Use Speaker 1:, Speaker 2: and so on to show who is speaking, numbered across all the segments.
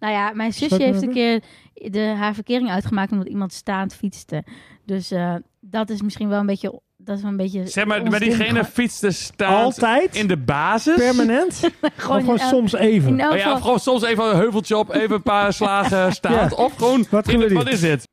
Speaker 1: Nou ja, mijn zusje heeft een keer de, haar verkering uitgemaakt omdat iemand staand fietste. Dus eh, dat is misschien wel een beetje. Dat is wel een beetje.
Speaker 2: Zeg maar,
Speaker 1: ons
Speaker 2: maar
Speaker 1: ding.
Speaker 2: diegene fietste staand
Speaker 3: Altijd?
Speaker 2: in de basis.
Speaker 3: Permanent?
Speaker 1: Gewoon,
Speaker 3: of gewoon
Speaker 1: in elk-
Speaker 3: soms even?
Speaker 1: in elk
Speaker 2: Oh ja,
Speaker 1: geval-
Speaker 2: of gewoon soms even een heuveltje op, even een paar slagen staand. Of gewoon,
Speaker 3: Wat
Speaker 2: in-
Speaker 3: gebeurt hier?
Speaker 2: wat is dit?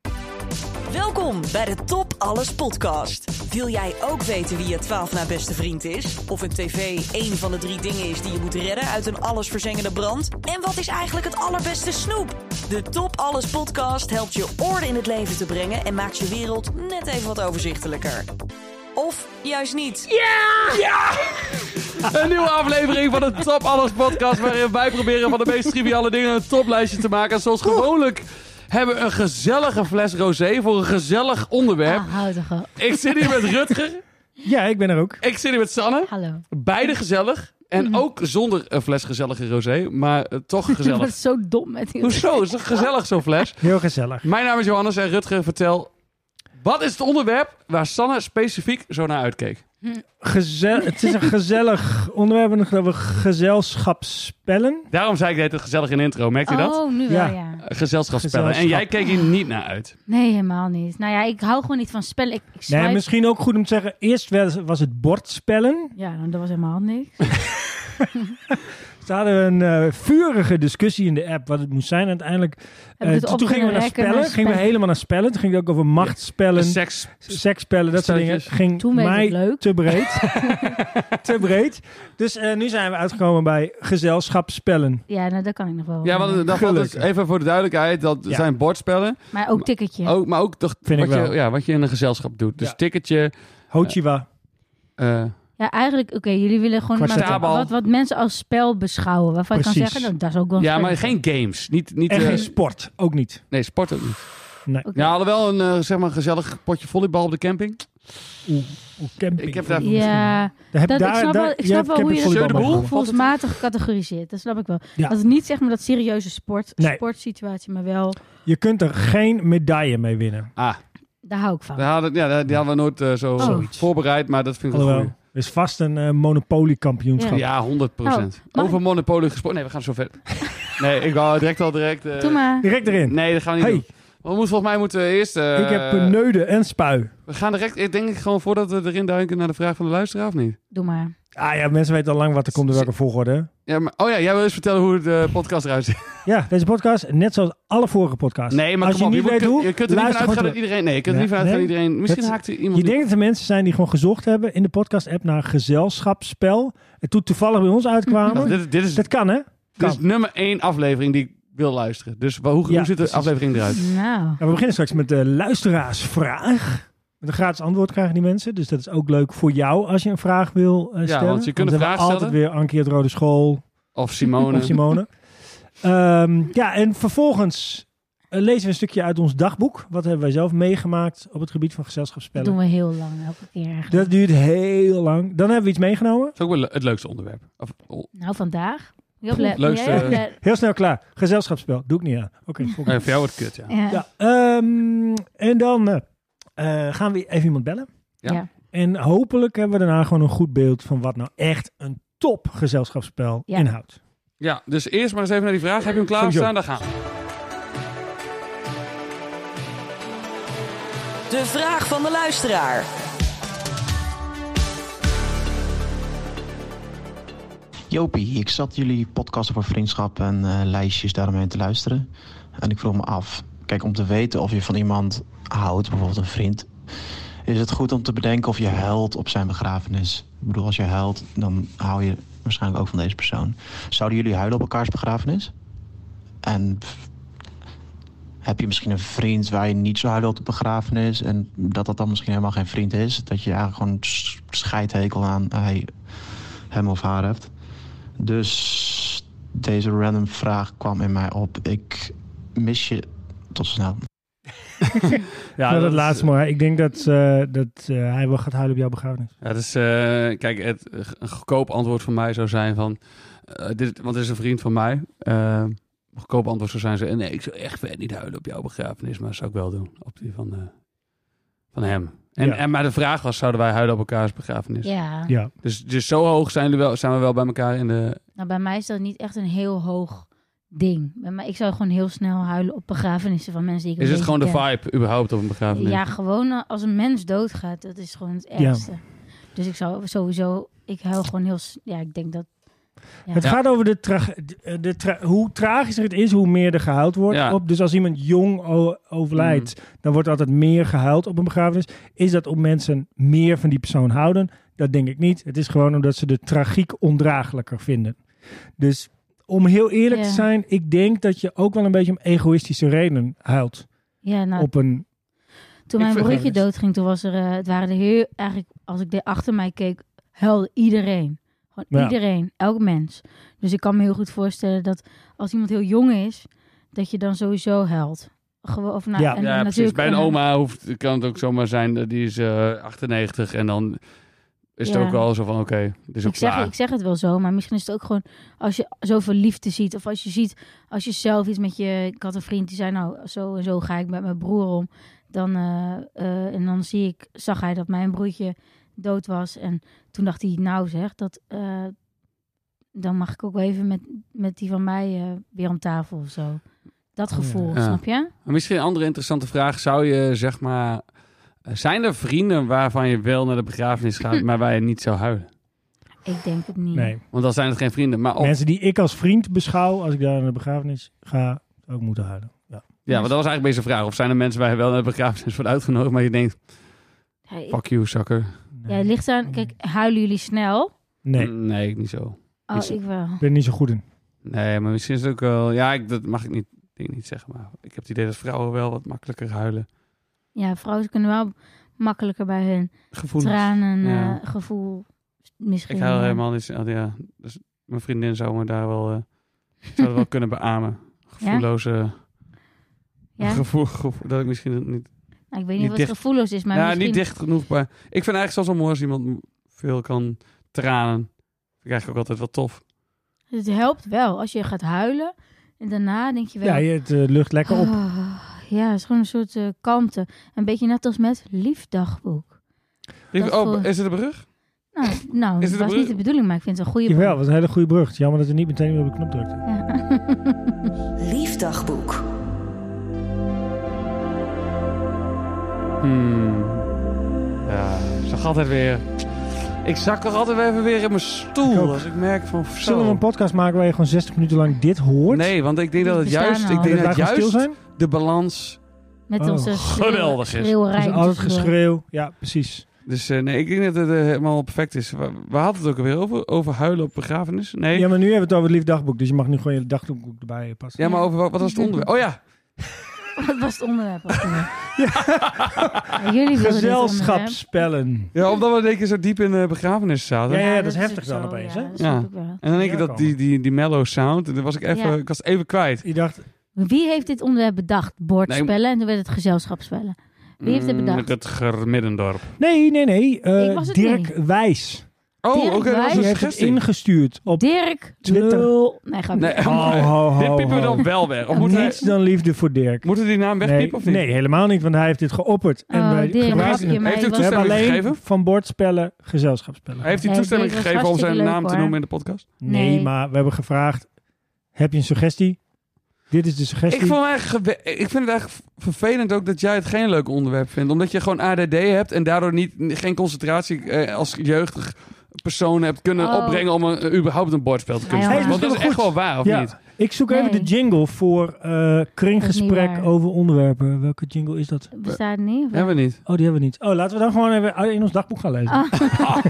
Speaker 4: Welkom bij de Top Alles podcast. Wil jij ook weten wie je 12 na beste vriend is? Of een tv één van de drie dingen is die je moet redden uit een allesverzengende brand? En wat is eigenlijk het allerbeste snoep? De Top Alles podcast helpt je orde in het leven te brengen en maakt je wereld net even wat overzichtelijker. Of juist niet.
Speaker 2: Een nieuwe aflevering van de Top Alles podcast... waarin wij proberen van de meest triviale dingen een toplijstje te maken. En zoals gewoonlijk hebben we een gezellige fles rosé voor een gezellig onderwerp.
Speaker 1: Ah, houd toch op.
Speaker 2: Ik zit hier met Rutger,
Speaker 3: Ja, ik ben er ook.
Speaker 2: ik zit hier met Sanne.
Speaker 1: Hallo.
Speaker 2: Beide gezellig.
Speaker 3: Mhm.
Speaker 2: En ook zonder een fles gezellige rosé, maar eh, toch
Speaker 1: Dat
Speaker 2: gezellig.
Speaker 1: was zo dom met die.
Speaker 2: Hoezo? Is toch gezellig zo'n fles?
Speaker 3: Heel gezellig.
Speaker 2: Mijn naam is Johannes en Rutger, vertel... Wat is het onderwerp waar Sanne specifiek zo naar uitkeek?
Speaker 3: Gezel het is een gezellig onderwerp. En ik geloof ik gezelschapsspellen.
Speaker 2: Daarom zei ik net het gezellig in de intro, merkt u dat?
Speaker 1: Oh, nu wel,
Speaker 3: Ja.
Speaker 1: ja.
Speaker 2: Gezelschapsspellen. En jij
Speaker 3: Gezelschap.
Speaker 2: keek hier niet naar uit.
Speaker 1: Nee, helemaal niet. Nou ja, ik hou gewoon niet van spellen. Ik, ik swipe-
Speaker 3: Nee, misschien ook goed om te zeggen. Eerst was- was het bordspellen.
Speaker 1: Ja, nou, dat was helemaal niks.
Speaker 3: Ze hadden een eh, vurige discussie in de app wat het moest zijn. Uiteindelijk, eh,
Speaker 1: het
Speaker 3: toen
Speaker 1: op kunnen
Speaker 3: gingen we naar
Speaker 1: rekken,
Speaker 3: spellen.
Speaker 1: naar
Speaker 3: Gingen we
Speaker 1: spellen.
Speaker 3: helemaal naar spellen. Toen ging het ook over machtspellen,
Speaker 2: Seks.
Speaker 3: seksspellen, dat soort dingen.
Speaker 2: Spelletjes.
Speaker 3: Ging
Speaker 1: Toen werd het
Speaker 3: mij
Speaker 1: leuk.
Speaker 3: te breed. te breed. Dus eh, nu zijn we uitgekomen bij gezelschapsspellen.
Speaker 1: Ja, nou, dat kan ik nog wel.
Speaker 2: Ja, want dan valt het
Speaker 3: Gelukkig.
Speaker 2: even voor de duidelijkheid. Dat
Speaker 3: Ja.
Speaker 2: zijn bordspellen.
Speaker 1: Maar ook tikketje.
Speaker 2: Ook, maar ook toch
Speaker 3: Vind
Speaker 2: wat,
Speaker 3: ik
Speaker 2: je,
Speaker 3: wel.
Speaker 2: Ja, wat je in een gezelschap doet. Dus
Speaker 3: Ja.
Speaker 2: ticketje,
Speaker 3: Hochiwa.
Speaker 2: eh,
Speaker 1: Ja, eigenlijk, oké, jullie willen gewoon
Speaker 3: Kwartet.
Speaker 1: maar wat, wat mensen als spel beschouwen. Waarvan ik kan
Speaker 3: Precies.
Speaker 1: zeggen, nou, dat is ook wel een
Speaker 2: ja, maar
Speaker 1: spelletje.
Speaker 2: geen games. Niet, niet,
Speaker 3: En
Speaker 2: eh,
Speaker 3: geen sport, ook niet.
Speaker 2: nee, sport ook niet.
Speaker 3: Nee.
Speaker 1: Oké.
Speaker 2: Ja, alhoewel een eh, zeg maar gezellig potje volleybal op de camping.
Speaker 3: Oeh, oeh, camping.
Speaker 2: Ik heb daar-
Speaker 1: Ja,
Speaker 3: Daar heb,
Speaker 1: dat, ik
Speaker 3: daar,
Speaker 1: snap
Speaker 3: daar-
Speaker 1: wel, ik
Speaker 3: jij
Speaker 1: snap
Speaker 3: hebt
Speaker 1: wel hoe je
Speaker 3: camping
Speaker 2: Jeu de
Speaker 3: volleybal
Speaker 2: boel?
Speaker 3: meegenomen.
Speaker 1: gevoelsmatig gecategoriseert. Dat snap ik wel.
Speaker 3: Ja.
Speaker 1: Dat is niet zeg maar dat serieuze sport,
Speaker 3: Nee.
Speaker 1: sportsituatie, maar wel,
Speaker 3: Je kunt er geen medaille mee winnen.
Speaker 2: Ah,
Speaker 1: daar hou ik van.
Speaker 2: daar hadden, ja, daar- die hadden we nooit eh, zo
Speaker 1: Zoiets.
Speaker 2: voorbereid. Maar dat vind ik wel
Speaker 3: Alhoewel,
Speaker 2: goed.
Speaker 3: er is vast een eh, monopoliekampioenschap.
Speaker 2: Ja, 100
Speaker 1: mag
Speaker 2: Over Monopoly gesproken. Nee, we gaan zo ver. nee, ik wou direct al direct... eh,
Speaker 1: Doe maar.
Speaker 3: Direct erin.
Speaker 2: Nee, dat gaan we niet
Speaker 3: Hey.
Speaker 2: doen. We moeten, volgens mij moeten we eerst... eh,
Speaker 3: ik heb eh, neuden en spui.
Speaker 2: We gaan direct, ik denk ik gewoon voordat we erin duiken naar de vraag van de luisteraar of niet?
Speaker 1: Doe maar.
Speaker 3: Ah ja, mensen weten al lang wat er komt in welke volgorde. hè?
Speaker 2: Ja, maar, oh ja, jij wil eens vertellen hoe de podcast eruit ziet.
Speaker 3: Ja, deze podcast, net zoals alle vorige podcasts.
Speaker 2: Nee, maar
Speaker 3: Als
Speaker 2: kom
Speaker 3: je
Speaker 2: op,
Speaker 3: niet weet
Speaker 2: moet-
Speaker 3: hoe,
Speaker 2: je kunt er niet van
Speaker 3: luister
Speaker 2: uitgaan
Speaker 3: gewoon
Speaker 2: dat iedereen... Nee, je kunt er
Speaker 3: Ja,
Speaker 2: niet van uitgaan dat
Speaker 3: nee.
Speaker 2: iedereen... Misschien
Speaker 3: Het-
Speaker 2: haakt er
Speaker 3: terug.
Speaker 2: iemand...
Speaker 3: Je denkt dat er mensen zijn die gewoon gezocht hebben in de podcast-app naar gezelschapsspel. En toen toevallig bij ons
Speaker 2: niet. Nou,
Speaker 3: uitkwamen.
Speaker 2: dit, dit is,
Speaker 3: Dat kan, hè?
Speaker 2: dit is
Speaker 3: kan.
Speaker 2: nummer één aflevering die ik wil luisteren. Dus wa- hoe, hoe
Speaker 3: Ja,
Speaker 2: ziet de
Speaker 3: precies.
Speaker 2: aflevering eruit?
Speaker 1: Nou,
Speaker 3: Nou, we beginnen straks met de luisteraarsvraag. Met een gratis antwoord krijgen die mensen. Dus dat is ook leuk voor jou als je een vraag wil eh, stellen.
Speaker 2: want je kunt
Speaker 3: Dan hebben
Speaker 2: een vraag
Speaker 3: we altijd
Speaker 2: stellen.
Speaker 3: weer Ankie uit Rode School,
Speaker 2: Of Simone.
Speaker 3: Of Simone. Ehm, ja, en vervolgens eh, lezen we een stukje uit ons dagboek. Wat hebben wij zelf meegemaakt op het gebied van
Speaker 1: dat
Speaker 3: gezelschapsspellen?
Speaker 1: doen we heel lang elke keer eigenlijk.
Speaker 3: Dat duurt heel lang. Dan hebben we iets meegenomen.
Speaker 2: Dat is ook wel le- het leukste onderwerp. Of, oh,
Speaker 1: Nou, vandaag. Heel
Speaker 3: Poeh,
Speaker 1: blij.
Speaker 2: leukste-
Speaker 1: Heel blij-
Speaker 3: Heel snel klaar. Gezelschapsspel. Doe ik niet aan. Oké,
Speaker 2: eh,
Speaker 3: volgende.
Speaker 2: voor jou wordt het kut, ja.
Speaker 1: Ja.
Speaker 3: Ja, ehm, en dan eh, eh, gaan we even iemand bellen.
Speaker 2: Ja.
Speaker 1: Ja.
Speaker 3: En hopelijk hebben we daarna gewoon een goed beeld van wat nou echt een top gezelschapsspel
Speaker 1: Ja.
Speaker 3: inhoudt.
Speaker 2: Ja, dus eerst maar eens even naar die vraag. Heb je hem klaarstaan?
Speaker 3: Sowieso.
Speaker 2: Daar gaan we.
Speaker 4: De vraag van de luisteraar.
Speaker 5: Jopie, ik zat jullie podcast over vriendschap en eh, lijstjes daaromheen te luisteren. En ik vroeg me af, kijk, om te weten of je van iemand houdt, bijvoorbeeld een vriend, is het goed om te bedenken of je huilt op zijn begrafenis. Ik bedoel, als je huilt, dan hou je waarschijnlijk ook van deze persoon. Zouden jullie huilen op elkaars begrafenis? En pff, heb je misschien een vriend waar je niet zo huilen op de begrafenis en dat dat dan misschien helemaal geen vriend is? Dat je eigenlijk gewoon een s- scheidhekel aan eh, hij, hem of haar hebt? Dus deze random vraag kwam in mij op. Ik mis je. Tot snel.
Speaker 3: Ja, Nou, dat,
Speaker 2: is-
Speaker 3: laatste maar. Ik denk dat, eh, dat eh, hij wel gaat huilen op jouw begrafenis.
Speaker 2: Ja, dus, eh, kijk, het, een goedkoop antwoord van mij zou zijn van... eh, dit, want het is een vriend van mij. Eh, een goedkoop antwoord zou zijn... Zo, nee, ik zou echt vet niet huilen op jouw begrafenis. Maar dat zou ik wel doen. Op die van, eh, van hem. En,
Speaker 3: Ja.
Speaker 2: en, maar de vraag was, zouden wij huilen op elkaars begrafenis?
Speaker 1: Ja.
Speaker 3: Ja.
Speaker 2: Dus, dus zo hoog zijn, jullie wel, zijn we wel bij elkaar in de...
Speaker 1: Nou, bij mij is dat niet echt een heel hoog ding. Maar ik zou gewoon heel snel huilen op begrafenissen van mensen die ik
Speaker 2: Is
Speaker 1: een
Speaker 2: het gewoon de
Speaker 1: beetje ken.
Speaker 2: vibe überhaupt op een begrafenis?
Speaker 1: Ja, gewoon eh, als een mens doodgaat, dat is gewoon het
Speaker 3: Ja.
Speaker 1: ergste. Dus ik zou sowieso, ik huil gewoon heel, s- ja, ik denk dat Ja.
Speaker 3: Het gaat over de tra- de- eh, de tra- hoe tragischer het is, hoe meer er gehuild wordt.
Speaker 2: Ja.
Speaker 3: Op. Dus als iemand jong o- overlijdt, dan wordt altijd meer gehuild op een begrafenis. Is dat om mensen meer van die persoon houden? Dat denk ik niet. Het is gewoon omdat ze de tragiek ondraaglijker vinden. Dus om heel eerlijk
Speaker 1: Ja.
Speaker 3: te zijn, ik denk dat je ook wel een beetje om egoïstische redenen huilt.
Speaker 1: Ja, nou,
Speaker 3: Op een,
Speaker 1: toen
Speaker 2: Ik
Speaker 1: mijn
Speaker 2: vind-
Speaker 1: broertje doodging, toen was er, eh, het waren er heel, eigenlijk, als ik de achter mij keek, huilde iedereen. Gewoon
Speaker 3: Ja.
Speaker 1: iedereen, elk mens. Dus ik kan me heel goed voorstellen dat als iemand heel jong is, dat je dan sowieso huilt. Gewoon, of nou,
Speaker 3: Ja.
Speaker 1: en, en
Speaker 2: ja, precies.
Speaker 1: natuurlijk-
Speaker 2: Bij een
Speaker 1: en dan-
Speaker 2: oma hoeft, kan het ook zomaar zijn, eh, die is eh, 98 en dan is het
Speaker 1: Ja.
Speaker 2: ook wel zo van, oké, dit is ook
Speaker 1: Ik zeg,
Speaker 2: klaar.
Speaker 1: ik zeg het wel zo, maar misschien is het ook gewoon als je zoveel liefde ziet. Of als je ziet, als je zelf iets met je. Ik had een vriend die zei, nou, zo en zo ga ik met mijn broer om. Dan, eh, eh, en dan zie ik, zag hij dat mijn broertje dood was. En toen dacht hij, nou zeg, dat, eh, dan mag ik ook wel even met, met die van mij eh, weer om tafel of zo. Dat
Speaker 3: Oh ja.
Speaker 1: gevoel,
Speaker 2: Ja.
Speaker 1: snap je?
Speaker 2: Maar Misschien een andere interessante vraag. Zou je, zeg maar, eh, zijn er vrienden waarvan je wel naar de begrafenis gaat, maar waar je niet zou huilen?
Speaker 1: Ik denk het niet.
Speaker 3: nee.
Speaker 2: Want dan zijn het geen vrienden. Maar ook,
Speaker 3: Mensen die ik als vriend beschouw, als ik daar naar de begrafenis ga, ook moeten huilen. Ja.
Speaker 2: ja, want dat was eigenlijk deze vraag. Of zijn er mensen waar je wel naar de begrafenis wordt uitgenodigd, maar je denkt,
Speaker 1: Hij-
Speaker 2: fuck you, sucker.
Speaker 1: ja, het ligt aan, kijk, huilen jullie snel?
Speaker 3: Nee,
Speaker 2: Mm, Nee, niet zo.
Speaker 1: Oh,
Speaker 2: Niet zo.
Speaker 1: ik wel.
Speaker 3: ik ben er niet zo goed in.
Speaker 2: Nee, maar misschien is het ook wel... Ja, ik, dat mag ik niet, denk ik niet zeggen, maar ik heb het idee dat vrouwen wel wat makkelijker huilen.
Speaker 1: Ja, vrouwen kunnen wel makkelijker bij hun
Speaker 2: Gevoelens.
Speaker 1: tranen,
Speaker 2: Ja.
Speaker 1: eh, gevoel misschien. eh,
Speaker 2: Ik huil
Speaker 1: ja.
Speaker 2: helemaal niet. oh, ja, dus mijn vriendin zou me daar wel, eh, zou dat wel kunnen beamen. Gevoelloze...
Speaker 1: Ja?
Speaker 2: Gevoel, gevoel- dat ik misschien niet...
Speaker 1: Nou, ik weet
Speaker 2: niet
Speaker 1: niet wat
Speaker 2: dicht.
Speaker 1: gevoelloos is, maar
Speaker 2: ja,
Speaker 1: misschien...
Speaker 2: niet dicht genoeg. Maar ik vind eigenlijk zelfs wel mooi als iemand m- veel kan tranen. Vind ik eigenlijk ook altijd wel tof.
Speaker 1: Het helpt wel als je gaat huilen en daarna denk je wel...
Speaker 3: Ja, je- het eh, lucht lekker op.
Speaker 1: "Ah, ja, het is gewoon een soort eh, kalmte. Een beetje net als met liefdagboek.
Speaker 2: Ik-
Speaker 1: Dat
Speaker 2: oh,
Speaker 1: voel-
Speaker 2: is het een brug?
Speaker 1: Nou, nou
Speaker 2: Is
Speaker 1: dat was
Speaker 2: het een
Speaker 1: niet de
Speaker 2: brug?
Speaker 1: bedoeling, maar ik vind het een goede...
Speaker 3: Jawel, was een hele goede brug. Jammer dat we niet meteen weer op de knop drukten.
Speaker 4: Liefdagboek.
Speaker 2: Hmm. Ja, zag altijd weer... Ik zak toch altijd weer even weer in mijn
Speaker 3: Ik
Speaker 2: stoel.
Speaker 3: ook.
Speaker 2: als ik merk van... zo.
Speaker 3: Zullen we een podcast maken waar je gewoon 60 minuten lang dit hoort?
Speaker 2: Nee, want ik denk dat het
Speaker 1: Die bestaan
Speaker 2: juist...
Speaker 1: al.
Speaker 2: Ik
Speaker 3: dat
Speaker 2: denk
Speaker 3: wij
Speaker 2: dat
Speaker 3: gewoon stil
Speaker 2: juist
Speaker 3: zijn?
Speaker 2: de balans...
Speaker 1: Met
Speaker 3: Oh,
Speaker 1: onze schreeuw- eh.
Speaker 2: geweldig is.
Speaker 1: schreeuwerij.
Speaker 3: Dus altijd
Speaker 1: tussendoor.
Speaker 3: geschreeuw. Ja, precies.
Speaker 2: Dus eh, nee, ik denk dat het eh, helemaal perfect is. We, we hadden het ook alweer over. Over huilen op begrafenis. Nee.
Speaker 3: Ja, maar nu hebben we het over het lief dagboek. Dus je mag nu gewoon je dagboek erbij passen.
Speaker 2: Ja, maar over wat, wat was het onderwerp? Oh ja,
Speaker 1: Wat was het onderwerp? ook alweer? Ja, Jullie wilden dit onderwerp.
Speaker 3: Gezelschapsspellen.
Speaker 2: ja omdat we in één keer zo diep in de begrafenis zaten.
Speaker 3: Ja, ja, dat is
Speaker 1: ook
Speaker 3: heftig dan
Speaker 1: zo,
Speaker 3: opeens,
Speaker 1: ja,
Speaker 3: hè?
Speaker 1: dat snap
Speaker 2: Ja.
Speaker 1: ik wel.
Speaker 2: En dan denk ik
Speaker 3: Ja,
Speaker 2: dat die, die, die mellow sound, daar was ik, even,
Speaker 1: Ja.
Speaker 2: ik was het even kwijt.
Speaker 3: Je dacht,
Speaker 1: Wie heeft dit onderwerp bedacht? Bordspellen. En toen werd het gezelschapsspellen. Wie heeft het
Speaker 2: Mm,
Speaker 1: bedacht?
Speaker 2: Met het germiddendorp.
Speaker 3: nee, nee, nee. eh,
Speaker 1: Ik was het
Speaker 3: Dirk Wijs.
Speaker 2: Oh,
Speaker 1: Dirk
Speaker 2: oké, dat was
Speaker 1: Wijs?
Speaker 3: Die
Speaker 2: een
Speaker 3: heeft het
Speaker 2: suggestie.
Speaker 3: ingestuurd op...
Speaker 1: Dirk
Speaker 3: Twitter.
Speaker 1: Lul. Nee, ga
Speaker 2: Nee,
Speaker 1: niet.
Speaker 3: Ho, ho, ho,
Speaker 2: Dit piepen we
Speaker 3: ho.
Speaker 2: dan wel weg. Of moeten,
Speaker 3: Niets
Speaker 2: we,
Speaker 3: dan liefde voor Dirk.
Speaker 2: moeten we die naam wegpiepen
Speaker 3: nee,
Speaker 2: of niet?
Speaker 3: nee, helemaal niet, want hij heeft dit geopperd.
Speaker 1: Oh,
Speaker 3: wij
Speaker 1: Dirk,
Speaker 3: gebruiken
Speaker 1: grapje,
Speaker 3: hem.
Speaker 1: maar
Speaker 2: Heeft u
Speaker 1: ik was-
Speaker 3: We hebben
Speaker 2: toestemming
Speaker 3: alleen
Speaker 2: gegeven?
Speaker 3: van bordspellen gezelschapsspellen.
Speaker 2: Hij heeft die
Speaker 1: Nee,
Speaker 2: toestemming
Speaker 1: dit was
Speaker 2: gegeven om zijn
Speaker 1: hartstikke
Speaker 2: naam
Speaker 1: leuk,
Speaker 2: te
Speaker 1: hoor.
Speaker 2: noemen in de podcast?
Speaker 3: Nee,
Speaker 1: Nee.
Speaker 3: maar we hebben gevraagd: heb je een suggestie? Dit is de
Speaker 2: Ik,
Speaker 3: suggestie.
Speaker 2: vond het eigenlijk gewe- ik vind het eigenlijk vervelend ook dat jij het geen leuk onderwerp vindt. Omdat je gewoon ADD hebt en daardoor niet, geen concentratie eh, als jeugdig persoon hebt kunnen
Speaker 1: Oh.
Speaker 2: opbrengen om een, eh, überhaupt een bordspel te kunnen
Speaker 1: Ja, ja.
Speaker 2: spelen. Want dat is
Speaker 3: Hey,
Speaker 2: echt
Speaker 3: is misschien
Speaker 2: wel waar, of
Speaker 3: Ja.
Speaker 2: niet?
Speaker 3: Ik zoek even
Speaker 1: Nee.
Speaker 3: de jingle voor eh,
Speaker 1: Dat is
Speaker 3: kringgesprek
Speaker 1: niet waar.
Speaker 3: over onderwerpen. Welke jingle is dat?
Speaker 1: Bestaat het niet? of wel?
Speaker 2: Hebben we niet.
Speaker 3: Oh, die hebben we niet. Oh, laten we dan gewoon even in ons dagboek gaan lezen.
Speaker 1: Ah.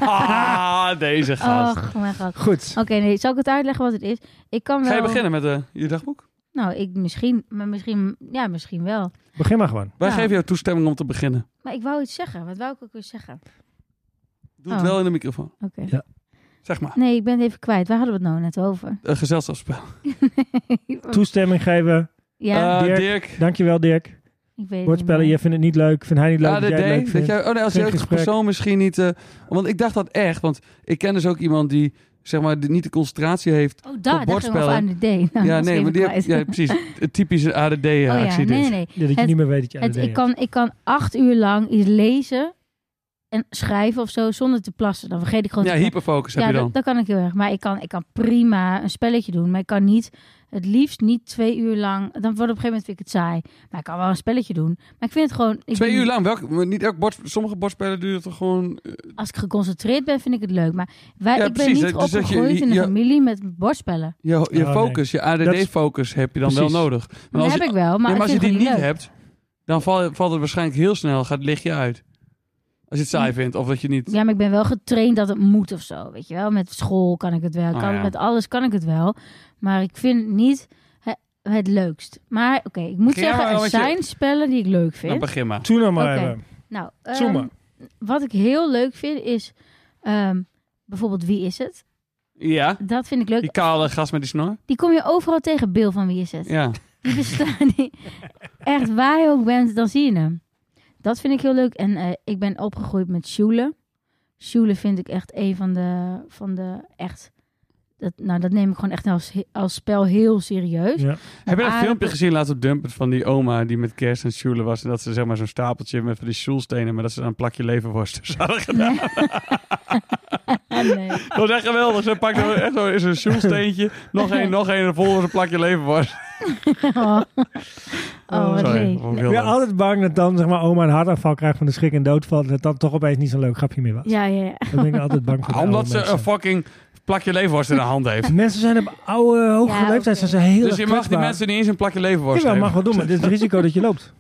Speaker 2: Ah, deze gast.
Speaker 1: Och, mijn god.
Speaker 3: Goed.
Speaker 1: Oké, nee, zal ik het uitleggen wat het is? Ik kan wel...
Speaker 2: Ga je beginnen met eh, je dagboek?
Speaker 1: Nou, ik misschien, maar misschien, ja, misschien wel.
Speaker 3: Begin maar gewoon.
Speaker 2: Wij
Speaker 1: Ja.
Speaker 2: geven jou toestemming om te beginnen.
Speaker 1: Maar ik wou iets zeggen. Wat wou ik ook weer zeggen?
Speaker 2: Doe het
Speaker 1: Oh.
Speaker 2: wel in de microfoon.
Speaker 1: Oké.
Speaker 3: Ja.
Speaker 2: Zeg maar.
Speaker 1: Nee, ik ben het even kwijt. Waar hadden we het nou net over?
Speaker 2: Een gezelschapsspel.
Speaker 3: Toestemming geven.
Speaker 1: ja,
Speaker 2: Eh,
Speaker 3: Dirk.
Speaker 2: Dirk.
Speaker 3: Dankjewel, Dirk.
Speaker 1: ik weet het niet
Speaker 3: Bordspellen, jij
Speaker 1: meer.
Speaker 3: vindt het niet leuk. Vindt hij niet leuk?
Speaker 2: ADD.
Speaker 3: dat jij het leuk
Speaker 2: dat
Speaker 3: vindt.
Speaker 2: jij, oh nee, als
Speaker 3: Geen
Speaker 2: jeugdige
Speaker 3: gesprek.
Speaker 2: persoon misschien niet. eh, want ik dacht dat echt. Want ik ken dus ook iemand die zeg maar die niet de concentratie heeft.
Speaker 1: Oh, daar, daar ging we
Speaker 2: bordspellen.
Speaker 1: aan de D. Nou,
Speaker 2: ja,
Speaker 1: dat is
Speaker 2: nee,
Speaker 1: even
Speaker 2: maar die
Speaker 1: kwijt.
Speaker 2: heeft, ja, precies. Het typische
Speaker 1: Oh
Speaker 2: ADD-actie.
Speaker 1: ja, nee, nee, nee.
Speaker 3: Ja, dat je
Speaker 1: Het-
Speaker 3: niet meer weet dat je
Speaker 1: Het,
Speaker 3: ADD
Speaker 1: ik, kan, ik kan acht uur lang iets lezen en schrijven of zo zonder te plassen. Dan vergeet ik gewoon.
Speaker 2: Ja,
Speaker 1: te-
Speaker 2: hyperfocus heb
Speaker 1: ja
Speaker 2: je
Speaker 1: dat,
Speaker 2: dan.
Speaker 1: dat kan ik heel erg. Maar ik kan, ik kan prima een spelletje doen. Maar ik kan niet het liefst niet twee uur lang. Dan wordt op een gegeven moment vind ik het saai. Maar ik kan wel een spelletje doen. Maar ik vind het gewoon. Ik
Speaker 2: Twee
Speaker 1: ben-
Speaker 2: uur lang. Welk, maar niet elk bord, sommige bordspellen duren toch gewoon... eh,
Speaker 1: Als ik geconcentreerd ben, vind ik het leuk. Maar wij,
Speaker 2: Ja,
Speaker 1: ik ben
Speaker 2: precies,
Speaker 1: niet
Speaker 2: hè. Dus dat je-
Speaker 1: opgegroeid in een
Speaker 2: je-
Speaker 1: familie met bordspellen.
Speaker 2: Je, je
Speaker 3: Oh,
Speaker 2: focus, je
Speaker 3: Dat is-
Speaker 2: ADD-focus heb je dan
Speaker 3: Precies.
Speaker 2: wel nodig. Maar
Speaker 1: Dat
Speaker 2: als
Speaker 1: heb
Speaker 2: je,
Speaker 1: ik wel, maar,
Speaker 2: ja, maar als je
Speaker 1: ik
Speaker 2: die
Speaker 1: vind
Speaker 2: niet
Speaker 1: het gewoon
Speaker 2: hebt, dan val- valt het waarschijnlijk heel snel, gaat het lichtje uit. Als je het saai vindt, of dat je niet... Nou,
Speaker 1: leuk. Ja, maar ik ben wel getraind dat het moet of zo, weet je wel. Met school kan ik het wel,
Speaker 2: Oh,
Speaker 1: kan,
Speaker 2: ja.
Speaker 1: met alles kan ik het wel. Maar ik vind het niet he- het leukst. Maar oké, ik moet
Speaker 2: Begin jij
Speaker 1: zeggen,
Speaker 2: maar
Speaker 1: er
Speaker 2: met je-
Speaker 1: zijn spellen die ik leuk
Speaker 2: Dan
Speaker 1: vind.
Speaker 2: begin maar.
Speaker 3: Toen nou maar
Speaker 1: Oké.
Speaker 3: even.
Speaker 1: Nou,
Speaker 3: Zoem
Speaker 1: ehm,
Speaker 3: maar.
Speaker 1: wat ik heel leuk vind is ehm, bijvoorbeeld Wie is het?
Speaker 2: Ja,
Speaker 1: Dat vind ik leuk.
Speaker 2: die kale gast met die snor.
Speaker 1: Die kom je overal tegen, Bill van Wie is het?
Speaker 2: Ja.
Speaker 1: Die bestaan die- Echt waar je ook bent, dan zie je hem. Dat vind ik heel leuk. En eh, ik ben opgegroeid met Sjoelen. Sjoelen vind ik echt een van de... Van de echt, dat, nou, dat neem ik gewoon echt als, he- als spel heel serieus.
Speaker 3: Ja.
Speaker 2: Heb je dat
Speaker 1: aardappel-
Speaker 2: filmpje gezien laatst op Dumpert van die oma die met kerst en sjoelen was en dat ze zeg maar zo'n stapeltje met van die sjoelstenen, maar dat ze dan een plakje leverworst tussen hadden gedaan.
Speaker 1: En, eh,
Speaker 2: Dat was echt geweldig. Ze pakt dan echt zo is een sjoelsteentje, nog één, nog één en volgens een plakje leverworst.
Speaker 1: oh. Oh, wat
Speaker 2: Sorry,
Speaker 1: leuk.
Speaker 2: vond ik
Speaker 3: Ik
Speaker 2: heel
Speaker 3: ben
Speaker 2: leuk.
Speaker 3: altijd bang dat dan zeg maar, oma een hartaanval krijgt van de schrik en doodval. Dat dan toch opeens niet zo'n leuk grapje meer was.
Speaker 1: Ja, ja, ja.
Speaker 3: Daar ben ik altijd bang voor.
Speaker 2: Ah,
Speaker 3: bij
Speaker 2: Omdat
Speaker 3: oude
Speaker 2: ze een
Speaker 3: mensen.
Speaker 2: fucking plakje leverworst in de hand heeft.
Speaker 3: Mensen zijn op oude, hoge
Speaker 1: Ja,
Speaker 3: leeftijd
Speaker 1: oké.
Speaker 3: zijn ze heel
Speaker 2: Dus
Speaker 3: erg
Speaker 2: je mag die
Speaker 3: kwetsbaar.
Speaker 2: mensen niet eens een plakje leverworst
Speaker 3: Jawel,
Speaker 2: geven.
Speaker 3: mag wel doen, maar dit is het risico dat je loopt.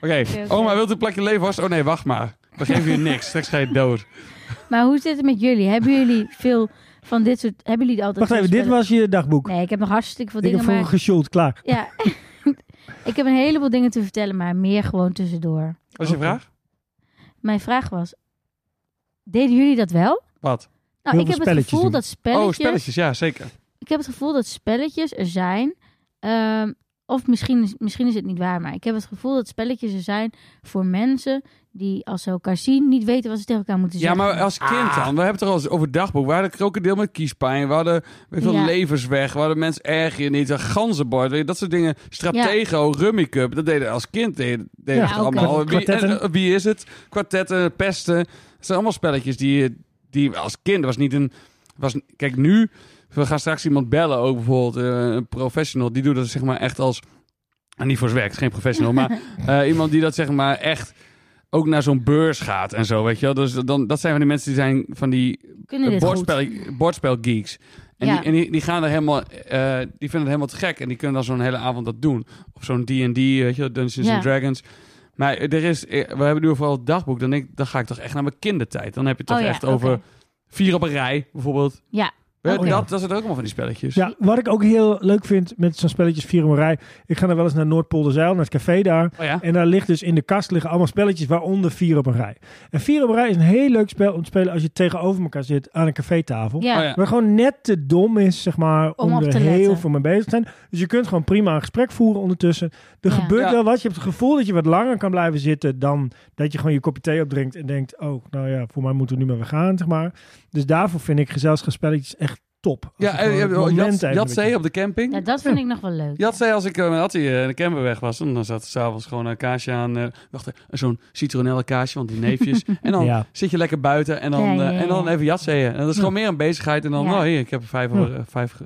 Speaker 2: Oké,
Speaker 1: Oké, oké.
Speaker 2: oma wilt een plakje leverworst? Oh nee, wacht maar. We geven je niks. Straks ga je dood.
Speaker 1: Maar hoe zit het met jullie? Hebben jullie veel van dit soort... Hebben jullie altijd...
Speaker 3: Wacht even,
Speaker 1: veel
Speaker 3: dit was je dagboek.
Speaker 1: spellen? Nee, ik heb nog hartstikke veel
Speaker 3: ik heb
Speaker 1: dingen, maar...
Speaker 3: vroeger gesjoeld, klaar.
Speaker 1: Ja, ik heb een heleboel dingen te vertellen, maar meer gewoon tussendoor.
Speaker 2: Wat is je
Speaker 3: Oké.
Speaker 2: vraag?
Speaker 1: Mijn vraag was: deden jullie dat wel?
Speaker 2: Wat?
Speaker 1: Nou, ik
Speaker 3: Heel veel
Speaker 1: heb het
Speaker 3: spelletjes
Speaker 1: gevoel
Speaker 3: doen.
Speaker 1: dat spelletjes,
Speaker 2: Oh, spelletjes. Ja, zeker.
Speaker 1: Ik heb het gevoel dat spelletjes er zijn. ehm, of misschien, is- misschien is het niet waar, maar ik heb het gevoel dat spelletjes er zijn voor mensen die als ze elkaar zien niet weten wat ze tegen elkaar moeten
Speaker 2: Ja,
Speaker 1: zeggen.
Speaker 2: maar als kind
Speaker 3: Ah.
Speaker 2: dan. We hebben het er al eens over het dagboek. We hadden krokodil met kiespijn. We hadden weet je wel,
Speaker 1: Ja.
Speaker 2: levens weg. We hadden mensen erg in niet. Een ganzenbord. weet je, Dat soort dingen. Stratego, Rummy Cup. Dat deden we als kind. Deden, deden
Speaker 1: Ja,
Speaker 2: we het
Speaker 1: ook,
Speaker 2: allemaal.
Speaker 3: eh,
Speaker 2: Wie,
Speaker 3: kwartetten.
Speaker 2: en, eh, wie is het? Kwartetten, pesten. Het zijn allemaal spelletjes die, je- die we als kind was niet een... Was, kijk, nu... We gaan straks iemand bellen ook bijvoorbeeld. eh, een professional. Die doet dat zeg maar echt als... en niet voor zijn werk, het is geen professional. maar eh, iemand die dat zeg maar echt ook naar zo'n beurs gaat en zo, weet je wel. Dus dan, dat zijn van die mensen die zijn van die
Speaker 1: Kunnen dit goed?
Speaker 2: Eh, bordspel, bordspelgeeks. En,
Speaker 1: Ja.
Speaker 2: die, en die, die gaan er helemaal, eh, die vinden het helemaal te gek. En die kunnen dan zo'n hele avond dat doen. Of zo'n D&D, weet je wel, Dungeons
Speaker 1: Ja.
Speaker 2: and Dragons. Maar er is, eh, we hebben nu vooral het dagboek. Dan, denk, ik, dan ga ik toch echt naar mijn kindertijd. Dan heb je het toch
Speaker 1: Oh ja,
Speaker 2: echt over
Speaker 1: oké.
Speaker 2: vier op een rij, bijvoorbeeld.
Speaker 1: Ja,
Speaker 2: Weet je,
Speaker 1: oké.
Speaker 2: Dat, dat zit ook allemaal van die spelletjes.
Speaker 3: Ja, wat ik ook heel leuk vind met zo'n spelletjes Vier om een rij. Ik ga dan wel eens naar Noordpolderzeil, naar het café daar.
Speaker 2: Oh ja?
Speaker 3: En daar ligt dus in de kast liggen allemaal spelletjes, waaronder Vier op een rij. En Vier op een rij is een heel leuk spel om te spelen als je tegenover elkaar zit aan een cafétafel.
Speaker 1: ja.
Speaker 2: Oh ja.
Speaker 3: Maar gewoon net te dom is, zeg maar, om,
Speaker 1: Om op
Speaker 3: er
Speaker 1: te
Speaker 3: heel
Speaker 1: letten.
Speaker 3: veel mee bezig te zijn. Dus je kunt gewoon prima een gesprek voeren ondertussen. Er
Speaker 1: Ja.
Speaker 3: gebeurt
Speaker 2: Ja.
Speaker 3: wel wat. Je hebt het gevoel dat je wat langer kan blijven zitten dan dat je gewoon je kopje thee opdrinkt en denkt, oh, nou ja, voor mij moeten we nu maar weer gaan, zeg maar. Dus daarvoor vind ik gezelschapsspelletjes echt top. Als
Speaker 2: Ja, eh,
Speaker 3: je
Speaker 2: en
Speaker 3: gewoon
Speaker 2: je
Speaker 3: het
Speaker 2: hebt
Speaker 3: moment
Speaker 2: Jats-
Speaker 3: even
Speaker 2: Jatzee
Speaker 3: weet.
Speaker 2: op de camping.
Speaker 1: Ja, dat vind ik nog wel leuk.
Speaker 2: Je had zei als ik eh, met Attie eh, in de camper weg was, dan zat er s'avonds gewoon een kaasje aan. eh, wacht, eh, zo'n citronelle kaasje, want die neefjes. en dan
Speaker 3: Ja.
Speaker 2: zit je lekker buiten en dan,
Speaker 1: Ja, ja,
Speaker 2: eh, en dan
Speaker 1: ja.
Speaker 2: even jatzeeën. En dat is gewoon meer een bezigheid. En dan,
Speaker 1: Ja.
Speaker 2: oh hier, ik heb er vijf,
Speaker 3: Ja.
Speaker 2: over, eh, vijf ge-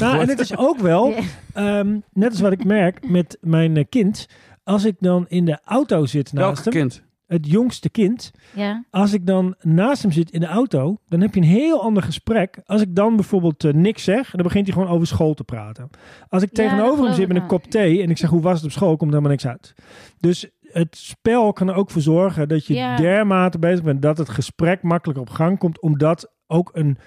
Speaker 3: Nou, en het is ook wel,
Speaker 1: Ja.
Speaker 3: ehm, net als wat ik merk met mijn eh, kind, als ik dan in de auto zit naast
Speaker 2: Welk
Speaker 3: hem,
Speaker 2: kind?
Speaker 3: het jongste kind,
Speaker 1: Ja.
Speaker 3: als ik dan naast hem zit in de auto, dan heb je een heel ander gesprek. Als ik dan bijvoorbeeld eh, niks zeg, dan begint hij gewoon over school te praten. Als ik
Speaker 1: Ja, dat
Speaker 3: tegenover hem
Speaker 1: geloof
Speaker 3: zit
Speaker 1: ik
Speaker 3: met een
Speaker 1: wel.
Speaker 3: kop thee en ik zeg hoe was het op school, komt helemaal niks uit. Dus het spel kan er ook voor zorgen dat je
Speaker 1: Ja.
Speaker 3: dermate bezig bent dat het gesprek makkelijk op gang komt, omdat ook een,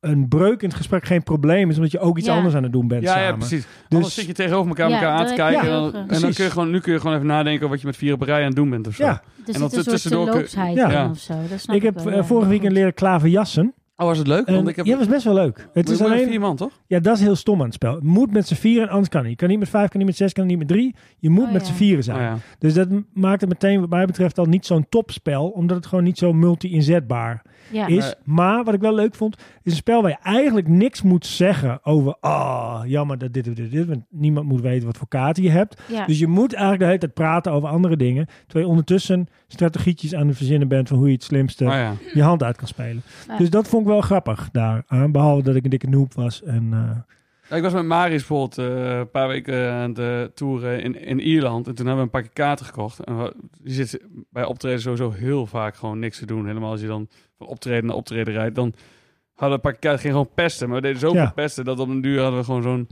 Speaker 3: een breuk in het gesprek geen probleem is, omdat je ook iets
Speaker 1: Ja.
Speaker 3: anders aan het doen bent
Speaker 2: Ja,
Speaker 3: samen. Dus
Speaker 2: ja, precies. Anders zit je tegenover elkaar,
Speaker 1: Ja,
Speaker 2: elkaar aan
Speaker 1: dat
Speaker 2: te
Speaker 1: heb ik
Speaker 2: kijken.
Speaker 1: ook,
Speaker 2: en
Speaker 1: eh.
Speaker 2: dan, en dan
Speaker 3: Precies.
Speaker 2: kun je gewoon, nu kun je gewoon even nadenken wat je met vier op een rij aan het doen bent of zo.
Speaker 3: Ja.
Speaker 1: Er
Speaker 2: dan
Speaker 1: zit Dus een soort
Speaker 2: tussendoor kun-
Speaker 1: terloopsheid
Speaker 3: Ja.
Speaker 1: in
Speaker 2: Ja.
Speaker 1: of zo. Dat snap
Speaker 3: ik heb
Speaker 1: wel,
Speaker 3: eh,
Speaker 1: ja.
Speaker 3: vorig weekend leren klaverjassen.
Speaker 2: Oh, was het leuk?
Speaker 3: En,
Speaker 2: Want ik heb...
Speaker 3: ja, was best wel leuk. Het
Speaker 2: je
Speaker 3: is
Speaker 2: moet met
Speaker 3: alleen
Speaker 2: vier man, toch?
Speaker 3: Ja, dat is heel stom aan het spel. Het moet met z'n vieren, anders kan niet. Je kan niet met vijf, kan niet met zes, kan niet met drie. Je moet
Speaker 1: Oh,
Speaker 3: met
Speaker 1: ja.
Speaker 3: z'n vieren zijn.
Speaker 2: Oh, ja.
Speaker 3: Dus dat m- maakt het meteen, wat mij betreft, al niet zo'n topspel. Omdat het gewoon niet zo multi-inzetbaar
Speaker 1: Ja.
Speaker 3: is.
Speaker 2: Nee.
Speaker 3: Maar wat ik wel leuk vond, is een spel waar je eigenlijk niks moet zeggen over. Ah, jammer dat dit en dit, en dit. Want niemand moet weten wat voor kaarten je hebt.
Speaker 1: Ja.
Speaker 3: Dus je moet eigenlijk de hele tijd praten over andere dingen. Terwijl je ondertussen strategietjes aan het verzinnen bent van hoe je het slimste
Speaker 2: Oh, ja.
Speaker 3: je hand uit kan spelen.
Speaker 1: Ja.
Speaker 3: Dus dat vond ik wel grappig daar. Behalve dat ik een dikke noob was en eh,
Speaker 2: Ja, Nou, ik was met Marius bijvoorbeeld eh, een paar weken aan de toeren in, in Ierland. En toen hebben we een pakje kaarten gekocht. En we- je zit bij optreden sowieso heel vaak gewoon niks te doen. Helemaal als je dan van optreden naar optreden rijdt. Dan hadden we een pakje kaarten, ging gewoon pesten. Maar we deden zoveel
Speaker 3: Ja.
Speaker 2: pesten dat op een duur hadden we gewoon zo'n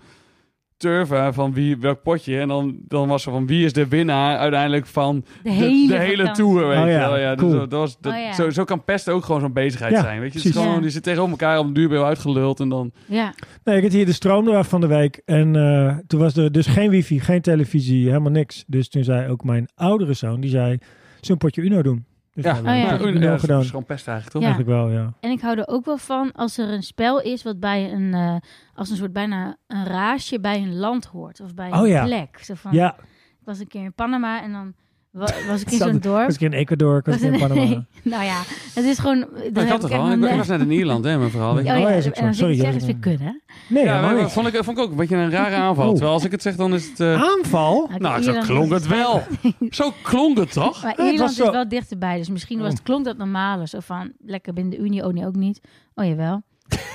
Speaker 2: turva van wie, welk potje. En dan, dan was er van wie is de winnaar uiteindelijk van
Speaker 1: De
Speaker 2: de
Speaker 1: hele,
Speaker 2: hele, de, hele
Speaker 1: vakantie.
Speaker 2: tour. Weet
Speaker 3: Oh
Speaker 2: je
Speaker 3: ja,
Speaker 2: wel. ja, dus
Speaker 3: cool.
Speaker 2: dat, dat was, dat,
Speaker 1: Oh ja.
Speaker 2: Zo, zo kan pesten ook gewoon zo'n bezigheid
Speaker 3: Ja,
Speaker 2: zijn. Weet je? Het is
Speaker 3: precies.
Speaker 2: gewoon,
Speaker 1: Ja.
Speaker 2: Die zitten tegen elkaar op de duur ben je uitgeluld en dan...
Speaker 1: Ja,
Speaker 3: Nee, ik had hier de stroom eraf van de week. En eh, toen was er dus geen wifi, geen televisie, helemaal niks. Dus toen zei ook mijn oudere zoon, die zei, zo'n potje Uno doen. Dus
Speaker 2: Ja,
Speaker 3: we hebben
Speaker 1: Oh ja.
Speaker 3: een potje
Speaker 2: Nou,
Speaker 3: Uno
Speaker 2: ja, dat
Speaker 3: gedaan.
Speaker 2: is gewoon pest eigenlijk, toch?
Speaker 1: Ja.
Speaker 3: Eigenlijk wel, ja.
Speaker 1: en ik hou er ook wel van als er een spel is wat bij een, eh, als een soort bijna een raasje bij een land hoort. Of bij
Speaker 3: Oh
Speaker 1: een
Speaker 3: ja.
Speaker 1: plek. Zo van,
Speaker 3: Ja,
Speaker 1: Ik was een keer in Panama en dan wa- was ik in
Speaker 3: Zat-
Speaker 1: zo'n dorp.
Speaker 3: was ik in Ecuador, ik was in Panama.
Speaker 1: Nee, nou ja, het is gewoon... Dan
Speaker 2: Ja, Oh, ik
Speaker 1: heb
Speaker 2: had
Speaker 1: ik
Speaker 2: er al.
Speaker 1: echt
Speaker 2: Ik,
Speaker 1: een-
Speaker 2: ik was net in Ierland, hè, mijn verhaal.
Speaker 1: Oh
Speaker 2: Ja,
Speaker 1: ja,
Speaker 3: Oh ja, is
Speaker 1: en
Speaker 3: ook zo.
Speaker 1: dan zit
Speaker 3: Sorry,
Speaker 1: ik
Speaker 3: dat
Speaker 1: zeggen,
Speaker 3: is
Speaker 1: is weer
Speaker 3: een-
Speaker 1: kut, hè?
Speaker 3: Nee, helemaal
Speaker 2: maar
Speaker 3: niks.
Speaker 2: vond, ik, vond ik ook een beetje een rare aanval.
Speaker 3: Oh.
Speaker 2: Terwijl als ik het zeg, dan is het... eh,
Speaker 3: Aanval?
Speaker 1: Maar
Speaker 2: nou, zo
Speaker 1: Ierland-
Speaker 2: klonk het wel. Zo klonk het toch?
Speaker 1: Maar
Speaker 3: was Oh.
Speaker 1: Ierland is
Speaker 3: zo-
Speaker 1: wel dichterbij, dus misschien was het, klonk dat normale. Zo van, lekker binnen de Unie, oh nee, ook niet. Oh jawel.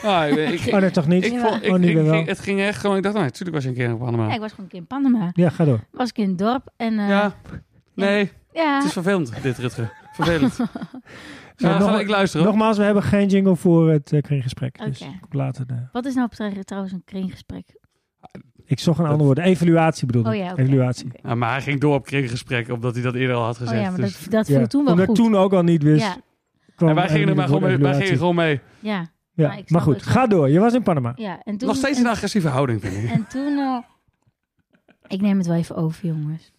Speaker 2: Ah, ik, ik,
Speaker 3: Oh, nee, toch niet?
Speaker 2: ik vond- ik-
Speaker 3: Oh, nu
Speaker 2: ik
Speaker 3: weer wel.
Speaker 2: ging- het ging echt gewoon... Ik dacht, nou, natuurlijk was je een keer in Panama.
Speaker 1: Ja, ik was gewoon een keer in Panama.
Speaker 3: Ja, ga door.
Speaker 1: Was ik in het dorp en... eh,
Speaker 2: ja. Nee,
Speaker 1: ja.
Speaker 2: het is vervelend, dit Rutger. Vervelend. Ja,
Speaker 3: Nou,
Speaker 2: ga
Speaker 3: nog-
Speaker 2: ik luisteren. hoor.
Speaker 3: Nogmaals, we hebben geen jingle voor het eh, kringgesprek. Dus
Speaker 1: Oké.
Speaker 3: ik, later, de-
Speaker 1: Wat is nou tra- trouwens een kringgesprek?
Speaker 3: ik zocht een ander woord. Evaluatie bedoel ik.
Speaker 1: Oh ja, oké.
Speaker 3: Evaluatie.
Speaker 1: Oké.
Speaker 2: Ja, maar hij ging door op kringgesprek, omdat hij dat eerder al had
Speaker 1: Oh
Speaker 2: gezegd.
Speaker 1: ja, maar
Speaker 2: dus.
Speaker 1: dat, dat viel
Speaker 3: Ja.
Speaker 1: toen wel
Speaker 3: Omdat
Speaker 1: goed.
Speaker 3: ik toen ook al niet wist.
Speaker 1: ja,
Speaker 3: kwam
Speaker 2: En wij gingen er
Speaker 3: eigenlijk
Speaker 2: maar gewoon mee.
Speaker 3: het
Speaker 2: Wij
Speaker 3: woord
Speaker 2: gingen
Speaker 3: evaluatie.
Speaker 2: gewoon mee.
Speaker 1: ja.
Speaker 3: Ja,
Speaker 1: Maar
Speaker 3: maar,
Speaker 1: ik snap
Speaker 3: goed,
Speaker 1: het.
Speaker 3: ga door. Je was in Panama.
Speaker 1: ja. En toen,
Speaker 2: Nog steeds
Speaker 1: en,
Speaker 2: een agressieve houding, vind ik.
Speaker 1: En toen... eh, ik neem het wel even over, jongens.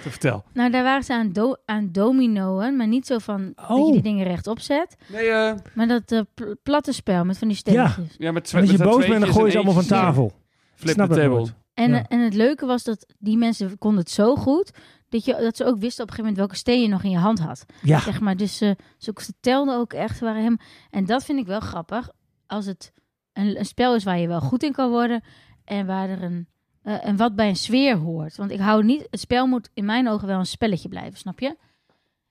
Speaker 2: Vertel.
Speaker 1: Nou, daar waren ze aan, do aan dominoen, maar niet zo van dat je
Speaker 3: Oh.
Speaker 1: die dingen rechtop zet.
Speaker 2: Nee, eh,
Speaker 1: Maar dat eh, pl- platte spel met van die steentjes.
Speaker 2: ja, met twe-
Speaker 3: En als je
Speaker 2: met dat
Speaker 3: boos bent, dan
Speaker 2: tweetjes
Speaker 3: gooi je
Speaker 2: en
Speaker 3: ze allemaal van
Speaker 2: eentjes.
Speaker 3: tafel.
Speaker 2: Flip
Speaker 3: Snap
Speaker 2: the
Speaker 3: het
Speaker 2: table.
Speaker 3: nooit.
Speaker 1: En, eh,
Speaker 3: Ja.
Speaker 1: en het leuke was dat die mensen konden het zo goed, dat, je, dat ze ook wisten op een gegeven moment welke steen je nog in je hand had.
Speaker 3: Ja,
Speaker 1: Zeg maar, dus eh, ze, ze telden ook echt. ze Waren hem, en dat vind ik wel grappig. Als het een, een spel is waar je wel goed in kan worden. En waar er een. eh, en wat bij een sfeer hoort. Want ik hou niet. Het spel moet in mijn ogen wel een spelletje blijven, snap je?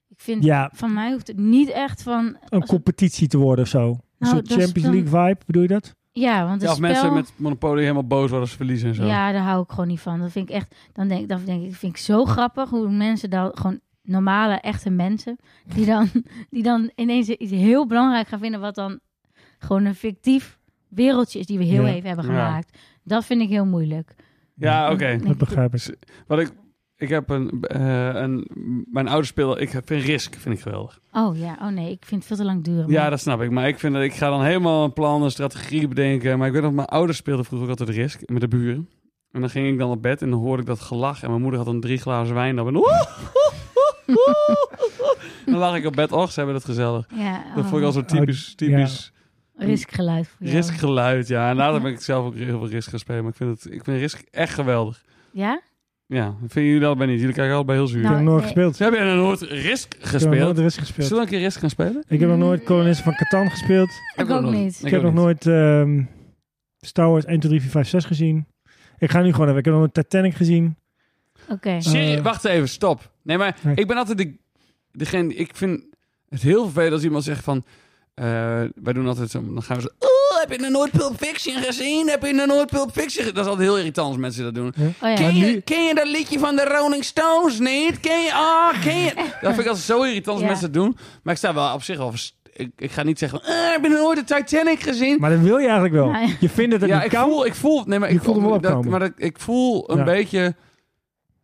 Speaker 1: Ik vind.
Speaker 3: ja
Speaker 1: Van mij hoeft het niet echt van.
Speaker 3: een
Speaker 1: als het-
Speaker 3: competitie te worden of zo. Een
Speaker 1: Nou,
Speaker 3: soort
Speaker 1: dat is
Speaker 3: Champions
Speaker 1: dan-
Speaker 3: League vibe, bedoel je dat?
Speaker 1: ja, want
Speaker 2: Ja,
Speaker 1: het
Speaker 2: of
Speaker 1: spel.
Speaker 2: mensen met Monopoly helemaal boos worden als ze verliezen en zo.
Speaker 1: Ja, daar hou ik gewoon niet van. Dat vind ik echt. Dan denk, dan denk ik, vind ik zo grappig hoe mensen dan gewoon normale, echte mensen. Die dan, die dan ineens iets heel belangrijk gaan vinden. Wat dan gewoon een fictief wereldje is die we heel
Speaker 3: Ja.
Speaker 1: even hebben
Speaker 2: Ja.
Speaker 1: gemaakt. Dat vind ik heel moeilijk.
Speaker 2: Ja, oké.
Speaker 1: Nee.
Speaker 3: Dat begrijp ik.
Speaker 2: Wat ik... Ik heb een, eh, een... Mijn ouders spelen... Ik vind Risk vind ik geweldig.
Speaker 1: Oh ja, oh nee, ik vind het veel te lang duren.
Speaker 2: Ja,
Speaker 1: maar-
Speaker 2: dat snap ik. Maar ik vind dat... Ik ga dan helemaal een plan, een strategie bedenken. Maar ik weet nog... Mijn ouders speelden vroeger ook altijd Risk. Met de buren. En dan ging ik dan op bed en dan hoorde ik dat gelach. En mijn moeder had dan drie glazen wijn. op En dan lag ik op bed. Och, ze hebben het gezellig.
Speaker 1: ja
Speaker 2: Dat vond ik al zo typisch...
Speaker 3: Oh, ja.
Speaker 2: typisch
Speaker 1: riskgeluid voor jou.
Speaker 2: Riskgeluid, ja. En later ben ik zelf ook heel veel Risk gaan spelen. Maar ik vind, het, ik vind Risk echt geweldig.
Speaker 1: Ja?
Speaker 2: Ja, vinden jullie dat bij niet? Jullie kijken allebei heel zuur.
Speaker 3: Ik
Speaker 1: Nou,
Speaker 3: heb nog nooit
Speaker 1: nee.
Speaker 3: gespeeld.
Speaker 2: Ze hebben er nooit
Speaker 3: Ik
Speaker 2: Risk
Speaker 3: heb nog
Speaker 2: gespeeld.
Speaker 3: nooit Risk gespeeld.
Speaker 2: Zullen we een keer Risk gaan spelen?
Speaker 3: Ik heb nog nooit Kolonisten van Catan gespeeld.
Speaker 1: Ik ook niet.
Speaker 2: Ik
Speaker 3: Ik, heb nog
Speaker 2: ook
Speaker 3: nooit ehm, Star Wars 1, 2, 3, 4, 5, 6 gezien. Ik ga nu gewoon even. Ik heb nog nooit Titanic gezien.
Speaker 1: Oké.
Speaker 2: Serie-
Speaker 3: Eh.
Speaker 2: wacht even, stop. Nee, maar
Speaker 3: Nee.
Speaker 2: ik ben altijd de, degene... Ik vind het heel vervelend als iemand zegt van... eh, wij doen altijd zo... Dan gaan we zo... Oh, heb je nog nooit Pulp Fiction gezien? Heb je nog nooit Pulp Fiction gezien? Dat is altijd heel irritant als mensen dat doen.
Speaker 1: Oh ja.
Speaker 2: Ken
Speaker 3: Maar
Speaker 2: je,
Speaker 3: nu-
Speaker 2: ken je dat liedje van de Rolling Stones niet? Ken je? Ah, ken je? Dat vind ik altijd zo irritant als
Speaker 1: Ja.
Speaker 2: mensen dat doen. Maar ik sta wel op zich wel... vers- Ik, ik ga niet zeggen... van, "Eh, ik ben nooit de Titanic gezien.
Speaker 3: Maar dat wil je eigenlijk wel.
Speaker 1: Nee.
Speaker 3: Je vindt dat het
Speaker 2: ja,
Speaker 3: niet
Speaker 2: ik
Speaker 3: kan.
Speaker 2: voel... Ik voel nee, maar
Speaker 3: Je
Speaker 2: ik,
Speaker 3: voelt hem wel
Speaker 2: dat,
Speaker 3: opkomen.
Speaker 2: maar dat- ik voel een
Speaker 3: Ja.
Speaker 2: beetje...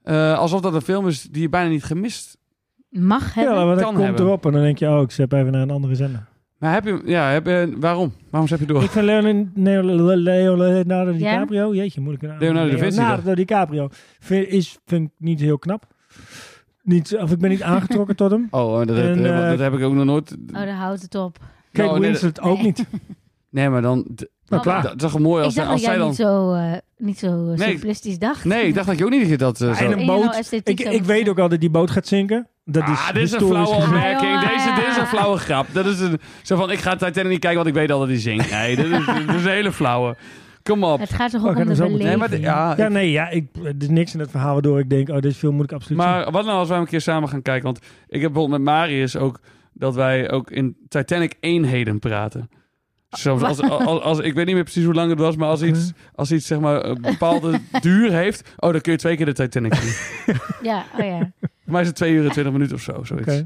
Speaker 2: eh, alsof dat een film is die je bijna niet gemist.
Speaker 1: Mag
Speaker 3: Ja,
Speaker 1: hebben.
Speaker 3: maar dat
Speaker 2: kan
Speaker 3: komt
Speaker 2: hebben.
Speaker 3: erop en dan denk je, oh, ik zet even naar een andere zender.
Speaker 2: Maar heb je... Ja, heb je, waarom? Waarom heb je door?
Speaker 3: Ik vind Leonardo, Leonardo, Leonardo DiCaprio, jeetje, moeilijke naam.
Speaker 2: Leonardo da Vinci,
Speaker 3: Leonardo DiCaprio. Vind, is, vind ik niet heel knap. Niet, of ik ben niet aangetrokken tot hem.
Speaker 2: Oh, dat, dat-
Speaker 3: En,
Speaker 2: dat-
Speaker 3: eh,
Speaker 2: dat heb ik ook nog nooit...
Speaker 1: Oh, daar houdt het op.
Speaker 3: Kate
Speaker 2: Nou, nee,
Speaker 3: Winslet ook
Speaker 1: nee.
Speaker 3: niet.
Speaker 2: Nee, maar dan... d-
Speaker 1: Nou,
Speaker 3: klaar.
Speaker 2: Dat, is toch mooi
Speaker 1: Ik
Speaker 2: als,
Speaker 1: dacht
Speaker 2: als
Speaker 1: dat
Speaker 2: zij
Speaker 1: jij
Speaker 2: dan...
Speaker 1: niet zo, eh, niet zo eh,
Speaker 2: Nee.
Speaker 1: simplistisch dacht.
Speaker 2: Nee, ik dacht dat je ook niet dat... eh,
Speaker 3: Ja,
Speaker 2: zo-
Speaker 3: en
Speaker 1: En
Speaker 3: een
Speaker 1: je nou
Speaker 3: boot.
Speaker 1: esthetiek
Speaker 3: Ik,
Speaker 1: zou
Speaker 3: ik
Speaker 1: moeten
Speaker 3: weet ook al dat die boot gaat zinken. Dat is
Speaker 2: ah, dit is een
Speaker 3: historisch
Speaker 2: flauwe
Speaker 3: gezien.
Speaker 2: opmerking.
Speaker 1: Ah, joh,
Speaker 2: deze, dit is
Speaker 1: ja.
Speaker 2: een flauwe grap. Dat is een, zo van, ik ga Titanic niet kijken, want ik weet al dat hij zingt. Nee, dit is, dit is een hele flauwe. Kom op.
Speaker 1: Het gaat toch
Speaker 3: Oh,
Speaker 1: ook
Speaker 3: ik
Speaker 1: om
Speaker 3: had
Speaker 1: de
Speaker 3: hem zo meteen.
Speaker 2: Nee, maar,
Speaker 1: beleving.
Speaker 2: d- ja,
Speaker 3: Ja,
Speaker 2: ik-
Speaker 3: nee, ja, ik, er is niks in het verhaal waardoor ik denk, oh, deze film moet ik absoluut zien.
Speaker 2: maar wat nou als wij een keer samen gaan kijken? Want ik heb bijvoorbeeld met Marius ook dat wij ook in Titanic eenheden praten. Soms als, als, als- ik weet niet meer precies hoe lang het was, maar als iets, als iets zeg maar een bepaalde duur heeft, oh, dan kun je twee keer de Titanic zien.
Speaker 1: Ja, oh ja.
Speaker 2: Voor mij is het twee uur en twintig minuten of zo, zoiets.
Speaker 3: Oké.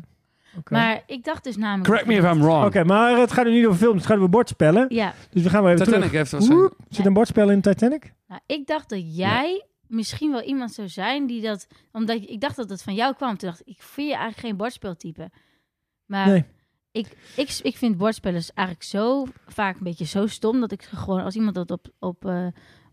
Speaker 3: Oké.
Speaker 1: Maar ik dacht dus namelijk...
Speaker 2: Correct me if I'm wrong.
Speaker 3: Oké, maar het gaat nu niet over films, het gaat over bordspellen.
Speaker 1: Ja,
Speaker 3: Dus we gaan maar even
Speaker 2: Titanic
Speaker 3: terug.
Speaker 2: heeft waarschijnlijk...
Speaker 3: Woep, Zit een bordspel in Titanic?
Speaker 1: nou, ik dacht dat jij misschien wel iemand zou zijn die dat... Omdat ik- ik dacht dat het van jou kwam. Toen dacht ik, ik vind je eigenlijk geen bordspeeltype. Maar
Speaker 3: Nee.
Speaker 1: ik, ik, ik vind bordspellers eigenlijk zo vaak een beetje zo stom... dat ik gewoon als iemand dat op, op, eh,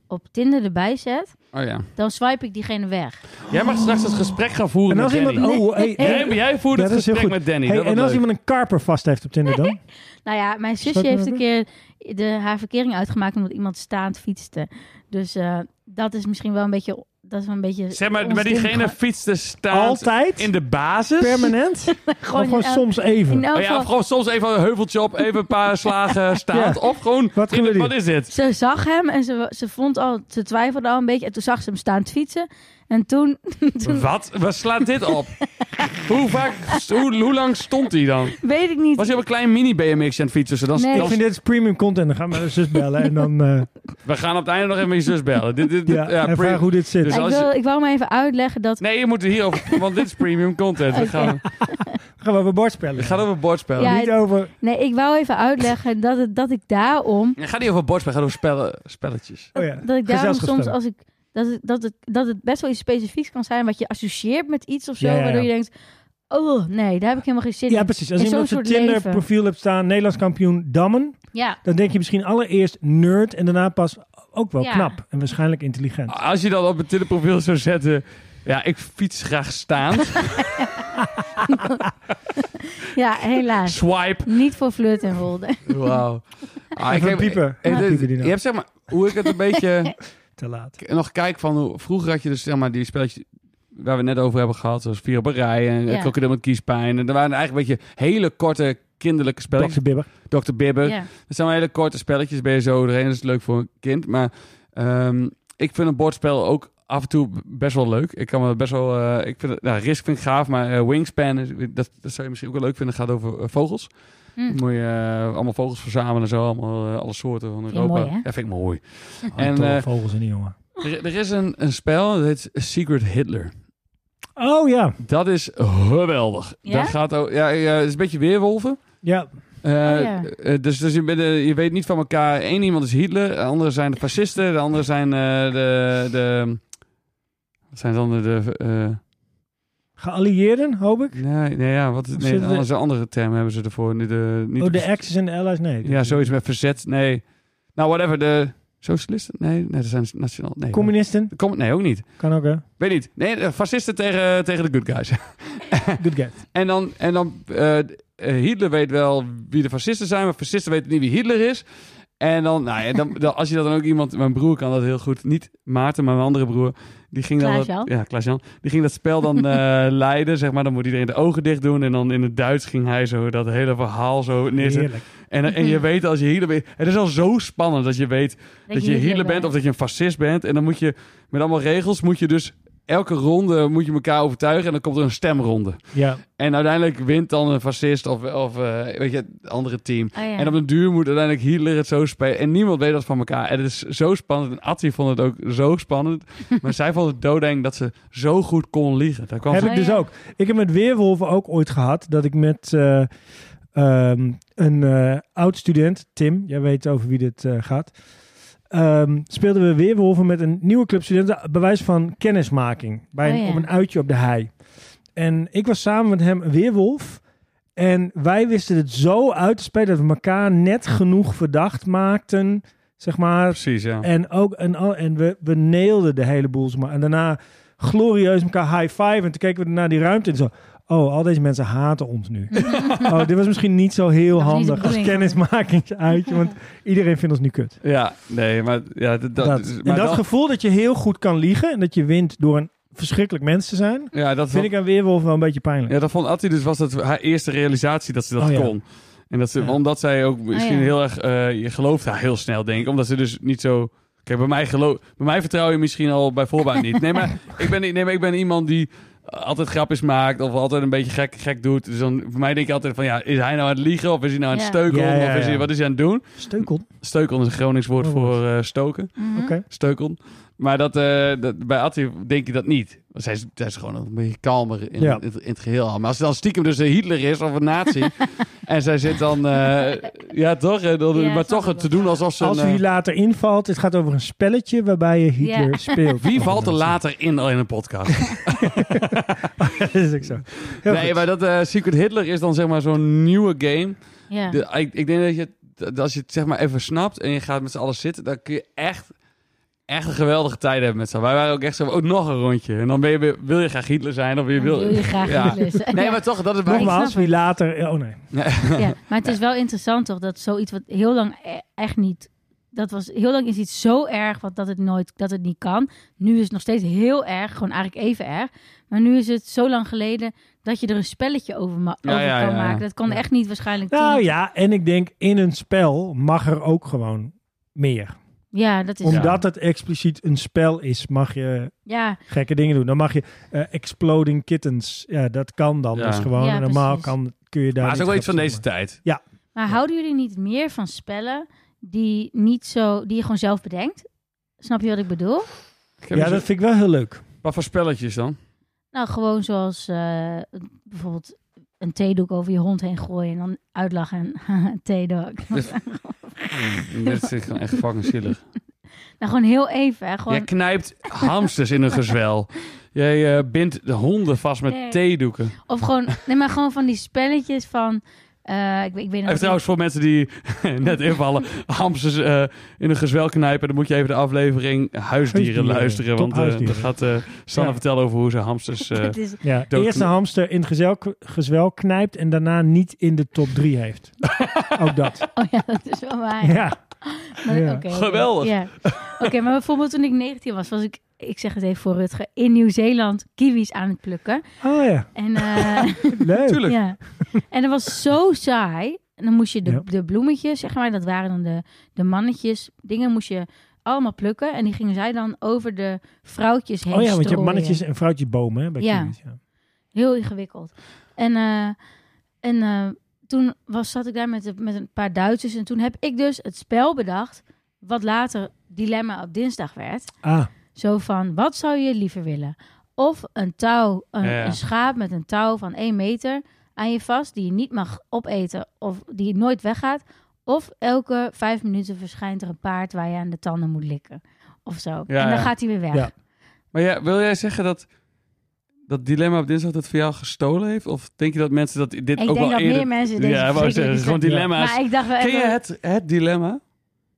Speaker 1: op Tinder erbij zet...
Speaker 2: Oh ja.
Speaker 1: dan swipe ik diegene weg.
Speaker 2: Jij mag straks het gesprek gaan voeren
Speaker 3: En
Speaker 2: met
Speaker 3: als
Speaker 2: Danny.
Speaker 3: iemand... Oh, hey, hey,
Speaker 2: Jij, jij voert
Speaker 3: Ja,
Speaker 2: het
Speaker 3: dat is heel
Speaker 2: gesprek
Speaker 3: goed.
Speaker 2: met Danny.
Speaker 3: hey,
Speaker 2: dat
Speaker 3: en
Speaker 2: wordt
Speaker 3: als
Speaker 2: leuk.
Speaker 3: iemand een karper vast heeft op Tinder dan?
Speaker 1: Nou ja, mijn zusje
Speaker 3: Zou ik
Speaker 1: heeft een
Speaker 3: dat
Speaker 1: keer de, haar verkering uitgemaakt... omdat iemand staand fietste. Dus eh, dat is misschien wel een beetje... Dat is wel een beetje
Speaker 2: Zeg maar,
Speaker 1: ons
Speaker 2: maar diegene
Speaker 1: ding.
Speaker 2: fietste staat
Speaker 3: Altijd?
Speaker 2: in de basis.
Speaker 3: Permanent?
Speaker 1: Gewoon,
Speaker 3: of gewoon
Speaker 1: eh,
Speaker 3: soms
Speaker 1: In
Speaker 3: even?
Speaker 1: elk
Speaker 2: Oh ja,
Speaker 1: geval-
Speaker 2: of gewoon soms even een heuveltje op, even een paar slagen staat.
Speaker 3: Ja.
Speaker 2: Of gewoon,
Speaker 3: Wat
Speaker 2: in de-
Speaker 3: gebeurt hier?
Speaker 2: wat is dit?
Speaker 1: Ze zag hem en ze, ze, vond al, ze twijfelde al een beetje. En toen zag ze hem staan te fietsen. En toen, toen
Speaker 2: Wat? Waar slaat dit op? hoe, vaak, hoe, hoe lang stond hij dan?
Speaker 1: weet ik niet.
Speaker 2: Was hij op een klein mini-BMX aan het fietsen? Dus Dan,
Speaker 1: Nee.
Speaker 2: dan-
Speaker 3: Ik vind dit is premium content. Dan gaan we mijn zus bellen en dan eh,
Speaker 2: we gaan op het einde nog even met je zus bellen. Dit, dit, dit-
Speaker 3: ja,
Speaker 2: ja,
Speaker 3: en
Speaker 2: pre-
Speaker 3: vragen hoe dit zit.
Speaker 2: dus
Speaker 1: ik,
Speaker 2: als
Speaker 1: wil, ik wou maar even uitleggen dat...
Speaker 2: Nee, je moet er hierover, want dit is premium content. We gaan,
Speaker 3: gaan we over bordspellen.
Speaker 2: het gaat over bordspellen.
Speaker 1: Ja,
Speaker 3: Niet over...
Speaker 1: Nee, ik wou even uitleggen dat, het, dat ik daarom...
Speaker 2: Het gaat niet over bordspellen, het gaat over spellen, spelletjes.
Speaker 3: Oh ja,
Speaker 1: Dat ik daarom soms
Speaker 3: gezelschapsspellen.
Speaker 1: als ik... Dat het, dat, het, dat het best wel iets specifieks kan zijn wat je associeert met iets of zo.
Speaker 3: Ja, ja, ja.
Speaker 1: Waardoor je denkt, oh nee, daar heb ik helemaal geen zin
Speaker 3: Ja,
Speaker 1: in.
Speaker 3: precies. Als
Speaker 1: in
Speaker 3: iemand
Speaker 1: zo'n
Speaker 3: zijn
Speaker 1: soort
Speaker 3: Tinder
Speaker 1: leven.
Speaker 3: profiel hebt staan, Nederlands kampioen dammen,
Speaker 1: Ja,
Speaker 3: dan denk je misschien allereerst nerd en daarna pas ook wel
Speaker 1: Ja.
Speaker 3: knap en waarschijnlijk intelligent.
Speaker 2: Als je dan op het Tinder-profiel zou zetten... Ja, ik fiets graag staand.
Speaker 1: ja, helaas.
Speaker 2: Swipe.
Speaker 1: Niet voor flirt en rolden.
Speaker 2: Wauw. Ah,
Speaker 3: Even piepen.
Speaker 2: eh, eh,
Speaker 3: Ja, piepen die
Speaker 2: je
Speaker 3: dan.
Speaker 2: hebt zeg maar, hoe ik het een beetje
Speaker 3: Te laat.
Speaker 2: k- nog kijk van hoe vroeger had je dus zeg maar die spelletjes waar we het net over hebben gehad, zoals vier op een rij en
Speaker 1: Ja.
Speaker 2: ja. krokodil met kiespijn. En er waren eigenlijk een beetje hele korte kinderlijke spelletjes.
Speaker 3: Dr. Bibber.
Speaker 2: Dr. Bibber.
Speaker 1: Ja.
Speaker 2: Dat zijn maar hele korte spelletjes, ben je zo doorheen. Dat is leuk voor een kind. Maar ehm, ik vind een bordspel ook af en toe best wel leuk. Ik kan me best wel... eh, ik vind, het- nou, Risk vind ik gaaf, maar eh, Wingspan, is- dat, dat zou je misschien ook wel leuk vinden. gaat over eh, vogels.
Speaker 1: Hm.
Speaker 2: Dan moet je eh, allemaal vogels verzamelen en zo. Allemaal, eh, alle soorten van
Speaker 1: je
Speaker 2: Europa.
Speaker 1: mooi, hè?
Speaker 2: dat vind ik mooi. En,
Speaker 3: En tolle
Speaker 2: eh,
Speaker 3: Ah, vogels en die jongen.
Speaker 2: Er, er is een, een spel, dat heet Secret Hitler.
Speaker 3: Oh ja.
Speaker 2: Dat is geweldig.
Speaker 1: Ja?
Speaker 2: Dat gaat ook... Ja, ja, het is een beetje weerwolven.
Speaker 3: Ja,
Speaker 2: Eh,
Speaker 1: ja.
Speaker 2: eh, dus dus je, bent, eh, je weet niet van elkaar. Eén iemand is Hitler, de andere zijn de fascisten, de andere zijn eh, de, de. Wat zijn dan de. de eh,
Speaker 3: geallieerden, hoop ik.
Speaker 2: nee, nee, ja, wat.
Speaker 3: Of
Speaker 2: Nee,
Speaker 3: zitten we-
Speaker 2: anders- een andere term hebben ze ervoor. Niet de, niet
Speaker 3: Oh,
Speaker 2: de-
Speaker 3: de exes en de allies, nee.
Speaker 2: ja, zoiets met verzet. Nee. Nou, whatever. De socialisten? Nee, nee, dat zijn nationaal. Nee,
Speaker 3: Communisten,
Speaker 2: De com- nee, ook niet.
Speaker 3: kan ook hè.
Speaker 2: Weet niet. Nee, de fascisten tegen, tegen de good guys.
Speaker 3: Good guy.
Speaker 2: En dan, en dan eh, eh, Hitler weet wel wie de fascisten zijn, maar fascisten weten niet wie Hitler is. En dan, nou ja, dan, dan- als je dat dan ook iemand, mijn broer kan dat heel goed, niet Maarten, maar mijn andere broer, die ging dan, dat,
Speaker 1: Klaas-Jan?
Speaker 2: ja, Klaas-Jan, die ging dat spel dan eh, leiden, zeg maar. Dan moet iedereen de ogen dicht doen en dan in het Duits ging hij zo dat hele verhaal zo neerzetten.
Speaker 3: Heerlijk.
Speaker 2: En, en je weet als je Hitler bent, het is al zo spannend dat je weet dat je Hitler bent of dat je een fascist bent. En dan moet je met allemaal regels, moet je dus elke ronde moet je elkaar overtuigen en dan komt er een stemronde.
Speaker 3: Ja,
Speaker 2: En uiteindelijk wint dan een fascist of, of eh, weet je, het andere team.
Speaker 1: Oh, ja.
Speaker 2: En op een duur moet uiteindelijk Hitler het zo spelen. En niemand weet dat van elkaar. En het is zo spannend. En Attie vond het ook zo spannend. maar zij vond het doodeng dat ze zo goed kon liegen. Daar kwam
Speaker 3: heb
Speaker 2: ze...
Speaker 1: Oh,
Speaker 3: ik dus
Speaker 1: ja.
Speaker 3: ook. Ik heb met weerwolven ook ooit gehad dat ik met eh, ehm, een eh, oud-student, Tim, jij weet over wie dit eh, gaat, ehm, speelden we weerwolven met een nieuwe club studenten, bewijs van kennismaking, bij
Speaker 1: Oh,
Speaker 3: een-
Speaker 1: ja.
Speaker 3: op een uitje op de hei. En ik was samen met hem een weerwolf. En wij wisten het zo uit te spelen dat we elkaar net genoeg verdacht maakten, zeg maar,
Speaker 2: Precies, ja.
Speaker 3: en, ook, en, al- en we, we neelden de hele boel. zeg maar. En daarna glorieus elkaar high five. En toen keken we naar die ruimte en zo. Oh, al deze mensen haten ons nu. oh, dit was misschien niet zo heel
Speaker 1: Dat was niet de
Speaker 3: handig als
Speaker 1: bedoeling.
Speaker 3: kennismakingsuitje. Want iedereen vindt ons nu kut.
Speaker 2: Ja, nee, maar... Ja, d- dat,
Speaker 3: Dat,
Speaker 2: is-
Speaker 3: en
Speaker 2: maar
Speaker 3: dat
Speaker 2: dan-
Speaker 3: gevoel dat je heel goed kan liegen. En dat je wint door een verschrikkelijk mens te zijn.
Speaker 2: ja, dat
Speaker 3: Vind
Speaker 2: vond-
Speaker 3: ik aan Weerwolf wel een beetje pijnlijk.
Speaker 2: ja, dat vond Attie dus was dat haar eerste realisatie dat ze dat
Speaker 3: Oh, ja.
Speaker 2: kon. En dat ze,
Speaker 3: Ja.
Speaker 2: omdat zij ook misschien
Speaker 1: Oh, ja.
Speaker 2: heel erg... eh, je gelooft haar heel snel, denk ik. Omdat ze dus niet zo... Kijk, bij mij, geloof, bij mij vertrouw je misschien al bij voorbaat niet. Nee, maar ik ben, niet- nee, maar ik ben iemand die... altijd grapjes maakt of altijd een beetje gek, gek doet. Dus dan, voor mij denk je altijd van, ja, is hij nou aan het liegen of is hij nou aan het
Speaker 1: Ja.
Speaker 2: steuken?
Speaker 3: Ja, ja,
Speaker 2: Of is hij,
Speaker 3: ja.
Speaker 2: wat is hij aan het doen?
Speaker 3: Steukel.
Speaker 2: Steuken is een Gronings woord
Speaker 3: Oh,
Speaker 2: voor
Speaker 3: wat.
Speaker 2: eh, stoken,
Speaker 1: Mhm.
Speaker 3: Oké.
Speaker 2: steuken. Maar dat, eh, dat, bij Atti denk je dat niet. Want zij is, zij is gewoon een beetje kalmer in,
Speaker 3: Ja.
Speaker 2: in, het- in het geheel al. Maar als het dan stiekem dus een Hitler is of een nazi... en zij zit dan... eh, ja, toch? En dan-
Speaker 1: Ja,
Speaker 2: maar
Speaker 1: snap
Speaker 2: toch
Speaker 1: ik
Speaker 2: het te
Speaker 1: wel.
Speaker 2: doen alsof ze...
Speaker 3: Als
Speaker 2: een,
Speaker 3: u hier
Speaker 2: eh,
Speaker 3: later invalt, het gaat over een spelletje waarbij je Hitler
Speaker 1: Ja.
Speaker 3: speelt.
Speaker 2: wie valt er
Speaker 3: Oh,
Speaker 2: later in al in een podcast?
Speaker 3: Dat is ook zo. Heel
Speaker 2: nee,
Speaker 3: goed.
Speaker 2: maar dat eh, Secret Hitler is dan zeg maar zo'n nieuwe game.
Speaker 1: Ja.
Speaker 2: De- ik, ik denk dat je, dat als je het zeg maar even snapt en je gaat met z'n allen zitten, dan kun je echt, echt een geweldige tijd hebben met z'n allen. Wij waren ook echt zo, ook nog een rondje. En dan ben je, weer- wil je graag Hitler zijn of je wil...
Speaker 1: wil je graag
Speaker 2: Ja.
Speaker 1: Hitler zijn.
Speaker 2: Nee, maar toch, dat is bij...
Speaker 1: ik
Speaker 3: Nogmaals,
Speaker 1: snap het.
Speaker 3: wie later... Oh nee.
Speaker 1: Ja, maar het is wel interessant toch dat zoiets wat heel lang e- echt niet. Dat was heel lang is iets zo erg wat, dat het nooit dat het niet kan. Nu is het nog steeds heel erg, gewoon eigenlijk even erg. Maar nu is het zo lang geleden dat je er een spelletje over, ma-
Speaker 2: Ja,
Speaker 1: over
Speaker 2: ja,
Speaker 1: kan
Speaker 2: ja, ja.
Speaker 1: maken. Dat kan
Speaker 3: Ja.
Speaker 1: echt niet waarschijnlijk.
Speaker 3: Nou
Speaker 1: tien-
Speaker 3: ja, en ik denk in een spel mag er ook gewoon meer.
Speaker 1: ja, dat is.
Speaker 3: Omdat het expliciet een spel is, mag je
Speaker 1: Ja,
Speaker 3: gekke dingen doen. Dan mag je eh, exploding kittens. Ja, dat kan dan
Speaker 2: Ja.
Speaker 3: dus gewoon.
Speaker 1: Ja,
Speaker 3: En normaal
Speaker 1: precies.
Speaker 3: kan, kun je daar
Speaker 2: Maar het is ook wel
Speaker 3: niet
Speaker 2: iets van deze
Speaker 3: grappig
Speaker 2: tijd.
Speaker 1: maar houden jullie niet meer van spellen die niet zo die je gewoon zelf bedenkt? Snap je wat ik bedoel?
Speaker 2: Ik
Speaker 3: van
Speaker 2: heb
Speaker 3: maken. Ja,
Speaker 2: eens-
Speaker 3: dat vind ik wel heel leuk.
Speaker 2: Wat voor spelletjes dan?
Speaker 1: Nou, gewoon zoals eh, bijvoorbeeld een theedoek over je hond heen gooien en dan uitlachen. en theedoek.
Speaker 2: Mm, Dit is gewoon echt fucking zielig.
Speaker 1: Nou, gewoon heel even. Hè?
Speaker 2: Jij
Speaker 1: Gewoon,
Speaker 2: knijpt hamsters in een gezwel. Jij eh, bindt de honden vast met
Speaker 1: Nee.
Speaker 2: theedoeken.
Speaker 1: Of gewoon, nee, maar gewoon van die spelletjes van. eh, ik, weet- ik weet
Speaker 2: Even
Speaker 1: nog
Speaker 2: trouwens voor mensen die net invallen, hamsters eh, in een gezwel knijpen, dan moet je even de aflevering huisdieren,
Speaker 3: Huisdieren,
Speaker 2: luisteren.
Speaker 3: top
Speaker 2: Want eh,
Speaker 3: huisdieren.
Speaker 2: dan gaat eh Sanne
Speaker 3: Ja.
Speaker 2: vertellen over hoe ze hamsters... eh,
Speaker 1: het is,
Speaker 3: Ja,
Speaker 2: Dood-
Speaker 3: eerst een hamster in het gezel, gezwel knijpt en daarna niet in de top 3 heeft. ook dat.
Speaker 1: oh ja, dat is wel waar.
Speaker 3: Ja.
Speaker 1: Maar-
Speaker 3: ja.
Speaker 1: oké, oké.
Speaker 2: Geweldig.
Speaker 1: Ja. Oké, maar bijvoorbeeld toen ik 19 was, was ik, ik zeg het even voor Rutger, in Nieuw-Zeeland kiwis aan het plukken.
Speaker 3: Oh ja,
Speaker 1: En eh,
Speaker 3: leuk.
Speaker 2: Tuurlijk.
Speaker 1: Ja. En dat was zo saai. En dan moest je de,
Speaker 3: Ja.
Speaker 1: de bloemetjes, zeg maar, dat waren dan de, de mannetjes, dingen moest je allemaal plukken. En die gingen zij dan over de vrouwtjes heen
Speaker 3: Oh ja, want je hebt
Speaker 1: strooien.
Speaker 3: mannetjes en vrouwtjes bomen hè, bij
Speaker 1: Ja.
Speaker 3: kiwis, ja.
Speaker 1: Heel ingewikkeld. En, eh, en eh, toen was, zat ik daar met, met een paar Duitsers. En toen heb ik dus het spel bedacht. Wat later Dilemma op dinsdag werd.
Speaker 3: Ah,
Speaker 1: Zo van, wat zou je liever willen? Of een touw, een,
Speaker 2: Ja, ja.
Speaker 1: een schaap met een touw van 1 meter aan je vast. Die je niet mag opeten of die nooit weggaat. Of elke vijf minuten verschijnt er een paard waar je aan de tanden moet likken. Of zo. en dan
Speaker 2: ja.
Speaker 1: gaat hij weer weg.
Speaker 3: Ja.
Speaker 2: Maar ja, wil jij zeggen dat dat dilemma op dinsdag dat voor jou gestolen heeft? Of denk je dat mensen dat dit
Speaker 1: Ik
Speaker 2: ook
Speaker 1: denk
Speaker 2: wel
Speaker 1: dat
Speaker 2: eerder...
Speaker 1: meer mensen deze
Speaker 2: ja, wou
Speaker 1: verschrikkelijke
Speaker 2: zeggen, gewoon
Speaker 1: stem-
Speaker 2: dilemma's.
Speaker 1: Maar ik dacht wel
Speaker 2: Ken
Speaker 1: even-
Speaker 2: je het, het dilemma?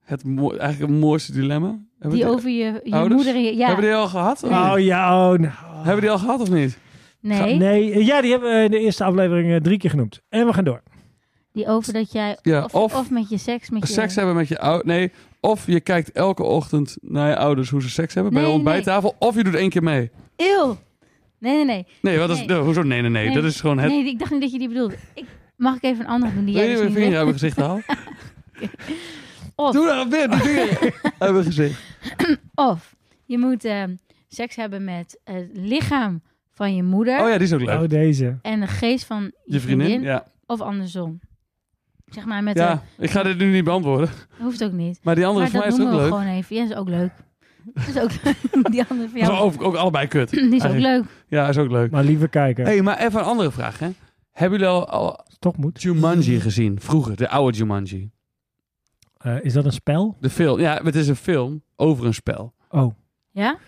Speaker 2: Het mooi- eigenlijk het mooiste dilemma? Hebben we
Speaker 1: Die
Speaker 2: die-
Speaker 1: over je, je
Speaker 2: ouders?
Speaker 1: moeder en je... Ja,
Speaker 2: Hebben we die al gehad? of
Speaker 3: oh
Speaker 2: niet?
Speaker 3: ja, oh nou.
Speaker 2: Hebben we die al gehad of niet?
Speaker 1: nee.
Speaker 3: Nee, eh, ja, die hebben we in de eerste aflevering eh, drie keer genoemd. En we gaan door.
Speaker 1: Die over dat jij...
Speaker 2: Ja,
Speaker 1: of,
Speaker 2: of-
Speaker 1: of, met je seks met je...
Speaker 2: Seks hebben met je oud. Nee, of je kijkt elke ochtend naar je ouders hoe ze seks hebben bij
Speaker 1: Nee,
Speaker 2: de ontbijttafel. Of je doet één keer mee.
Speaker 1: Eeuw! Nee, nee, nee.
Speaker 2: Nee, wat is,
Speaker 1: Nee.
Speaker 2: hoezo? Nee, nee, nee,
Speaker 1: Nee.
Speaker 2: Dat is gewoon het.
Speaker 1: Nee, ik dacht niet dat je die bedoelde. Ik, mag ik even een ander doen die
Speaker 2: Wil
Speaker 1: jij
Speaker 2: je
Speaker 1: dus
Speaker 2: mijn
Speaker 1: niet
Speaker 2: vinger
Speaker 1: weet?
Speaker 2: uit mijn gezicht halen?
Speaker 1: Of-
Speaker 2: Doe dat nou weer, die vinger uit mijn gezicht.
Speaker 1: Of je moet ehm, seks hebben met het lichaam van je moeder...
Speaker 2: Oh ja, die is ook leuk.
Speaker 3: Oh, deze.
Speaker 1: en de geest van je,
Speaker 2: Je vriendin? Ja.
Speaker 1: Of andersom. Zeg maar met...
Speaker 2: ja, ik ga dit nu niet beantwoorden.
Speaker 1: een- hoeft ook niet.
Speaker 2: Maar die andere
Speaker 1: Maar
Speaker 2: voor
Speaker 1: dat
Speaker 2: mij is
Speaker 1: noemen
Speaker 2: ook
Speaker 1: we
Speaker 2: leuk.
Speaker 1: gewoon even. Ja, is ook leuk. Is ook leuk. Die andere van
Speaker 2: Zo,
Speaker 1: jou.
Speaker 2: ook, ook allebei kut.
Speaker 1: Die is ook leuk.
Speaker 2: Ja, is ook leuk.
Speaker 3: Maar lieve kijker,
Speaker 2: hey, maar even een andere vraag, hè. Hebben jullie al, al
Speaker 3: toch moet.
Speaker 2: Jumanji gezien? Vroeger, de oude Jumanji.
Speaker 3: Eh, is dat een spel?
Speaker 2: De film. Ja, het is een film over een spel.
Speaker 3: Oh.
Speaker 1: Ja?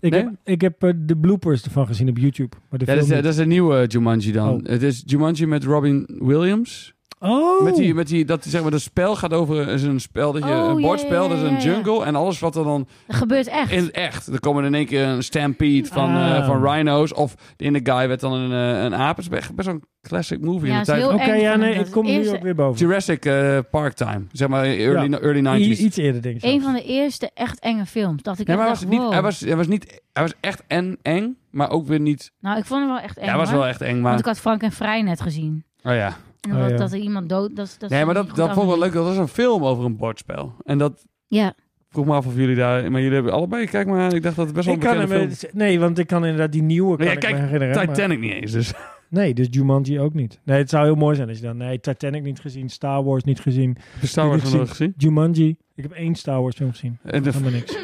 Speaker 3: Ik
Speaker 2: Nee?
Speaker 3: heb, ik heb eh, de bloopers ervan gezien op YouTube. Maar de
Speaker 2: Ja,
Speaker 3: film
Speaker 2: dat is, eh,
Speaker 3: niet.
Speaker 2: dat is een nieuwe Jumanji dan.
Speaker 3: Oh.
Speaker 2: Het is Jumanji met Robin Williams.
Speaker 3: Oh!
Speaker 2: Met die, met die, dat, zeg maar, dat spel gaat over is een spel, dat je,
Speaker 1: Oh,
Speaker 2: een
Speaker 1: ja,
Speaker 2: bordspel,
Speaker 1: ja,
Speaker 2: dat is
Speaker 1: ja, ja.
Speaker 2: een jungle. En alles wat er dan
Speaker 1: Dat gebeurt echt.
Speaker 2: in het echt. Er komen in één keer een stampede van, eh,
Speaker 3: Ah.
Speaker 2: van rhino's. Of in de guy werd dan een, eh, een aap. Het is echt best wel een classic movie.
Speaker 1: Ja,
Speaker 2: in de
Speaker 1: het is
Speaker 2: tijd.
Speaker 1: heel
Speaker 3: Oké,
Speaker 1: erg
Speaker 3: ja,
Speaker 1: Oh, van
Speaker 3: nee,
Speaker 1: hem,
Speaker 3: ik
Speaker 1: dat
Speaker 3: kom nu
Speaker 1: eerste-
Speaker 3: ook weer boven.
Speaker 2: Jurassic eh, Park Time. Zeg maar eh, early,
Speaker 3: Ja.
Speaker 2: early 90s.
Speaker 3: I- iets eerder, denk ik.
Speaker 1: Een
Speaker 3: zelfs.
Speaker 1: van de eerste echt enge films. Dacht ik
Speaker 2: Nee,
Speaker 1: echt
Speaker 2: maar hij was,
Speaker 1: dacht,
Speaker 2: niet,
Speaker 1: wow.
Speaker 2: hij, was, hij, was niet, hij was echt en eng, maar ook weer niet...
Speaker 1: Nou, ik vond hem wel echt eng.
Speaker 2: hij was
Speaker 1: hoor.
Speaker 2: wel echt eng,
Speaker 1: Want
Speaker 2: maar...
Speaker 1: ik had Frank en Vrij net gezien.
Speaker 2: Oh ja.
Speaker 1: En
Speaker 3: Oh,
Speaker 1: dat-
Speaker 3: ja.
Speaker 1: dat er iemand dood... Dat, dat
Speaker 2: Nee, maar
Speaker 1: ze
Speaker 2: dat,
Speaker 1: niet
Speaker 2: dat
Speaker 1: goed
Speaker 2: vond ik wel
Speaker 1: afliep.
Speaker 2: leuk. Dat was een film over een bordspel. En dat,
Speaker 1: Ja,
Speaker 2: vroeg me af of jullie daar... Maar jullie hebben allebei... Kijk maar aan. Ik dacht dat het best wel
Speaker 3: Ik
Speaker 2: een
Speaker 3: kan
Speaker 2: bekende
Speaker 3: hem,
Speaker 2: film...
Speaker 3: eh, nee, want ik kan inderdaad die nieuwe kan
Speaker 2: Nee, ja,
Speaker 3: ik
Speaker 2: kijk,
Speaker 3: me herinneren. maar-
Speaker 2: Titanic niet eens, dus...
Speaker 3: nee, dus Jumanji ook niet. Nee, het zou heel mooi zijn als je dan... Nee, Titanic niet gezien, Star Wars niet gezien,
Speaker 2: Star Wars nog nooit gezien.
Speaker 3: Jumanji. Ik heb één Star Wars film gezien.
Speaker 2: En Eh, de, Nou,
Speaker 3: Helemaal niks.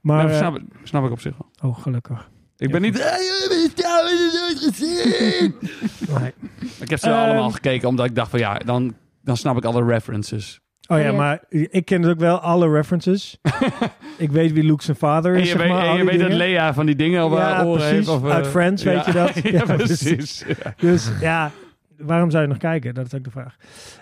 Speaker 3: Maar,
Speaker 2: Nee,
Speaker 3: eh,
Speaker 2: snap, snap ik op zich wel.
Speaker 3: oh, gelukkig.
Speaker 2: Ik ben
Speaker 3: Ja,
Speaker 2: niet... "Ah, jullie hebben Star Wars nog nooit gezien!
Speaker 3: Nee.
Speaker 2: ik heb ze wel
Speaker 3: Ehm.
Speaker 2: allemaal gekeken, omdat ik dacht van ja, dan, dan snap ik alle references.
Speaker 3: Oh ja,
Speaker 1: Ja.
Speaker 3: maar ik ken dus ook wel alle references. ik weet wie Luke zijn vader is,
Speaker 2: En je
Speaker 3: zeg
Speaker 2: weet,
Speaker 3: maar.
Speaker 2: en
Speaker 3: al
Speaker 2: je
Speaker 3: die
Speaker 2: weet dat
Speaker 3: dingen.
Speaker 2: Lea van die dingen op haar
Speaker 3: Ja,
Speaker 2: oren
Speaker 3: precies.
Speaker 2: heeft. Of, eh,
Speaker 3: Uit Friends, weet je dat?
Speaker 2: Ja,
Speaker 3: Ja,
Speaker 2: precies.
Speaker 3: Dus ja, waarom zou je nog kijken? Dat is ook de vraag.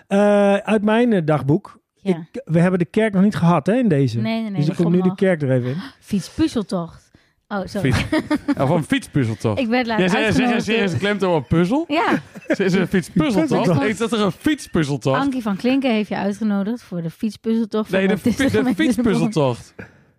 Speaker 3: Eh, uit mijn eh, dagboek.
Speaker 1: Ja.
Speaker 3: Ik- we hebben de kerk nog niet gehad hè, in deze.
Speaker 1: Nee, nee, nee.
Speaker 3: dus
Speaker 1: dat
Speaker 3: ik kom nu de
Speaker 1: nog.
Speaker 3: kerk er even in.
Speaker 2: Oh.
Speaker 1: Fietspuzzeltocht. Oh, sorry.
Speaker 2: Fiets. Ja, van een fietspuzzel toch?
Speaker 1: Ik werd laatst
Speaker 2: Ja, ze- ze- ze-
Speaker 1: uitgenodigd.
Speaker 2: ze is een klemtoon op puzzel.
Speaker 1: Ja,
Speaker 2: Ze is een fietspuzzel toch?
Speaker 1: Puzzeltocht.
Speaker 2: Heet dat er een fietspuzzel toch?
Speaker 1: Ankie van Klinken heeft je uitgenodigd voor de fietspuzzeltocht. van
Speaker 2: Nee, de,
Speaker 1: Walt Disney
Speaker 2: fi- de
Speaker 1: World.
Speaker 2: fietspuzzeltocht.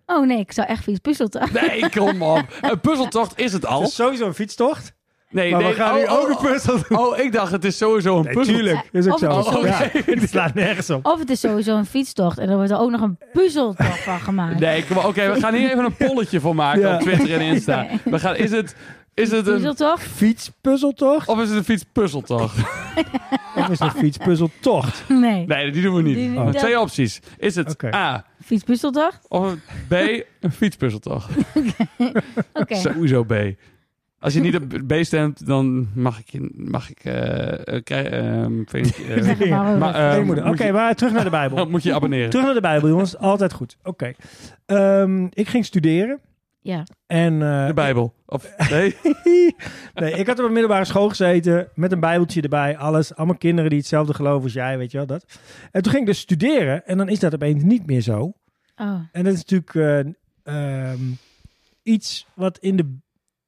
Speaker 1: Oh nee, ik zou echt fietspuzzeltocht.
Speaker 2: Nee, kom op. Een puzzeltocht is het
Speaker 3: Het
Speaker 2: al.
Speaker 3: is sowieso een fietstocht.
Speaker 2: Nee,
Speaker 3: maar
Speaker 2: nee.
Speaker 3: we gaan
Speaker 2: oh,
Speaker 3: nu ook
Speaker 2: oh,
Speaker 3: een puzzel doen.
Speaker 2: Oh, ik dacht het is sowieso een
Speaker 3: Nee,
Speaker 2: puzzel.
Speaker 3: tuurlijk. Is ook
Speaker 1: Of-
Speaker 3: zo.
Speaker 1: oh,
Speaker 2: oké.
Speaker 3: Ja, het slaat nergens op.
Speaker 1: Of het is sowieso een fietstocht. En dan wordt er ook nog een puzzeltocht van gemaakt.
Speaker 2: Nee, kom op. Oké, we gaan hier even een polletje voor maken
Speaker 3: Ja.
Speaker 2: op Twitter en Insta. We gaan, is, het, is het een...
Speaker 1: Puzzeltocht?
Speaker 3: Fietspuzzeltocht?
Speaker 2: Of is het een fietspuzzeltocht? Oh.
Speaker 3: Of is het een fietspuzzeltocht?
Speaker 1: Nee.
Speaker 2: Nee, die doen we niet.
Speaker 1: Die-
Speaker 2: We hebben
Speaker 1: dat-
Speaker 2: Oh, Twee opties. Is het
Speaker 3: Oké.
Speaker 2: A,
Speaker 1: Fietspuzzeltocht?
Speaker 2: of een B, een fietspuzzeltocht?
Speaker 1: Oké.
Speaker 2: Sowieso B. Als je niet op B stemt, dan mag ik... je- Mag ik eh, eh, krijg- ehm, vind ik, eh,
Speaker 1: Zeg het maar wel
Speaker 2: maar,
Speaker 1: even.
Speaker 2: eh,
Speaker 3: Nee, moeder. Oké,
Speaker 2: moet je-
Speaker 3: maar terug naar de Bijbel.
Speaker 2: dan moet je abonneren.
Speaker 3: Terug naar de Bijbel, jongens. Altijd goed. Oké. Ehm, ik ging studeren.
Speaker 1: ja.
Speaker 3: En, eh,
Speaker 2: De Bijbel. Of, nee?
Speaker 3: nee, ik had op een middelbare school gezeten met een bijbeltje erbij, alles. Allemaal kinderen die hetzelfde geloven als jij, weet je wel, dat. En toen ging ik dus studeren en dan is dat opeens niet meer zo.
Speaker 1: Oh.
Speaker 3: En dat is natuurlijk eh, ehm, iets wat in, de,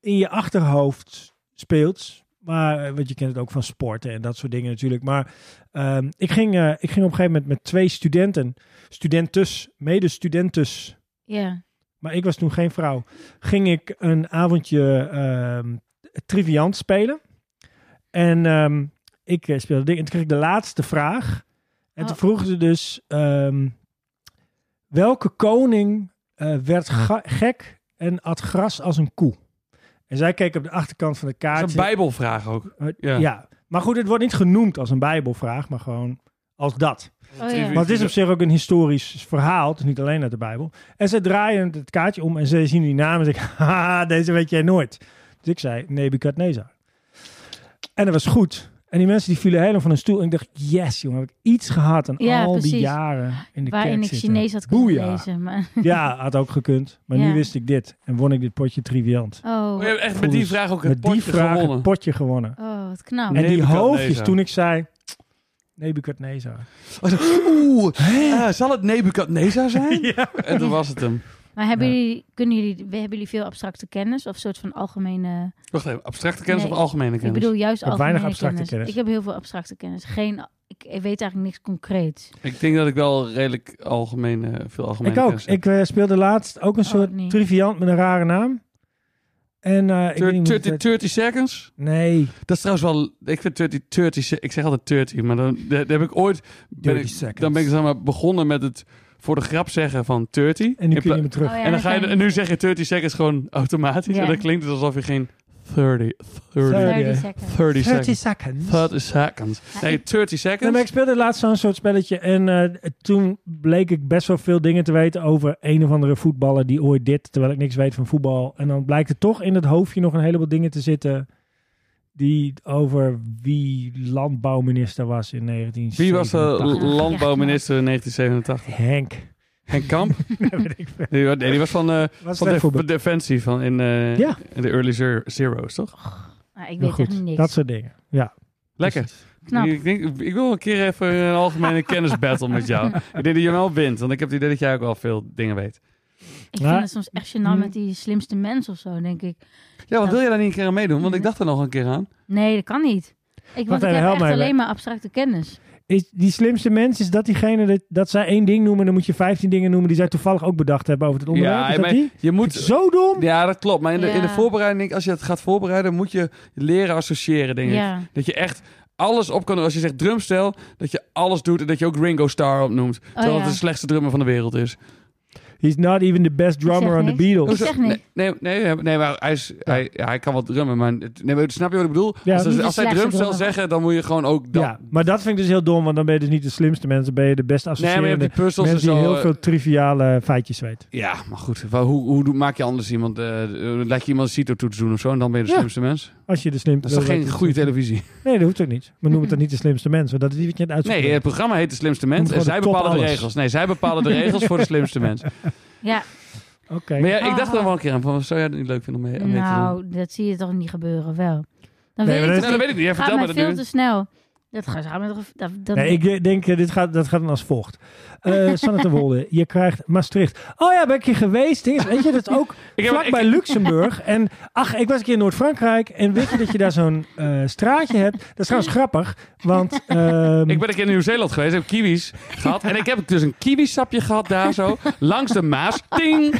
Speaker 3: in je achterhoofd speelt. Maar, eh, want je kent het ook van sporten en dat soort dingen natuurlijk. Maar ehm, ik, ging, eh, ik ging op een gegeven moment met twee studenten, studentes, medestudentes
Speaker 1: Ja.
Speaker 3: maar ik was toen geen vrouw. Ging ik een avondje ehm triviant spelen. En ehm, ik eh, speelde ding. En toen kreeg ik de laatste vraag. En toen
Speaker 2: Ah.
Speaker 1: Oh.
Speaker 3: vroegen ze dus... ehm, welke koning eh, werd
Speaker 2: Ah.
Speaker 3: ga- gek en at gras als een koe? En zij keek op de achterkant van de
Speaker 2: Dat
Speaker 3: kaart.
Speaker 2: is een Bijbelvraag ook.
Speaker 3: Eh,
Speaker 2: ja.
Speaker 3: ja. Maar goed, het wordt niet genoemd als een bijbelvraag, maar gewoon als dat.
Speaker 1: Oh, ja.
Speaker 3: Maar het is op zich ook een historisch verhaal. Het is niet alleen uit de Bijbel. En ze draaien het kaartje om en ze zien die naam en zeggen... Haha, deze weet jij nooit. Dus ik zei Nebukadnezar. En dat was goed. En die mensen die vielen helemaal van hun stoel. En ik dacht, yes jongen, heb ik iets gehad aan
Speaker 1: Ja,
Speaker 3: al die
Speaker 1: precies.
Speaker 3: jaren in de kerk
Speaker 1: Waarin ik
Speaker 3: zitten.
Speaker 1: Chinees had kunnen
Speaker 3: Boeia.
Speaker 1: lezen. Maar...
Speaker 3: Ja, had ook gekund. Maar
Speaker 1: Ja.
Speaker 3: nu wist ik dit. En won ik dit potje triviant.
Speaker 1: Oh.
Speaker 2: We hebben echt met die vraag ook het
Speaker 3: Met die
Speaker 2: potje
Speaker 3: vraag
Speaker 2: gewonnen.
Speaker 3: het potje gewonnen.
Speaker 1: oh, wat knap.
Speaker 3: En die
Speaker 2: Nebukadnezar.
Speaker 3: hoofdjes toen ik zei... Nebukadnezar.
Speaker 2: Oeh,
Speaker 3: Ah,
Speaker 2: eh, zal het Nebukadnezar zijn?
Speaker 3: Ja.
Speaker 2: En toen was het hem.
Speaker 1: Maar hebben,
Speaker 3: Ja.
Speaker 1: jullie, kunnen jullie, hebben jullie veel abstracte kennis? Of een soort van algemene...
Speaker 2: Wacht even, abstracte kennis
Speaker 1: Nee,
Speaker 2: of algemene
Speaker 1: Ik
Speaker 2: kennis?
Speaker 1: bedoel juist
Speaker 3: heb weinig
Speaker 1: algemene
Speaker 3: abstracte kennis.
Speaker 1: Ik heb heel veel abstracte kennis. Geen, ik weet eigenlijk niks concreets.
Speaker 2: Ik denk dat ik wel redelijk algemeen, eh, veel algemeen
Speaker 3: Ik ook. Ik eh, speelde laatst ook een
Speaker 1: Oh,
Speaker 3: soort
Speaker 1: nee.
Speaker 3: triviant met een rare naam. En eh, ik weet niet hoe
Speaker 2: 30,
Speaker 3: het-
Speaker 2: 30 seconds?
Speaker 3: Nee,
Speaker 2: Dat is trouwens wel... Ik vind 30, 30... se- Ik zeg altijd 30, maar dan, dat- dat heb ik ooit... Ben
Speaker 3: 30
Speaker 2: ik,
Speaker 3: seconds.
Speaker 2: dan ben ik zeg maar, begonnen met het voor de grap zeggen van 30.
Speaker 3: En nu kun je
Speaker 2: In pla-
Speaker 3: niet meer terug.
Speaker 1: Oh ja,
Speaker 2: en dan ga je, en nu zeg je 30 seconds gewoon automatisch.
Speaker 1: Ja.
Speaker 2: En dan klinkt het alsof je geen 30, 30,
Speaker 3: Sorry.
Speaker 1: 30 seconds.
Speaker 2: 30 seconds.
Speaker 3: seconds.
Speaker 2: 30 seconds. Nee,
Speaker 3: Nee,
Speaker 2: 30
Speaker 3: maar ik
Speaker 2: seconds.
Speaker 3: speelde laatst zo'n soort spelletje. En eh, toen bleek ik best wel veel dingen te weten over een of andere voetballer die ooit dit, terwijl ik niks weet van voetbal. En dan blijkt er toch in het hoofdje nog een heleboel dingen te zitten die over wie landbouwminister was in 1970.
Speaker 2: Wie was eh, de landbouwminister in 1987?
Speaker 3: Henk.
Speaker 2: Henk Kamp?
Speaker 3: Weet ik veel.
Speaker 2: Nee, wa- nee, die was van, eh,
Speaker 3: Was
Speaker 2: van
Speaker 3: slecht
Speaker 2: de,
Speaker 3: voorbeeld.
Speaker 2: van Defensie, van in, eh,
Speaker 3: Ja.
Speaker 2: in de early zero- zeros, toch?
Speaker 1: Ah, ik
Speaker 3: Heel
Speaker 1: weet echt niks.
Speaker 3: Nou Dat soort dingen. Ja.
Speaker 2: Lekker.
Speaker 1: Knap.
Speaker 2: Ik, denk, ik wil een keer even een algemene kennisbattle met jou. Ik denk dat je wel wint, want ik heb het idee dat jij ook wel veel dingen weet.
Speaker 1: Ik
Speaker 3: Ja.
Speaker 1: vind het soms echt gênant
Speaker 3: Mm.
Speaker 1: met die slimste mensen of zo, denk ik.
Speaker 2: Ja, want wil je daar niet een keer aan meedoen? Want ik dacht er nog een keer aan.
Speaker 1: Nee, dat kan niet. Ik,
Speaker 3: Wacht
Speaker 1: want ik
Speaker 3: even,
Speaker 1: heb
Speaker 3: help
Speaker 1: echt
Speaker 3: mij even.
Speaker 1: alleen maar abstracte kennis.
Speaker 3: Is die slimste mens, is dat diegene dat, dat zij één ding noemen, dan moet je 15 dingen noemen die zij toevallig ook bedacht hebben over het onderwerp?
Speaker 2: Ja,
Speaker 3: is dat
Speaker 2: maar
Speaker 3: die?
Speaker 2: je
Speaker 3: Moet...
Speaker 2: moet...
Speaker 3: Zo dom?
Speaker 2: Ja, dat klopt. Maar in de, in de
Speaker 1: Ja.
Speaker 2: voorbereiding, als je het gaat voorbereiden, moet je leren associëren, denk ik.
Speaker 1: Ja.
Speaker 2: Dat je echt alles op kan doen. Als je zegt drumstel, dat je alles doet en dat je ook Ringo Starr opnoemt. Terwijl
Speaker 1: Oh, ja.
Speaker 2: het de slechtste drummer van de wereld is.
Speaker 3: He's not even the best drummer on the
Speaker 1: niks. Ik
Speaker 3: Beatles.
Speaker 1: zeg niet.
Speaker 2: Nee, nee, nee, nee, maar hij, is, hij, hij kan wel drummen, maar, het- nee, maar snap je wat ik bedoel?
Speaker 3: Ja.
Speaker 1: Niet
Speaker 2: als als,
Speaker 1: de
Speaker 2: als hij
Speaker 1: slechtste
Speaker 2: drums wil
Speaker 1: drummer.
Speaker 2: zeggen, dan moet je gewoon ook... Dan,
Speaker 3: Ja, maar dat vind ik dus heel dom, want dan ben je dus niet de slimste mensen, ben je de best
Speaker 2: nee, maar je hebt
Speaker 3: associerende
Speaker 2: die puzzels en
Speaker 3: mensen die
Speaker 2: zo.
Speaker 3: heel
Speaker 2: eh,
Speaker 3: veel triviale feitjes weet.
Speaker 2: Ja, maar goed. Wel, Hoe, hoe doe- maak je anders iemand... eh laat je iemand een CITO-toets doen of zo en dan ben je de
Speaker 3: Ja.
Speaker 2: slimste mens?
Speaker 3: Als je de slimste
Speaker 2: Dat is toch
Speaker 3: wil
Speaker 2: geen
Speaker 3: weten-
Speaker 2: goede televisie?
Speaker 3: Nee, dat hoeft ook niet. Maar noem het dan niet de slimste mensen, want dat is niet wat je aan het uitzoeken
Speaker 2: Nee, het
Speaker 3: bent.
Speaker 2: programma heet De Slimste Mens en
Speaker 3: Gewoon de
Speaker 2: zij
Speaker 3: top
Speaker 2: bepalen de
Speaker 3: alles.
Speaker 2: regels. Nee, zij bepalen de regels voor de slimste mens.
Speaker 1: Ja,
Speaker 3: Oké.
Speaker 2: Maar ja, ik dacht
Speaker 1: Ah.
Speaker 2: dan wel een keer aan van, zou jij het niet leuk vinden om mee, om mee te doen?
Speaker 1: nou, dat zie je toch niet gebeuren, wel. Dan weet
Speaker 3: Nee, maar
Speaker 2: Nee,
Speaker 1: ik
Speaker 3: dat-
Speaker 1: toch
Speaker 2: dat
Speaker 1: niet.
Speaker 2: weet ik niet. Ja,
Speaker 1: Het gaat
Speaker 2: vertel
Speaker 1: mij
Speaker 2: me dat
Speaker 1: veel
Speaker 2: nu.
Speaker 1: te snel. Dat gaat gaat met... Dat, dat,
Speaker 3: Nee, ik denk, eh, dit gaat, dat gaat dan als volgt. Eh Sanne ten Wolde, je krijgt Maastricht. Oh ja, ben ik hier geweest? Ding is, Weet je, dat is ook
Speaker 2: Ik heb-
Speaker 3: vlak
Speaker 2: ik-
Speaker 3: bij Luxemburg. En ach, ik was een keer in Noord-Frankrijk. En weet je dat je daar zo'n eh, straatje hebt? Dat is trouwens grappig, want... ehm,
Speaker 2: Ik ben een keer in Nieuw-Zeeland geweest, heb kiwis gehad. En ik heb dus een kiwisapje gehad daar zo, langs de Maas. Ting!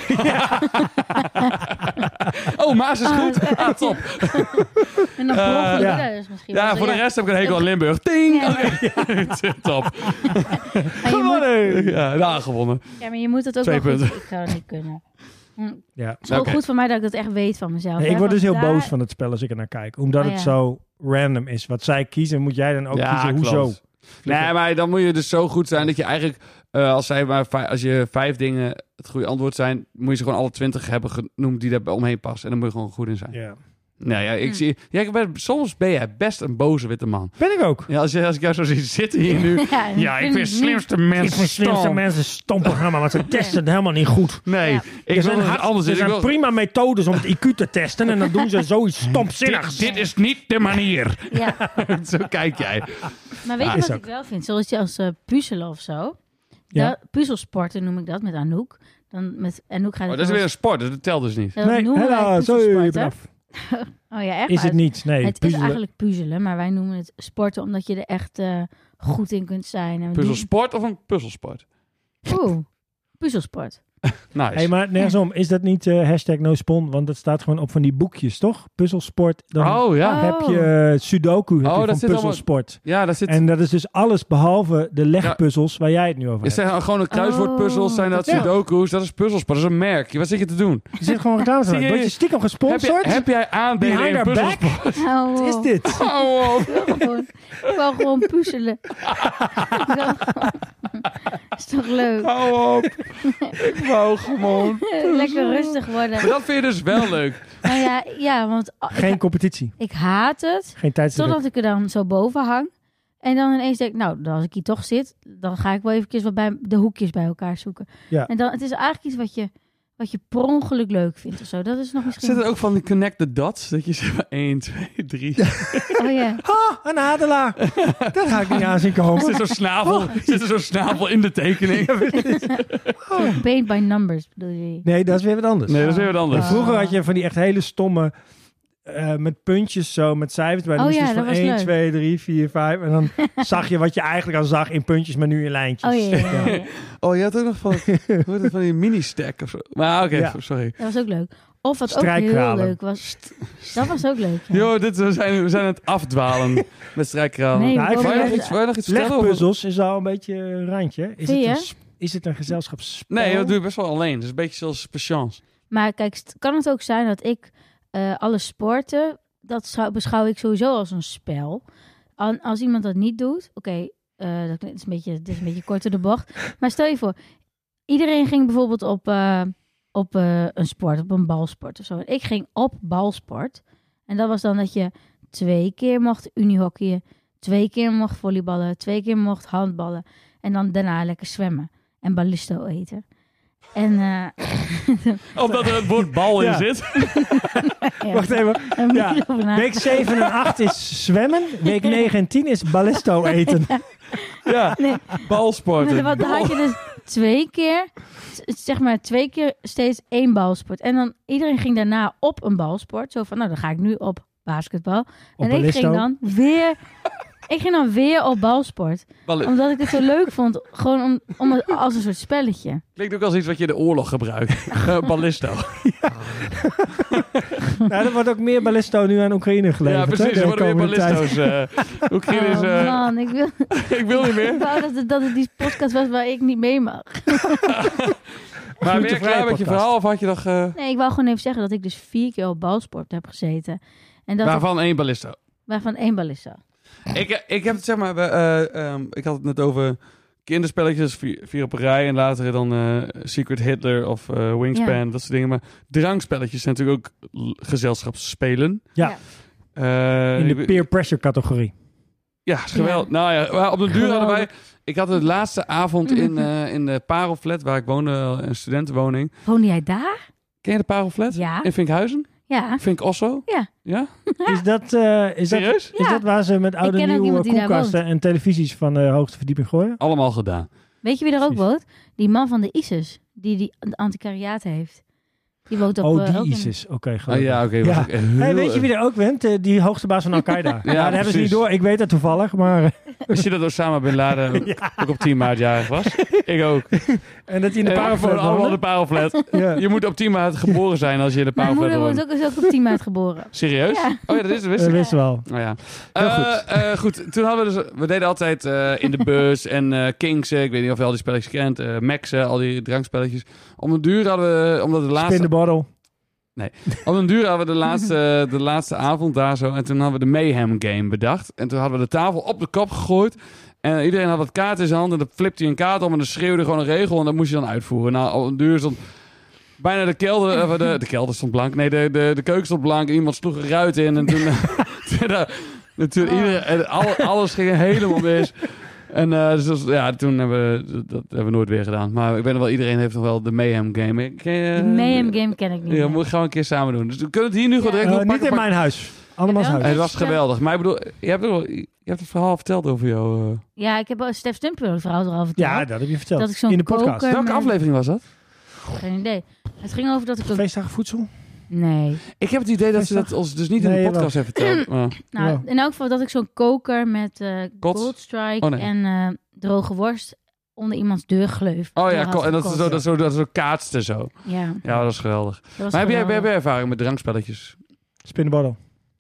Speaker 2: oh, Maas is goed. Ah, top.
Speaker 1: En dan
Speaker 2: Eh,
Speaker 1: volgende
Speaker 3: ja.
Speaker 1: keer is misschien wel
Speaker 2: Ja,
Speaker 1: zo,
Speaker 2: voor de rest heb ik een hekel aan Limburg. Ting!
Speaker 1: Ja.
Speaker 2: Oké. top.
Speaker 1: Maar je moet,
Speaker 2: Ja, nou, gewonnen.
Speaker 1: ja, maar je moet het ook
Speaker 2: Twee
Speaker 1: wel goed...
Speaker 2: punten.
Speaker 1: Ik zou dat niet kunnen.
Speaker 3: Ja.
Speaker 1: Het is
Speaker 2: Oké.
Speaker 1: wel goed voor mij dat ik dat echt weet van mezelf.
Speaker 3: Nee,
Speaker 1: hè,
Speaker 3: ik word dus heel
Speaker 1: want daar-
Speaker 3: boos van het spel als ik er naar kijk. Omdat
Speaker 1: Oh,
Speaker 3: het
Speaker 1: ja.
Speaker 3: zo random is. Wat zij kiezen, moet jij dan ook
Speaker 2: ja,
Speaker 3: kiezen. Hoezo?
Speaker 2: klopt. Nee, maar dan moet je dus zo goed zijn dat je eigenlijk, eh, als, zij maar vij- als je vijf dingen het goede antwoord zijn, moet je ze gewoon alle twintig hebben genoemd die daar omheen passen. En dan moet je gewoon goed in zijn.
Speaker 3: Ja.
Speaker 2: Nou ja, ik
Speaker 1: Hm.
Speaker 2: zie, ja, ik ben- soms ben jij best een boze witte man.
Speaker 3: Ben ik ook.
Speaker 2: Ja, als, je, als ik jou zo zie zitten hier nu.
Speaker 1: Ja,
Speaker 2: Ja, ik
Speaker 1: vind
Speaker 2: ben
Speaker 1: het
Speaker 2: slimste mens.
Speaker 3: Ik vind slimste
Speaker 2: stom.
Speaker 3: mensen een stom programma, want ze testen het helemaal niet goed.
Speaker 2: Nee,
Speaker 1: Ja.
Speaker 2: ik
Speaker 3: er
Speaker 2: wil
Speaker 3: zijn,
Speaker 2: het anders.
Speaker 3: er
Speaker 2: Ik
Speaker 3: zijn
Speaker 2: wil,
Speaker 3: prima methodes om het IQ te testen en dan doen ze zoiets stomzinnigs.
Speaker 2: dit, dit is niet de manier.
Speaker 1: niet. Ja,
Speaker 2: zo kijk jij.
Speaker 1: maar weet je
Speaker 3: Ja, is
Speaker 1: wat
Speaker 3: ook.
Speaker 1: ik wel vind? Zoals je als eh, puzzelen of zo.
Speaker 3: Ja.
Speaker 1: Da- puzzelsporten noem ik dat met Anouk. Dan met Anouk gaat het
Speaker 2: Maar dat is
Speaker 1: wel
Speaker 2: weer een sport, dus dat telt dus niet.
Speaker 1: eens- dat Nou, noemen wij
Speaker 3: hela, sorry,
Speaker 1: puzzelsporten.
Speaker 3: je bent af.
Speaker 1: Oh ja, echt?
Speaker 3: Is het niet? Nee,
Speaker 1: het is
Speaker 3: puzzelen.
Speaker 1: eigenlijk puzzelen, maar wij noemen het sporten omdat je er echt eh, goed in kunt zijn. En we
Speaker 2: Puzzelsport of een puzzelsport?
Speaker 1: doen- Oeh, puzzelsport.
Speaker 2: Nice.
Speaker 3: Hey, maar nergens is dat niet eh hashtag nospon? Want dat staat gewoon op van die boekjes, toch? Puzzelsport. Dan
Speaker 2: oh ja.
Speaker 1: Oh.
Speaker 3: heb je eh, Sudoku, heb je
Speaker 2: Oh, dat
Speaker 3: van
Speaker 2: zit allemaal-
Speaker 3: puzzelsport.
Speaker 2: Ja, dat zit.
Speaker 3: En dat is dus alles behalve de legpuzzels waar jij het nu over
Speaker 2: Is
Speaker 3: hebt.
Speaker 2: zijn gewoon een kruiswoordpuzzels, zijn dat
Speaker 3: Oh. Ja.
Speaker 2: sudoku's, dat is puzzelsport, dat is een merk. Wat zit je te doen?
Speaker 3: Je zit gewoon reclame te
Speaker 2: Zie
Speaker 3: maken.
Speaker 2: je-
Speaker 3: Word je stiekem
Speaker 2: Heb, je,
Speaker 3: gesponsord?
Speaker 2: heb jij aandelen
Speaker 3: Behind
Speaker 2: in
Speaker 3: our back?
Speaker 2: puzzelsport?
Speaker 1: Oh,
Speaker 3: Wat is
Speaker 1: wow.
Speaker 3: dit?
Speaker 2: Oh, wow.
Speaker 1: Gewoon- Ik wou gewoon puzzelen. Ik wou gewoon- is toch leuk?
Speaker 2: Hou op. Ik wou gewoon.
Speaker 1: Lekker rustig worden.
Speaker 2: Maar dat vind je dus wel leuk.
Speaker 1: Nou ja, ja want oh, ik,
Speaker 3: Geen competitie.
Speaker 1: ik haat het.
Speaker 3: Geen tijdsdruk.
Speaker 1: Totdat ik er dan zo boven hang. En dan ineens denk ik, nou, dan als ik hier toch zit, dan ga ik wel even wat bij de hoekjes bij elkaar zoeken.
Speaker 3: Ja.
Speaker 1: En dan, het is eigenlijk iets wat je, wat je per ongeluk leuk vindt of zo. Dat is nog misschien...
Speaker 2: Zit er ook van die connect the dots? Dat je zegt 1, 2, 3. Er
Speaker 1: Oh ja.
Speaker 3: Ha, een adelaar. dat ga ik niet aan zien komen.
Speaker 2: zit zo'n snavel, zit er zo'n snavel in de tekening.
Speaker 1: Zo'n paint by numbers bedoel je?
Speaker 3: Nee, dat is weer wat anders.
Speaker 2: Nee, dat is weer wat anders.
Speaker 1: Ah.
Speaker 3: Vroeger had je van die echt hele stomme... eh, met puntjes zo, met cijfers bij. Dan
Speaker 1: Oh
Speaker 3: moest je
Speaker 1: ja,
Speaker 3: dus
Speaker 1: dat
Speaker 3: van
Speaker 1: was
Speaker 3: 1,
Speaker 1: leuk.
Speaker 3: 2, 3, 4, 5. En dan zag je wat je eigenlijk al zag in puntjes, maar nu in lijntjes.
Speaker 1: Oh ja, ja, ja, ja.
Speaker 2: Oh, je had ook nog van, hoe heet het, van die mini-stack of zo. Maar oké,
Speaker 3: Ja.
Speaker 2: sorry.
Speaker 1: Dat was ook leuk. Of wat ook heel
Speaker 3: Strijkkralen.
Speaker 1: leuk was... Dat was ook leuk, ja.
Speaker 2: Yo, dit, we, zijn, we zijn aan het afdwalen met strijkkralen.
Speaker 1: Nee,
Speaker 3: Nou, ik
Speaker 1: we
Speaker 2: Wou je
Speaker 1: komen
Speaker 2: nog
Speaker 1: even-
Speaker 2: iets, wou je nog iets vertellen? over-
Speaker 3: Legpuzzels is al een beetje een randje. Is
Speaker 1: Vind
Speaker 3: het, een,
Speaker 1: je?
Speaker 3: sp- is het een gezelschapsspel?
Speaker 2: Nee, dat doe je best wel alleen. Dat is een beetje zoals patience.
Speaker 1: Maar kijk, st- kan het ook zijn dat ik eh, alle sporten, dat schou- beschouw ik sowieso als een spel. An- als iemand dat niet doet, oké, eh, dat is een beetje, dit is een beetje korter de bocht. Maar stel je voor, iedereen ging bijvoorbeeld op, eh, op eh, een sport, op een balsport of zo. En ik ging op balsport. En dat was dan dat je twee keer mocht unihockeyen, twee keer mocht volleyballen, twee keer mocht handballen. En dan daarna lekker zwemmen en ballisto eten. En, eh,
Speaker 2: Omdat er het woord bal in
Speaker 3: Ja.
Speaker 2: zit.
Speaker 1: ja.
Speaker 3: Wacht even.
Speaker 1: Daar moet
Speaker 3: Ja,
Speaker 1: je over na.
Speaker 3: Week 7 en 8 is zwemmen. Week 9 en 10 is ballisto eten.
Speaker 2: Ja,
Speaker 1: Nee.
Speaker 2: balsporten.
Speaker 1: Maar wat- dan had je dus twee keer, z- zeg maar twee keer steeds één balsport. En dan iedereen ging daarna op een balsport. Zo van, nou dan ga ik nu op basketbal. en ik
Speaker 3: ballisto.
Speaker 1: ging dan weer... Ik ging dan weer op balsport.
Speaker 2: Ballen-
Speaker 1: Omdat ik het zo leuk vond. Gewoon om, om het als een soort spelletje.
Speaker 2: Klinkt ook als iets wat je in de oorlog gebruikt. Eh, Ballisto.
Speaker 3: Nou, er wordt ook meer ballisto nu aan Oekraïne geleverd.
Speaker 2: ja, precies.
Speaker 3: hè,
Speaker 2: Er
Speaker 3: de
Speaker 2: worden weer
Speaker 3: komende tijd.
Speaker 2: ballisto's. eh, Oekraïne is...
Speaker 1: oh
Speaker 2: eh,
Speaker 1: man, ik wil,
Speaker 2: ik wil niet meer.
Speaker 1: ik wou dat het, dat het die podcast was waar ik niet mee mag.
Speaker 2: Maar ben je
Speaker 3: Glutenvrije
Speaker 2: klaar met je
Speaker 3: podcast.
Speaker 2: verhaal of had je nog... eh,
Speaker 1: Nee, ik wou gewoon even zeggen dat ik dus vier keer op balsport heb gezeten. En dat
Speaker 2: Waarvan één ballista.
Speaker 1: waarvan één ballista.
Speaker 2: Ik, ik heb het zeg maar, we, eh, ehm, ik had het net over kinderspelletjes, vier, vier op een rij en later dan eh, Secret Hitler of eh, Wingspan, dat soort dingen. Maar drankspelletjes zijn natuurlijk ook l- gezelschapsspelen.
Speaker 3: Ja.
Speaker 2: Eh,
Speaker 3: In
Speaker 2: ik
Speaker 3: de
Speaker 2: ben-
Speaker 3: peer pressure categorie.
Speaker 2: Ja, is geweldig. Nou ja, maar op de duur hadden wij... Ik had de laatste avond in, eh, in de Parelflat, waar ik woonde, eh, een studentenwoning.
Speaker 1: Woonde jij daar?
Speaker 2: Ken je de Parelflat?
Speaker 1: Ja.
Speaker 2: In Vinkhuizen?
Speaker 1: Ja.
Speaker 2: Vink Osso?
Speaker 1: Ja.
Speaker 2: Ja?
Speaker 3: Is dat, eh, is, dat,
Speaker 2: Serieus?
Speaker 3: is
Speaker 1: Ja.
Speaker 3: dat waar ze met oude
Speaker 1: ken ook
Speaker 3: nieuwe
Speaker 1: iemand die daar
Speaker 3: koelkasten en televisies van de hoogste verdieping gooien?
Speaker 2: Allemaal gedaan.
Speaker 1: Weet je wie er ook
Speaker 3: Precies.
Speaker 1: woont? Die man van de ISIS, die die anticariaat heeft. Die woont op...
Speaker 3: Oh,
Speaker 1: eh,
Speaker 3: die
Speaker 1: ook in-
Speaker 3: ISIS. Oké,
Speaker 2: Oh,
Speaker 3: gelukkig.
Speaker 2: ja, oké. was
Speaker 3: Ja.
Speaker 2: ook echt heel
Speaker 3: Hey, weet je wie er ook bent? Eh, die hoogste baas van Al-Qaeda. ja, dat hebben ze
Speaker 2: precies.
Speaker 3: niet door. Ik weet dat toevallig, maar... eh,
Speaker 2: Wist je dat Osama Bin Laden ook op 10 maart jarig was? Ik ook.
Speaker 3: En dat hij in de
Speaker 2: En
Speaker 3: paar
Speaker 2: voor allemaal de parelflat.
Speaker 3: Ja.
Speaker 2: Je moet op 10 maart geboren zijn als je in de
Speaker 1: Mijn
Speaker 2: parelflat
Speaker 1: moeder wordt
Speaker 2: woont.
Speaker 1: ook, is ook op 10 maart geboren.
Speaker 2: Serieus?
Speaker 1: Ja.
Speaker 2: Oh ja, dat is het. Wist
Speaker 3: Dat
Speaker 2: ik.
Speaker 3: wist wel.
Speaker 2: Nou ja.
Speaker 3: Heel
Speaker 2: Eh,
Speaker 3: goed.
Speaker 2: eh, goed, toen hadden we dus... We deden altijd eh, in de bus en eh Kings. eh, Ik weet niet of je al die spelletjes kent. eh Maxen, al die drankspelletjes. Om de duur hadden we... Omdat de
Speaker 3: Spin
Speaker 2: laatste,
Speaker 3: the bottle.
Speaker 2: om de, duur hadden we de, laatste, de laatste avond daar zo. En toen hadden we de Mayhem Game bedacht. En toen hadden we de tafel op de kop gegooid. En iedereen had wat kaarten in zijn hand. En dan flipte hij een kaart om en dan schreeuwde gewoon een regel. En dat moest je dan uitvoeren. Nou, op een duur stond... Bijna de kelder, eh, de, de kelder stond blank. Nee, de, de, de keuken stond blank. Iemand sloeg een ruit in. En toen, toen, eh, toen, iedereen- en al- alles ging helemaal mis. En eh, dus, dat was- ja, toen hebben we dat, dat hebben we nooit weer gedaan. Maar ik weet nog wel, iedereen heeft nog wel de Mayhem Game. eh, Ken je-
Speaker 1: De Mayhem Game ken ik niet.
Speaker 2: ja,
Speaker 1: meer.
Speaker 2: moet gaan we een keer samen doen. Dus we kunnen het hier nu gewoon direct
Speaker 3: Eh,
Speaker 2: nog
Speaker 3: niet
Speaker 2: pakken.
Speaker 3: in
Speaker 2: pakken.
Speaker 3: mijn huis. Andermans
Speaker 1: Ja, wel.
Speaker 3: huis.
Speaker 2: Eh, Het was
Speaker 1: Ja.
Speaker 2: geweldig. Maar ik bedoel, je hebt, ook wel- je hebt het verhaal verteld over jou. eh.
Speaker 1: Ja, ik heb al Stef Stumper een verhaal erover verteld.
Speaker 3: Ja, dat heb je verteld.
Speaker 1: Dat ik zo'n
Speaker 3: in de podcast.
Speaker 1: koker-
Speaker 2: Welke
Speaker 1: mijn-
Speaker 2: aflevering was dat?
Speaker 1: Geen idee. Het ging over dat ik... Een...
Speaker 3: Feestdagen voedsel?
Speaker 1: Nee.
Speaker 2: Ik heb het idee dat ze dat ons dus niet in
Speaker 3: Nee,
Speaker 2: de podcast hebben verteld. Maar-
Speaker 1: Nou,
Speaker 3: Ja.
Speaker 1: in elk geval dat ik zo'n koker met eh
Speaker 2: Kots?
Speaker 1: Gold Strike
Speaker 2: Oh, nee.
Speaker 1: en eh, droge worst onder iemands deur gleuf.
Speaker 2: Oh
Speaker 1: Deur
Speaker 2: ja,
Speaker 1: had
Speaker 2: ko- en dat ze
Speaker 1: gekotst.
Speaker 2: zo, dat zo, dat zo kaatsten zo.
Speaker 1: Ja,
Speaker 2: Ja, dat is geweldig.
Speaker 1: dat was
Speaker 2: maar heb jij, heb
Speaker 1: geweldig.
Speaker 2: jij ervaring met drankspelletjes?
Speaker 3: Spin the bottle.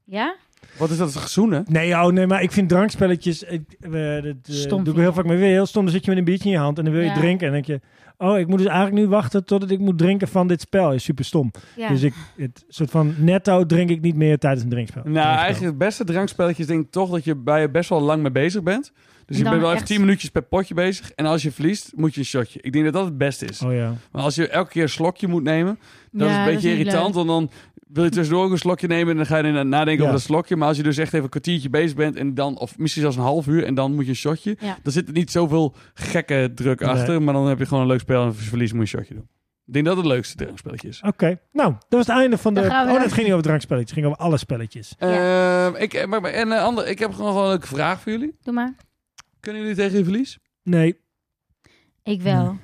Speaker 1: Ja?
Speaker 2: Wat is dat, gezoenen?
Speaker 3: Nee, oh nee, maar ik vind drankspelletjes... Ik, eh, dat eh,
Speaker 1: Stom
Speaker 3: doe
Speaker 1: vind
Speaker 3: ik heel
Speaker 1: ik.
Speaker 3: vaak mee weer. Heel stom, dan zit je met een biertje in je hand en dan wil je
Speaker 1: Ja.
Speaker 3: drinken. En dan denk je... Oh, ik moet dus eigenlijk nu wachten totdat ik moet drinken van dit spel. is super stom.
Speaker 1: Ja.
Speaker 3: Dus ik, het soort van netto drink ik niet meer tijdens een drinkspel.
Speaker 2: Nou,
Speaker 3: Drinkspel.
Speaker 2: eigenlijk het beste drankspelletjes denk ik toch dat je bij je best wel lang mee bezig bent. Dus je
Speaker 1: Dan
Speaker 2: bent wel even
Speaker 1: echt-
Speaker 2: 10 minuutjes per potje bezig. En als je verliest, moet je een shotje. Ik denk dat dat het beste is.
Speaker 3: Oh ja.
Speaker 2: Maar als je elke keer een slokje moet nemen, dat is
Speaker 1: Ja,
Speaker 2: een beetje
Speaker 1: niet
Speaker 2: irritant.
Speaker 1: leuk.
Speaker 2: Want dan wil je tussendoor ook een slokje nemen en dan ga je inderdaad nadenken
Speaker 3: Ja.
Speaker 2: over dat slokje. Maar als je dus echt even een kwartiertje bezig bent en dan, of misschien zelfs een half uur en dan moet je een shotje.
Speaker 1: Ja.
Speaker 2: Dan zit er niet zoveel gekke druk
Speaker 3: Nee.
Speaker 2: achter. Maar dan heb je gewoon een leuk spel en als je verliest moet je een shotje doen. Ik denk dat het leukste drankspelletje is.
Speaker 3: Oké. Nou, dat was het einde van de...
Speaker 1: Dan gaan we
Speaker 3: Oh, dat
Speaker 1: naar-
Speaker 3: ging niet over drankspelletjes. Het ging over alle spelletjes.
Speaker 2: Ehm, ik, eh, maar, maar- en eh, ander, ik heb gewoon wel een leuke vraag voor jullie.
Speaker 1: Doe maar.
Speaker 2: Kunnen jullie tegen je verlies?
Speaker 3: Nee.
Speaker 1: Ik wel.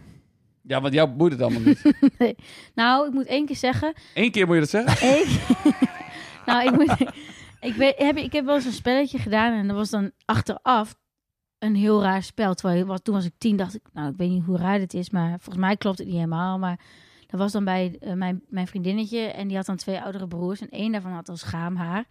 Speaker 2: Ja, want jou boeit het allemaal niet.
Speaker 1: Nou, ik moet één keer zeggen.
Speaker 2: Eén keer moet je dat zeggen.
Speaker 1: Ik... nou, ik moet... Ik, weet, heb, ik heb wel eens een spelletje gedaan en dat was dan achteraf een heel raar spel. Terwijl je- wat- toen was ik tien, dacht ik, nou, ik weet niet hoe raar dit is, maar volgens mij klopt het niet helemaal. Maar dat was dan bij eh, mijn, mijn vriendinnetje en die had dan twee oudere broers en één daarvan had al schaamhaar.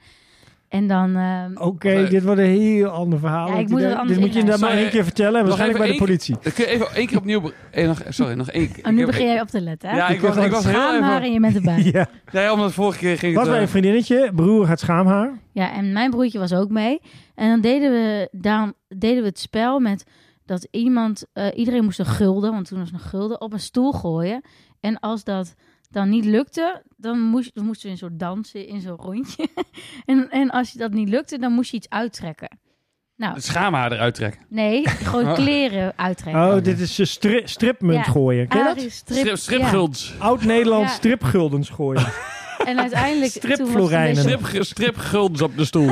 Speaker 1: En dan... ehm,
Speaker 2: Oh,
Speaker 3: Oké,
Speaker 2: Leuk.
Speaker 3: dit wordt een heel ander verhaal.
Speaker 1: Ja,
Speaker 3: Ik
Speaker 1: ik moet het
Speaker 3: idee-
Speaker 1: anders
Speaker 3: dit moet je
Speaker 1: in-
Speaker 3: dan maar
Speaker 2: Sorry.
Speaker 3: één keer vertellen. en
Speaker 2: Nog
Speaker 3: Waarschijnlijk bij
Speaker 2: even
Speaker 3: de politie.
Speaker 2: Dan kun je even één keer opnieuw... be- eh, nog, sorry, nog één keer.
Speaker 1: oh, nu
Speaker 2: Ik heb-
Speaker 1: begin jij op te letten, hè?
Speaker 2: Ja, ik was, ik was heel even...
Speaker 1: schaamhaar en je bent erbij.
Speaker 3: Ja.
Speaker 2: Nee, omdat vorige keer ging
Speaker 3: Was
Speaker 2: het...
Speaker 3: bij
Speaker 2: eh,
Speaker 3: een vriendinnetje. Broer had schaamhaar.
Speaker 1: Ja, en mijn broertje was ook mee. En dan deden we, dan deden we het spel met dat iemand, eh, iedereen moest een gulden, want toen was het een gulden, op een stoel gooien. En als dat dan niet lukte, dan, moest, dan moesten we in zo'n dansen, in zo'n rondje. en, en als je dat niet lukte, dan moest je iets uittrekken. Nou,
Speaker 2: het schaamhaar eruit trekken.
Speaker 1: nee, gewoon
Speaker 2: Oh.
Speaker 1: kleren uittrekken.
Speaker 3: Oh, dit is eh, stri- stripmunt
Speaker 1: Ja.
Speaker 3: gooien. Ken je dat?
Speaker 1: Arie, strip-
Speaker 2: Strip, stripguldens.
Speaker 3: Oud-Nederlands
Speaker 1: Ja.
Speaker 3: stripguldens gooien.
Speaker 1: ja. En uiteindelijk... toen was het
Speaker 3: Stripflorijnen.
Speaker 1: dus-
Speaker 2: Strip, stripguldens op de stoel.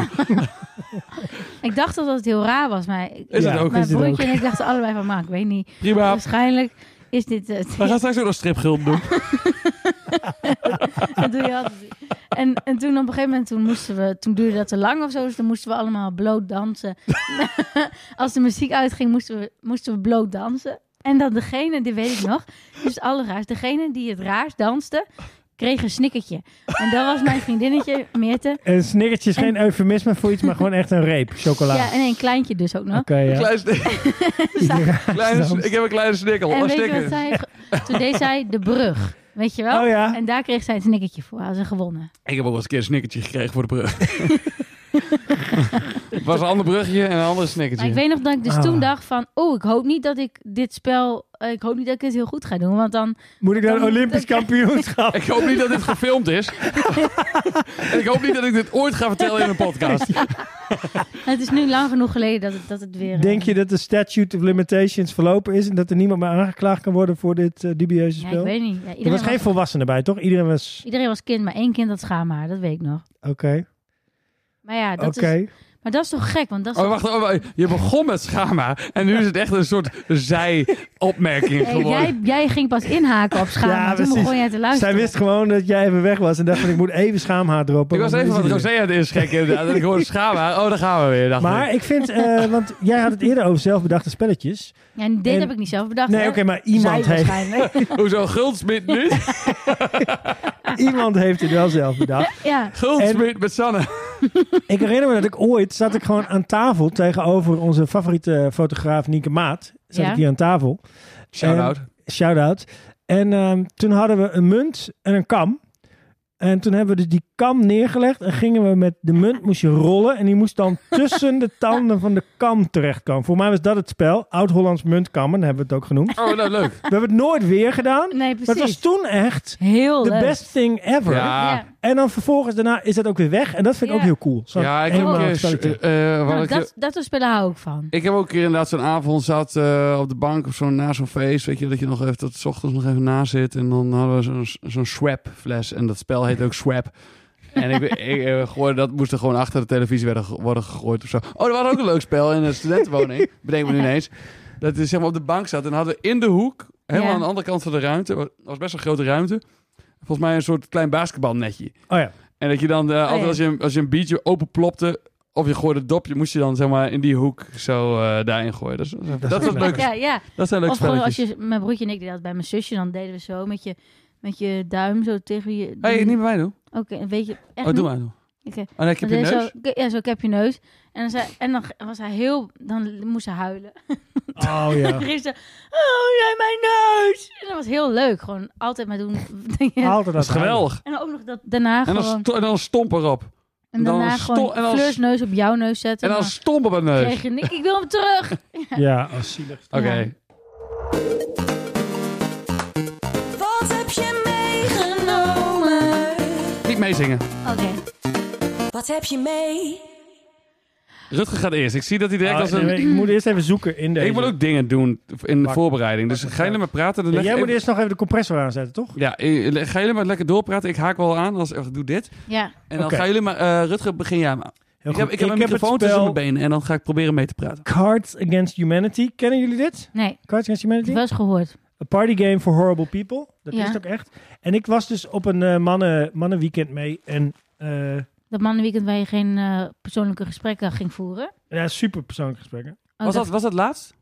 Speaker 1: Ik dacht dat het heel raar was, maar...
Speaker 2: Is
Speaker 3: Ja.
Speaker 2: het ook.
Speaker 3: is
Speaker 1: Mijn
Speaker 3: het
Speaker 1: broertje en ik dachten allebei van, maar ik weet niet.
Speaker 2: Prima.
Speaker 1: Waarschijnlijk is dit het.
Speaker 2: We gaan straks ook nog stripgulden doen.
Speaker 1: Dat doe je altijd. En, en toen op een gegeven moment, toen, moesten we, toen duurde dat te lang of zo. Dus dan moesten we allemaal bloot dansen. Als de muziek uitging, moesten we, moesten we bloot dansen. En dan degene, die weet ik nog, dus allerraars. Degene die het raars danste, kreeg een snikkertje. En dat was mijn vriendinnetje, Meerte.
Speaker 3: Een snickertje is geen eufemisme voor iets, maar gewoon echt een reep chocola.
Speaker 1: Ja, en een kleintje dus ook nog.
Speaker 3: Oké, ja.
Speaker 2: Een klein snik- kleine
Speaker 3: dan.
Speaker 2: snik- ik heb een kleine snikkel.
Speaker 1: En
Speaker 2: Oh,
Speaker 1: weet je wat
Speaker 2: snikker.
Speaker 1: zij... ge- Toen deed zij de brug, weet je wel?
Speaker 3: Oh ja.
Speaker 1: En daar kreeg zij een snikkertje voor. Had ze gewonnen.
Speaker 2: Ik heb ook wel eens een keer een snikkertje gekregen voor de brug. Het was een ander bruggetje en een ander
Speaker 1: Maar
Speaker 2: snikkertje.
Speaker 1: ik weet nog dat ik dus
Speaker 3: Ah.
Speaker 1: toen dacht van... Oh, ik hoop niet dat ik dit spel... eh, ik hoop niet dat ik het heel goed ga doen. Want dan...
Speaker 3: Moet ik dan
Speaker 1: Dan-
Speaker 3: Olympisch kampioenschap?
Speaker 2: Ik hoop niet dat dit gefilmd is. en ik hoop niet dat ik dit ooit ga vertellen in een podcast.
Speaker 1: Het is nu lang genoeg geleden dat het, dat het weer... eh,
Speaker 3: Denk je dat de statute of limitations verlopen is en dat er niemand meer aangeklaagd kan worden voor dit eh, dubieuze
Speaker 1: Ja,
Speaker 3: spel?
Speaker 1: ik weet niet. Ja,
Speaker 3: er
Speaker 1: iedereen,
Speaker 3: was geen volwassene bij, toch? Iedereen was.
Speaker 1: iedereen was kind, maar één kind had schaamhaar. Dat weet ik nog.
Speaker 3: Oké.
Speaker 1: Maar ja,
Speaker 3: Oké.
Speaker 1: dat, is, maar dat is toch gek? Want dat is
Speaker 2: Oh, wacht. oh, wacht. je begon met schama. En nu is het echt een soort zij-opmerking
Speaker 1: Hey,
Speaker 2: geworden.
Speaker 1: jij, jij ging pas inhaken op
Speaker 3: Ja,
Speaker 1: schaamhaar. toen
Speaker 3: precies.
Speaker 1: begon jij te luisteren.
Speaker 3: Zij wist gewoon dat jij even weg was en dacht van ik moet even schaamhaar droppen.
Speaker 2: Ik was
Speaker 3: want
Speaker 2: even
Speaker 3: dan
Speaker 2: wat
Speaker 3: is
Speaker 2: Rosé
Speaker 3: hij
Speaker 2: aan het inschenken. inderdaad. En ik hoorde schama. Oh, daar gaan we weer.
Speaker 3: er.
Speaker 2: Dacht
Speaker 3: Maar
Speaker 2: ik.
Speaker 3: ik vind, eh, want jij had het eerder over zelfbedachte spelletjes.
Speaker 1: Ja, en dit
Speaker 3: En-
Speaker 1: heb ik niet zelf bedacht.
Speaker 3: Nee,
Speaker 1: hè?
Speaker 3: oké, maar iemand
Speaker 1: Zij
Speaker 3: heeft,
Speaker 1: waarschijnlijk.
Speaker 2: Hoezo? Guldsmit nu?
Speaker 3: iemand heeft het wel zelf bedacht.
Speaker 1: ja.
Speaker 2: Guldsmit met Sanne.
Speaker 3: Ik herinner me dat ik ooit zat ik gewoon aan tafel tegenover onze favoriete fotograaf Nieke Maat. Zat
Speaker 1: Ja.
Speaker 3: ik hier aan tafel.
Speaker 2: Shout-out.
Speaker 3: Shout-out. En ehm, toen hadden we een munt en een kam. En toen hebben we dus die kam neergelegd en gingen we met de munt moest je rollen. En die moest dan tussen de tanden van de kam terechtkomen. Voor mij was dat het spel. Oud-Hollands muntkammen hebben we het ook genoemd.
Speaker 2: Oh, nou leuk.
Speaker 3: We hebben het nooit weer gedaan.
Speaker 1: Nee,
Speaker 3: Maar het was
Speaker 1: precies.
Speaker 3: toen echt
Speaker 1: Heel
Speaker 3: the
Speaker 1: leuk.
Speaker 3: best thing ever.
Speaker 2: Ja.
Speaker 1: Ja.
Speaker 3: En dan vervolgens daarna is dat ook weer weg. En dat vind ik
Speaker 1: Ja.
Speaker 3: ook heel cool. Zo'n
Speaker 2: Ja, ik heb ook
Speaker 3: eenmalig
Speaker 2: een keer,
Speaker 3: spelletje.
Speaker 2: eh, eh, wat
Speaker 1: Nou,
Speaker 2: ik-
Speaker 1: dat, dat soort spellen hou ik van.
Speaker 2: Ik heb ook een keer inderdaad zo'n avond zat eh, op de bank of zo, na zo'n feest. Weet je, dat je nog even tot 's ochtends nog even na zit. En dan hadden we zo'n zo'n Swap fles. En dat spel heet ook Swap. En ik, ik eh, gooi- dat moest er gewoon achter de televisie werden, ge- worden gegooid of zo. Oh, dat was ook een leuk spel in een studentenwoning. Bedenk me nu ineens. Dat is zeg maar op de bank zat. En hadden we in de hoek, helemaal
Speaker 1: Ja.
Speaker 2: aan de andere kant van de ruimte. Dat was best een grote ruimte. Volgens mij een soort klein basketbalnetje.
Speaker 3: Oh ja.
Speaker 2: En dat je dan, eh, altijd
Speaker 1: ja.
Speaker 2: als, je, als je een biertje openplopte of je gooide het dopje, moest je dan zeg maar in die hoek zo eh, daarin gooien. Dat, is- dat,
Speaker 3: is
Speaker 2: was
Speaker 3: leuk.
Speaker 2: leuk.
Speaker 1: Ja, ja.
Speaker 2: Dat zijn leuke
Speaker 1: Of gewoon
Speaker 2: spelletjes.
Speaker 1: als je... Mijn broertje en ik deden dat bij mijn zusje. Dan deden we zo met je, met je duim zo tegen je...
Speaker 2: hey, niet bij mij doen.
Speaker 1: Oké, weet je... Echt
Speaker 2: oh,
Speaker 1: niet?
Speaker 2: doe maar. Doe.
Speaker 1: Oké.
Speaker 2: Oh, nee, ik heb je
Speaker 1: Dan deed
Speaker 2: neus.
Speaker 1: Zo, k- ja, zo, ik heb je neus. En dan, zei, en dan g- was hij heel... Dan moest hij huilen.
Speaker 3: Oh ja.
Speaker 1: Dan ging ze... Oh, jij mijn neus! En dat was heel leuk. Gewoon altijd maar doen. en
Speaker 3: Altijd
Speaker 2: Dat is geweldig.
Speaker 1: dan ook nog dat daarna
Speaker 2: En dan,
Speaker 1: gewoon...
Speaker 2: sto- en dan stomp erop.
Speaker 1: En
Speaker 2: dan
Speaker 1: daarna
Speaker 2: sto-
Speaker 1: gewoon
Speaker 2: en dan
Speaker 1: Fleur's
Speaker 2: s-
Speaker 1: neus op jouw neus zetten.
Speaker 2: En dan stomp op mijn neus.
Speaker 1: kreeg je Nick, ik wil hem terug.
Speaker 3: Ja, als zielig.
Speaker 2: Oké.
Speaker 1: Ja.
Speaker 4: Wat heb je meegenomen?
Speaker 2: Niet meezingen.
Speaker 1: Oké.
Speaker 4: Wat heb je mee?
Speaker 2: Rutger gaat eerst. Ik zie dat hij direct
Speaker 3: Oh,
Speaker 2: als een...
Speaker 3: nee, Ik moet eerst even zoeken in deze.
Speaker 2: ik wil ook dingen doen in de
Speaker 3: Pak-
Speaker 2: voorbereiding. Dus
Speaker 3: pak-
Speaker 2: ga jullie maar praten. Dan
Speaker 3: Ja,
Speaker 2: leg
Speaker 3: jij
Speaker 2: ik
Speaker 3: moet
Speaker 2: even-
Speaker 3: eerst nog even de compressor aanzetten, toch?
Speaker 2: Ja, eh, ga jullie maar lekker doorpraten. Ik haak wel aan als ik doe dit.
Speaker 1: Ja.
Speaker 2: En dan
Speaker 3: Oké.
Speaker 2: gaan jullie maar... eh, Rutger, begin jij maar.
Speaker 3: Heel
Speaker 2: Ik heb,
Speaker 3: goed.
Speaker 2: ik heb een
Speaker 3: het
Speaker 2: microfoon tussen
Speaker 3: spel
Speaker 2: mijn benen en dan ga ik proberen mee te praten.
Speaker 3: Cards Against Humanity. Kennen jullie dit?
Speaker 1: Nee,
Speaker 3: Cards Against
Speaker 1: ik heb
Speaker 3: Humanity?
Speaker 1: wel eens gehoord.
Speaker 3: A party game for horrible people. Dat
Speaker 1: Ja.
Speaker 3: is het ook echt. En ik was dus op een eh, mannen, mannenweekend mee. En eh,
Speaker 1: Dat mannenweekend waar je geen eh, persoonlijke gesprekken ging voeren. Oh,
Speaker 3: ja, super persoonlijke gesprekken.
Speaker 2: Was dat, was dat laatst?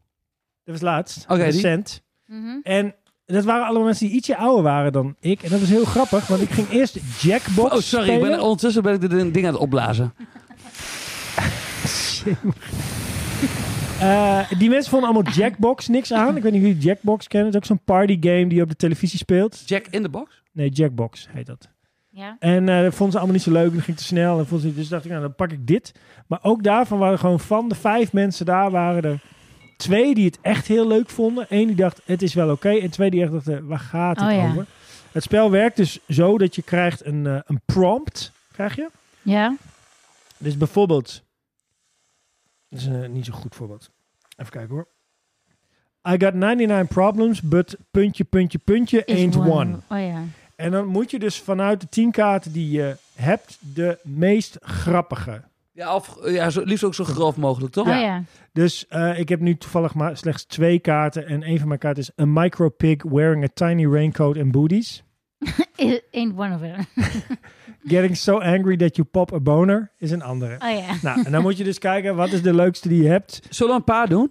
Speaker 3: Dat was laatst.
Speaker 2: Oké, die-
Speaker 3: recent.
Speaker 1: Mhm.
Speaker 3: En dat waren allemaal mensen die ietsje ouder waren dan ik. En dat was heel grappig, want ik ging eerst Jackbox
Speaker 2: Oh, sorry. Ik
Speaker 3: spelen.
Speaker 2: ben, ondertussen ben ik de ding aan het opblazen.
Speaker 3: Eh, die mensen vonden allemaal Jackbox niks aan. Ik weet niet of jullie Jackbox kennen. Het is ook zo'n partygame die je op de televisie speelt.
Speaker 2: Jack in the box?
Speaker 3: Nee, Jackbox heet dat.
Speaker 1: Ja.
Speaker 3: En eh dat vonden ze allemaal niet zo leuk. Dat ging te snel. En vonden ze, dus dacht ik, nou, dan pak ik dit. Maar ook daarvan waren gewoon van de vijf mensen daar... waren er twee die het echt heel leuk vonden. Eén die dacht, het is wel oké. En twee die echt dachten, waar gaat het
Speaker 1: Oh, ja.
Speaker 3: over? Het spel werkt dus zo dat je krijgt een, eh, een prompt. Krijg je?
Speaker 1: Ja.
Speaker 3: Dus bijvoorbeeld... Dat is eh, niet zo'n goed voorbeeld. Even kijken hoor. I got 99 problems, but puntje, puntje, puntje
Speaker 1: Is
Speaker 3: ain't
Speaker 1: one.
Speaker 3: one.
Speaker 1: Oh ja.
Speaker 3: En dan moet je dus vanuit de tien kaarten die je hebt, de meest grappige.
Speaker 2: Ja, of, ja zo, liefst ook zo grof mogelijk, toch?
Speaker 1: Oh ja.
Speaker 3: Dus eh, ik heb nu toevallig maar slechts twee kaarten. En een van mijn kaarten is een micro pig wearing a tiny raincoat and booties.
Speaker 1: Is- Ain't one of them.
Speaker 3: Getting so angry that you pop a boner is een andere.
Speaker 1: Oh ja.
Speaker 3: Nou, en dan moet je dus kijken, wat is de leukste die je hebt?
Speaker 2: Zullen we een paar doen?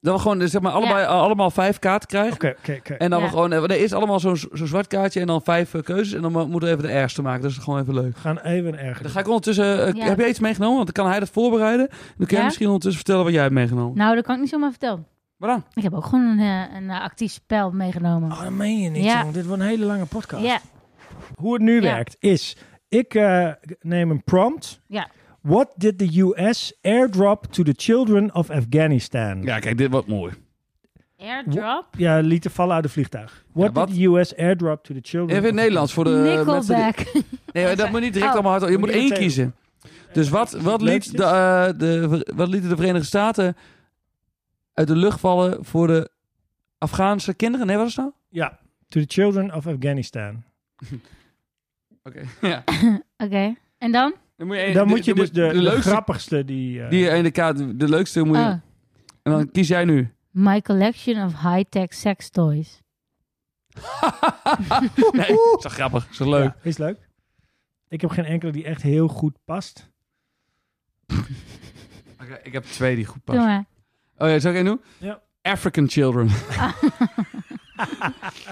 Speaker 2: Dat we gewoon eh, zeg maar, allebei, allemaal vijf kaarten krijgen.
Speaker 3: Oké, oké, oké.
Speaker 2: En dan
Speaker 1: Ja.
Speaker 2: we gewoon, eh, er is allemaal zo'n zo'n zwart kaartje en dan vijf eh, keuzes. En dan mo- moeten we even de ergste maken. Dat is gewoon even leuk.
Speaker 3: We gaan even
Speaker 2: Dan
Speaker 3: ergens.
Speaker 2: ga ik ondertussen. eh,
Speaker 1: Ja.
Speaker 2: Heb jij iets meegenomen? Want dan kan hij dat voorbereiden. Dan kun jij
Speaker 1: Ja?
Speaker 2: misschien ondertussen vertellen wat jij hebt meegenomen.
Speaker 1: Nou, dat kan ik niet zomaar vertellen.
Speaker 2: Maar dan?
Speaker 1: Ik heb ook gewoon een, eh, een eh, actief spel meegenomen.
Speaker 3: Oh, dat meen je niet,
Speaker 1: Ja.
Speaker 3: jongen. Dit wordt een hele lange podcast.
Speaker 1: Ja,
Speaker 3: Hoe het nu
Speaker 1: Ja.
Speaker 3: werkt is, ik eh, neem een prompt.
Speaker 1: Ja.
Speaker 3: What did the US airdrop to the children of Afghanistan?
Speaker 2: Ja, kijk, dit wordt mooi.
Speaker 1: airdrop.
Speaker 3: Ja, lieten vallen uit de vliegtuig. What
Speaker 2: wat?
Speaker 3: did the US airdrop to the children?
Speaker 2: Even in het
Speaker 3: of-
Speaker 2: Nederlands voor de eh, mensen. die-
Speaker 1: Nickelback.
Speaker 2: Nee, dat moet niet direct
Speaker 1: Oh.
Speaker 2: allemaal hard. Je
Speaker 3: Moet
Speaker 2: moet
Speaker 3: je
Speaker 2: één
Speaker 3: meteen-
Speaker 2: kiezen. Dus wat, wat,
Speaker 3: Leukste?
Speaker 2: liet de, eh, de, wat lieten de Verenigde Staten uit de lucht vallen voor de Afghaanse kinderen? Nee, wat is het nou?
Speaker 3: Ja, to the children of Afghanistan.
Speaker 2: Oké. Ja.
Speaker 1: Oké, en dan?
Speaker 2: Dan moet je,
Speaker 3: Dan moet je dus de, Ah. de
Speaker 2: leukste
Speaker 3: grappigste die... eh,
Speaker 2: die je in de kaart, de leukste moet je,
Speaker 1: Oh,
Speaker 2: En dan kies jij nu.
Speaker 1: my collection of high-tech sex toys.
Speaker 2: nee, is toch grappig, is toch leuk.
Speaker 3: Ja, is leuk. Ik heb geen enkele die echt heel goed past.
Speaker 2: Oké, ik heb twee die goed
Speaker 1: Doe
Speaker 2: passen.
Speaker 1: maar.
Speaker 2: Oh ja, zou ik één doen?
Speaker 3: Ja.
Speaker 2: African children.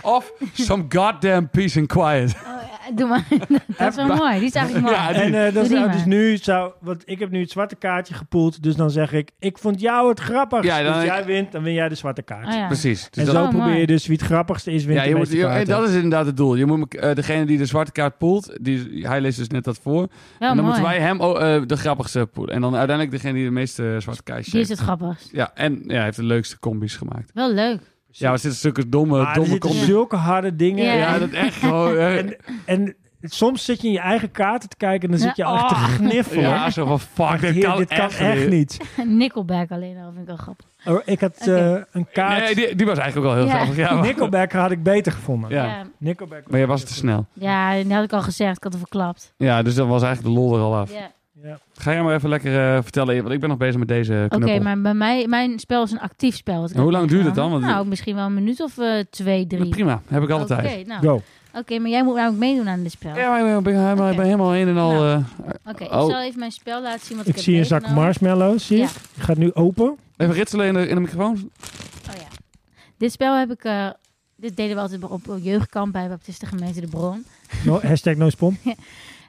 Speaker 2: of some goddamn peace and quiet.
Speaker 1: Oh, ja, doe maar. dat is wel mooi. Die is eigenlijk mooi.
Speaker 2: Ja, die-
Speaker 3: En eh, dat is,
Speaker 1: Doe die
Speaker 3: nou,
Speaker 1: maar.
Speaker 3: dus nu zou... Want ik heb nu het zwarte kaartje gepoeld. Dus dan zeg ik, ik vond jou het grappigst.
Speaker 2: Ja, dan-
Speaker 3: dus jij wint, dan win jij de zwarte kaart.
Speaker 1: Oh, ja.
Speaker 2: Precies. Dus
Speaker 3: en
Speaker 2: dat-
Speaker 3: zo
Speaker 1: Oh,
Speaker 3: probeer
Speaker 1: mooi.
Speaker 3: je dus wie het grappigste is, wint
Speaker 2: ja,
Speaker 3: de
Speaker 2: je moet,
Speaker 3: meeste
Speaker 2: je- en
Speaker 3: kaarten.
Speaker 2: dat is inderdaad het doel. Je moet, elk- eh, degene die de zwarte kaart poelt, die, hij leest dus net dat voor.
Speaker 1: Wel
Speaker 2: en dan
Speaker 1: Oh, mooi.
Speaker 2: moeten wij hem oh, eh, de grappigste poelen. En dan uiteindelijk degene die de meeste eh, zwarte kaartjes
Speaker 1: Die is
Speaker 2: heeft.
Speaker 1: het grappigst.
Speaker 2: Ja, en ja, hij heeft de leukste combi's gemaakt.
Speaker 1: Wel leuk.
Speaker 2: Ja, maar er zitten stukken domme,
Speaker 3: Maar er
Speaker 2: Oh, domme
Speaker 3: zitten
Speaker 2: combi's.
Speaker 3: zulke harde dingen.
Speaker 1: Ja.
Speaker 2: Ja, dat echt gewoon... eh,
Speaker 3: En, en soms zit je in je eigen kaarten te kijken en dan zit je
Speaker 1: Ja,
Speaker 3: al echt te
Speaker 1: oh.
Speaker 3: gniffelen.
Speaker 2: ja, zo van fuck, dit
Speaker 3: Heer,
Speaker 2: kan,
Speaker 3: dit kan
Speaker 2: echt, niet.
Speaker 3: echt niet.
Speaker 1: Nickelback alleen al vind ik wel grappig.
Speaker 3: Oh, ik had
Speaker 1: Oké.
Speaker 3: eh, een kaart.
Speaker 2: Nee, die, die was eigenlijk ook wel heel
Speaker 1: Ja.
Speaker 2: grappig. Ja, maar,
Speaker 3: Nickelback had ik beter gevonden.
Speaker 2: Ja.
Speaker 1: Ja,
Speaker 3: Nickelback. was
Speaker 2: maar jij was
Speaker 3: beter
Speaker 2: te snel.
Speaker 1: ja dat had ik al gezegd. Ik had het verklapt.
Speaker 2: Ja, dus dan was eigenlijk de lol er al af.
Speaker 1: Ja.
Speaker 3: gevonden. Ja.
Speaker 2: Ga jij maar even lekker eh, vertellen, want ik ben nog bezig met deze
Speaker 1: Oké,
Speaker 2: knuppel.
Speaker 1: maar bij mij, mijn spel is een actief spel. wat ik
Speaker 2: En hoe
Speaker 1: heb
Speaker 2: lang duurt het dan?
Speaker 1: meegenomen.
Speaker 2: Want-
Speaker 1: Nou, misschien wel een minuut of eh, twee, drie.
Speaker 2: Prima, heb ik altijd tijd.
Speaker 1: Oké, nou.
Speaker 3: Go.
Speaker 1: Oké, maar jij moet namelijk meedoen aan dit spel.
Speaker 2: Ja, maar ik ben- ik ben, ik ben
Speaker 1: Oké.
Speaker 2: helemaal een en al...
Speaker 1: Nou.
Speaker 2: eh,
Speaker 1: Oké,
Speaker 2: Oh.
Speaker 1: ik zal even mijn spel laten zien wat ik,
Speaker 3: Ik zie een
Speaker 1: heb
Speaker 3: zak
Speaker 1: meegenomen.
Speaker 3: marshmallows. Zie je?
Speaker 1: Ja.
Speaker 3: Die gaat nu open.
Speaker 2: even ritselen in de, in de microfoon.
Speaker 1: Oh ja. Dit spel heb ik... eh, dit deden we altijd op op jeugdkamp bij Baptiste Gemeente De Bron.
Speaker 3: No, hashtag no spon.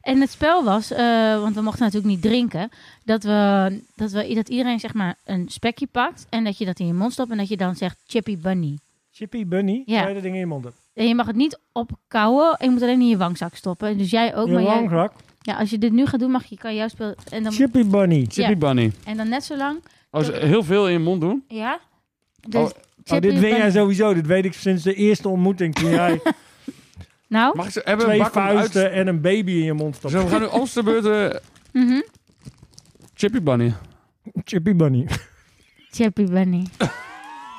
Speaker 1: En het spel was, eh, want we mochten natuurlijk niet drinken, dat, we, dat, we, dat iedereen zeg maar een spekje pakt en dat je dat in je mond stopt en dat je dan zegt Chippy Bunny.
Speaker 3: Chippy Bunny.
Speaker 1: Ja.
Speaker 3: Ga je dat ding in je mond hebt.
Speaker 1: En je mag het niet opkouwen en je moet alleen in je wangzak stoppen. Dus jij ook.
Speaker 3: Je
Speaker 1: Maar jij-
Speaker 3: langrak.
Speaker 1: ja, als je dit nu gaat doen, mag je, kan je jouw spel en dan,
Speaker 3: Chippy Bunny. Oh,
Speaker 2: Chippy Bunny.
Speaker 1: en dan net zo lang.
Speaker 2: Als heel veel in je mond doen.
Speaker 1: Ja.
Speaker 2: Oh,
Speaker 1: Dus
Speaker 3: Oh,
Speaker 1: Chippy
Speaker 3: dit weet jij
Speaker 1: Bunny.
Speaker 3: sowieso. Dit weet ik sinds de eerste ontmoeting toen jij
Speaker 1: Nou,
Speaker 2: Mag ik ze hebben we een
Speaker 3: twee
Speaker 2: bak om uit te...
Speaker 3: vuisten en een baby in je mond stopte.
Speaker 2: Zo, we gaan nu ons de beurt... eh,
Speaker 1: mhm.
Speaker 2: Chippy Bunny.
Speaker 3: Chippy Bunny.
Speaker 1: Chippy Bunny.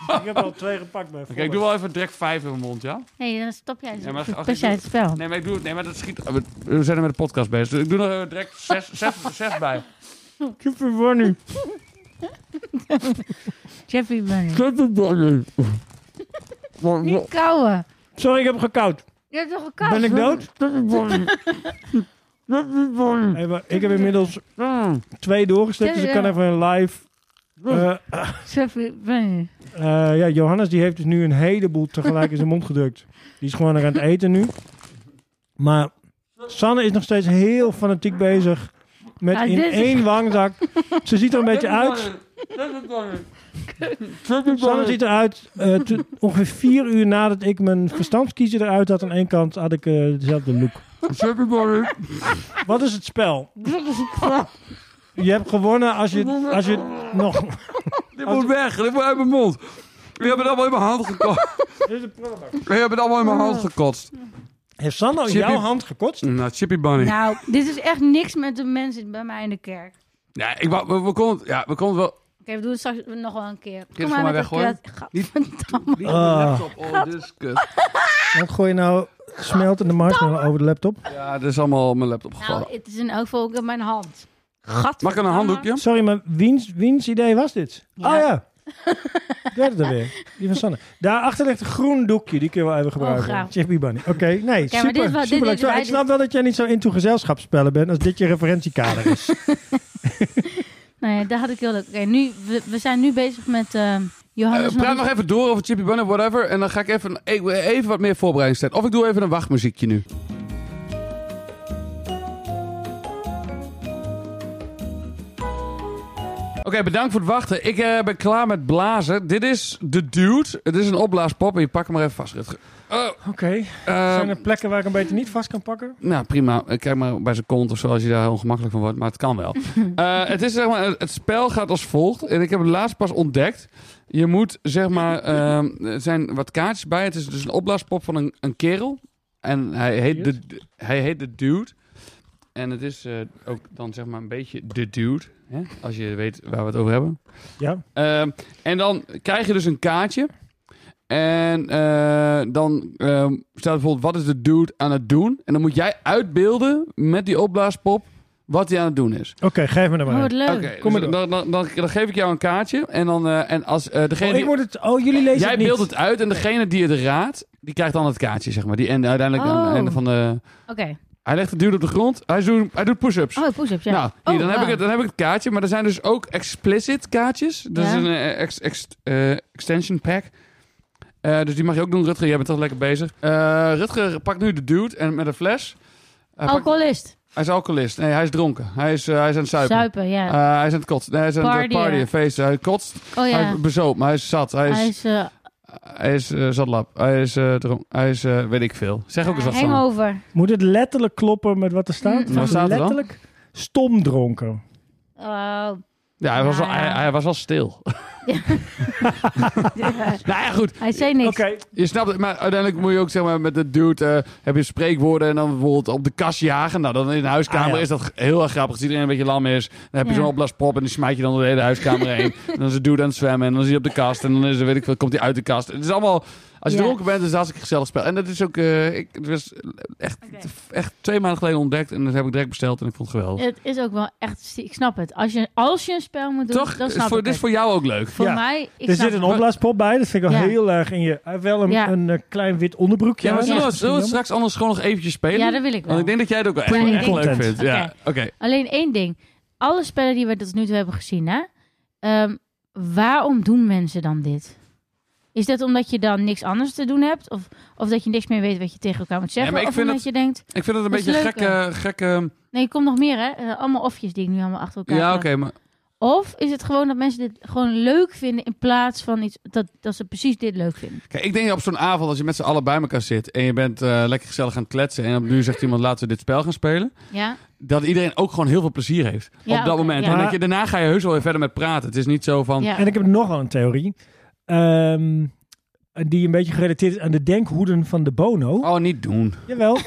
Speaker 3: ik heb al twee gepakt bij
Speaker 2: Oké, ik doe wel even direct vijf in mijn mond, ja?
Speaker 1: Nee, dan stop jij.
Speaker 2: Ja, maar-
Speaker 1: Dan
Speaker 2: ach,
Speaker 1: pas
Speaker 2: ik
Speaker 1: jij
Speaker 2: doe-
Speaker 1: het spel.
Speaker 2: Nee, maar, ik doe, nee, maar dat schiet... We, we zijn er met de podcast bezig. Dus ik doe nog eh, direct zes, zes, zes bij.
Speaker 3: Chippy Bunny.
Speaker 1: Chippy Bunny.
Speaker 2: Chippy Bunny.
Speaker 1: Niet kauwen.
Speaker 3: Sorry, ik heb gekoud.
Speaker 1: Je hebt toch een kous?
Speaker 3: Ben ik dood?
Speaker 2: Hm.
Speaker 3: Hey, maar ik heb inmiddels twee doorgestikt, dus ik kan even een live... eh,
Speaker 1: Chippy Bunny.
Speaker 3: eh, ja, Johannes die heeft dus nu een heleboel tegelijk in zijn mond gedrukt. Die is gewoon er aan het eten nu. Maar Sanne is nog steeds heel fanatiek bezig met
Speaker 1: Ja,
Speaker 3: in
Speaker 1: dit is-
Speaker 3: één wangzak. Ze ziet er een beetje uit. Sanne ziet eruit. eh, toen- ongeveer vier uur nadat ik mijn verstandskiezer eruit had aan één kant, had ik eh, dezelfde look. Wat is het spel? Je hebt gewonnen als je, als je nog...
Speaker 2: Dit moet weg, dit moet uit mijn mond. Je hebt het allemaal in mijn hand gekotst.
Speaker 3: Dit is een prullenbak.
Speaker 2: Je hebt het allemaal in
Speaker 1: Oh.
Speaker 2: mijn hand gekotst.
Speaker 3: Heeft Sanne
Speaker 2: Chippy-
Speaker 3: jouw hand gekotst?
Speaker 2: Nou, Chippy Bunny.
Speaker 1: Nou, dit is echt niks met de mensen bij mij in de kerk. Oké,
Speaker 2: Nee, ik, wou- we, we konden, ja, we konden wel...
Speaker 1: we doen het straks nog wel een keer.
Speaker 2: het voor mij weggooien? Niet-
Speaker 1: Gadverdamme.
Speaker 2: Niet
Speaker 3: Ah.
Speaker 2: laptop, oh, dit is kut.
Speaker 3: Wat gooi je nou smeltende marshmallow over de laptop?
Speaker 2: Ja, dit is allemaal op mijn laptop gevallen.
Speaker 1: Nou, het is in elk geval ook in mijn hand.
Speaker 2: Oh. Mag ik een handdoekje?
Speaker 3: Sorry, maar wiens, wiens idee was dit?
Speaker 1: Ja.
Speaker 3: Oh ja. Ik weet het alweer. Die van Sanne. Daarachter ligt een groen doekje. Die kun je wel even gebruiken.
Speaker 1: Oh, graag.
Speaker 3: Chippy Bunny. Oké, nee,
Speaker 1: dit is
Speaker 3: super.
Speaker 1: wel- dit-
Speaker 3: superleuk.
Speaker 1: dit-
Speaker 3: Sorry,
Speaker 1: wij-
Speaker 3: ik snap wel dat jij niet zo into gezelschapsspellen bent als dit je referentiekader is.
Speaker 1: Nou ja, daar had ik heel leuk. Oké, nu we, we zijn nu bezig met ehm, Johannes,
Speaker 2: Eh, praat
Speaker 1: nog
Speaker 2: nog even door over Chippy Bunny, whatever. En dan ga ik even, ik wil even wat meer voorbereiding zetten. Of ik doe even een wachtmuziekje nu. Oké, bedankt voor het wachten. Ik eh, ben klaar met blazen. Dit is de dude. Het is een opblaaspop. En je pak hem maar even vast, Rutger. Oh,
Speaker 3: Oké.
Speaker 2: eh,
Speaker 3: Zijn
Speaker 1: Ehm,
Speaker 3: er plekken waar ik een beetje niet vast kan pakken?
Speaker 2: nou, prima. Eh, Kijk maar bij zijn kont of zo als je daar heel ongemakkelijk van wordt. Maar het kan wel. Eh, het, is, zeg maar, het spel gaat als volgt. En ik heb het laatst pas ontdekt. Je moet zeg maar... ehm, er zijn wat kaartjes bij. Het is dus een opblaaspop van een, een kerel. En hij heet, de, hij heet de Dude. En het is eh, ook dan zeg maar een beetje de Dude. Hè? Als je weet waar we het over hebben.
Speaker 3: Ja.
Speaker 2: Ehm, en dan krijg je dus een kaartje. En eh, dan ehm, staat bijvoorbeeld, wat is de dude aan het doen? En dan moet jij uitbeelden met die opblaaspop wat hij aan het doen is.
Speaker 3: Oké, geef me er maar
Speaker 1: Oh,
Speaker 3: een.
Speaker 1: wat leuk.
Speaker 2: Oké,
Speaker 3: kom maar
Speaker 2: dus
Speaker 3: door.
Speaker 2: dan, dan, dan, dan geef ik jou een kaartje. En, dan, eh, en als eh, degene
Speaker 3: Oh,
Speaker 2: die-
Speaker 3: ik moet het, oh, jullie lezen
Speaker 2: jij
Speaker 3: het niet.
Speaker 2: beeldt het uit en degene die het raadt, die krijgt dan het kaartje, zeg maar. Die, en uiteindelijk aan
Speaker 1: Oh.
Speaker 2: het einde van de...
Speaker 1: Oké.
Speaker 2: Hij legt de dude op de grond, hij doet, hij doet push-ups.
Speaker 1: Oh, push-ups, ja.
Speaker 2: Nou, hier,
Speaker 1: Oh,
Speaker 2: dan, heb ik
Speaker 1: wauw.
Speaker 2: het, dan heb ik het kaartje. Maar er zijn dus ook explicit kaartjes. Dat is
Speaker 1: Ja.
Speaker 2: een eh, ex- ex- eh, extension pack. Eh, dus die mag je ook doen, Rutger. Jij bent toch lekker bezig. Eh, Rutger pakt nu de dude en met een fles. Hij, pakt-
Speaker 1: Alcoholist.
Speaker 2: hij is alcoholist. Nee, hij is dronken. Hij is, eh, hij is aan het zuipen.
Speaker 1: Zuipen, ja.
Speaker 2: Eh, hij is aan het kotsen. Nee, hij is aan het eh,
Speaker 1: Partyen.
Speaker 2: partyen, feesten. Hij kotst.
Speaker 1: oh
Speaker 2: Hij
Speaker 1: ja.
Speaker 2: is bezoopt, maar hij is zat. Hij is,
Speaker 1: Hij is eh,
Speaker 2: hij is eh, zatlap. Hij is eh, dronken. Hij is, eh, weet ik veel. Zeg ook eens wat van.
Speaker 1: hangover.
Speaker 3: Moet het letterlijk kloppen met wat er staat?
Speaker 1: Mm.
Speaker 2: Wat staat er dan?
Speaker 3: letterlijk stom dronken.
Speaker 1: Oh.
Speaker 2: Ja, hij was, al,
Speaker 1: Ja.
Speaker 2: hij, hij was al stil.
Speaker 1: Ja.
Speaker 2: nou ja, goed.
Speaker 1: Hij zei niks.
Speaker 3: Oké,
Speaker 2: Je snapt het, maar uiteindelijk moet je ook zeg maar, met de dude eh, heb je spreekwoorden en dan bijvoorbeeld op de kast jagen. Nou, dan in de huiskamer
Speaker 3: Ah, ja.
Speaker 2: is dat heel erg grappig. Als iedereen een beetje lam is, dan heb je
Speaker 1: Ja.
Speaker 2: zo'n opblaaspop en die smijt je dan door de hele huiskamer heen. En dan is de dude aan het zwemmen en dan is hij op de kast en dan is er, weet ik veel, komt hij uit de kast. Het is allemaal, als je
Speaker 1: Ja.
Speaker 2: dronken bent, is het een hartstikke gezellig spel. En dat is ook, eh, ik, het was echt,
Speaker 1: Oké.
Speaker 2: echt twee maanden geleden ontdekt en dat heb ik direct besteld en ik vond het geweldig.
Speaker 1: Het is ook wel echt... stie- Ik snap het. Als je, als je een spel moet doen,
Speaker 2: Toch?
Speaker 1: dan
Speaker 2: Is
Speaker 1: snap
Speaker 2: voor,
Speaker 1: ik
Speaker 2: dit is
Speaker 1: het.
Speaker 2: voor jou ook leuk.
Speaker 1: Voor
Speaker 3: Ja.
Speaker 1: mij... Ik
Speaker 3: er
Speaker 1: snap
Speaker 3: zit een
Speaker 1: het.
Speaker 3: opblaaspop bij. Dat vind ik al
Speaker 1: Ja.
Speaker 3: heel erg in je... Hij heeft wel een,
Speaker 1: Ja.
Speaker 3: een eh, klein wit onderbroekje
Speaker 2: Ja, maar
Speaker 3: aan.
Speaker 2: zullen
Speaker 3: Dat
Speaker 2: we,
Speaker 3: is
Speaker 2: zullen we het
Speaker 3: misschien
Speaker 2: straks anders gewoon nog eventjes spelen?
Speaker 1: Ja, dat wil ik wel.
Speaker 2: Want ik denk dat jij het ook wel echt,
Speaker 1: Planning
Speaker 2: echt leuk
Speaker 3: content.
Speaker 2: vindt. Ja, oké.
Speaker 1: Alleen één ding. Alle spellen die we tot nu toe hebben gezien, hè? Ehm, waarom doen mensen dan dit? Is dat omdat je dan niks anders te doen hebt? Of, of dat je niks meer weet wat je tegen elkaar moet zeggen?
Speaker 2: maar ik
Speaker 1: of
Speaker 2: vind
Speaker 1: omdat je denkt...
Speaker 2: Ik vind het een
Speaker 1: Dat is
Speaker 2: beetje een
Speaker 1: leuk,
Speaker 2: gekke, gekke...
Speaker 1: Nee, er komt nog meer, hè? Eh, allemaal ofjes die ik nu allemaal achter elkaar
Speaker 2: Ja, oké,
Speaker 1: plak.
Speaker 2: maar...
Speaker 1: Of is het gewoon dat mensen dit gewoon leuk vinden in plaats van iets dat, dat ze precies dit leuk vinden?
Speaker 2: Kijk, ik denk op zo'n avond, als je met z'n allen bij elkaar zit... en je bent eh, lekker gezellig aan het kletsen... en op nu zegt iemand, laten we dit spel gaan spelen...
Speaker 1: Ja?
Speaker 2: dat iedereen ook gewoon heel veel plezier heeft op
Speaker 1: Ja,
Speaker 2: dat
Speaker 1: oké,
Speaker 2: moment.
Speaker 1: ja.
Speaker 2: En dat je, daarna ga je heus wel weer verder met praten. Het is niet zo van...
Speaker 1: ja.
Speaker 3: En ik heb nogal een theorie. Ehm, die een beetje gerelateerd is aan de denkhoeden van de Bono.
Speaker 2: Oh, niet doen.
Speaker 3: Jawel.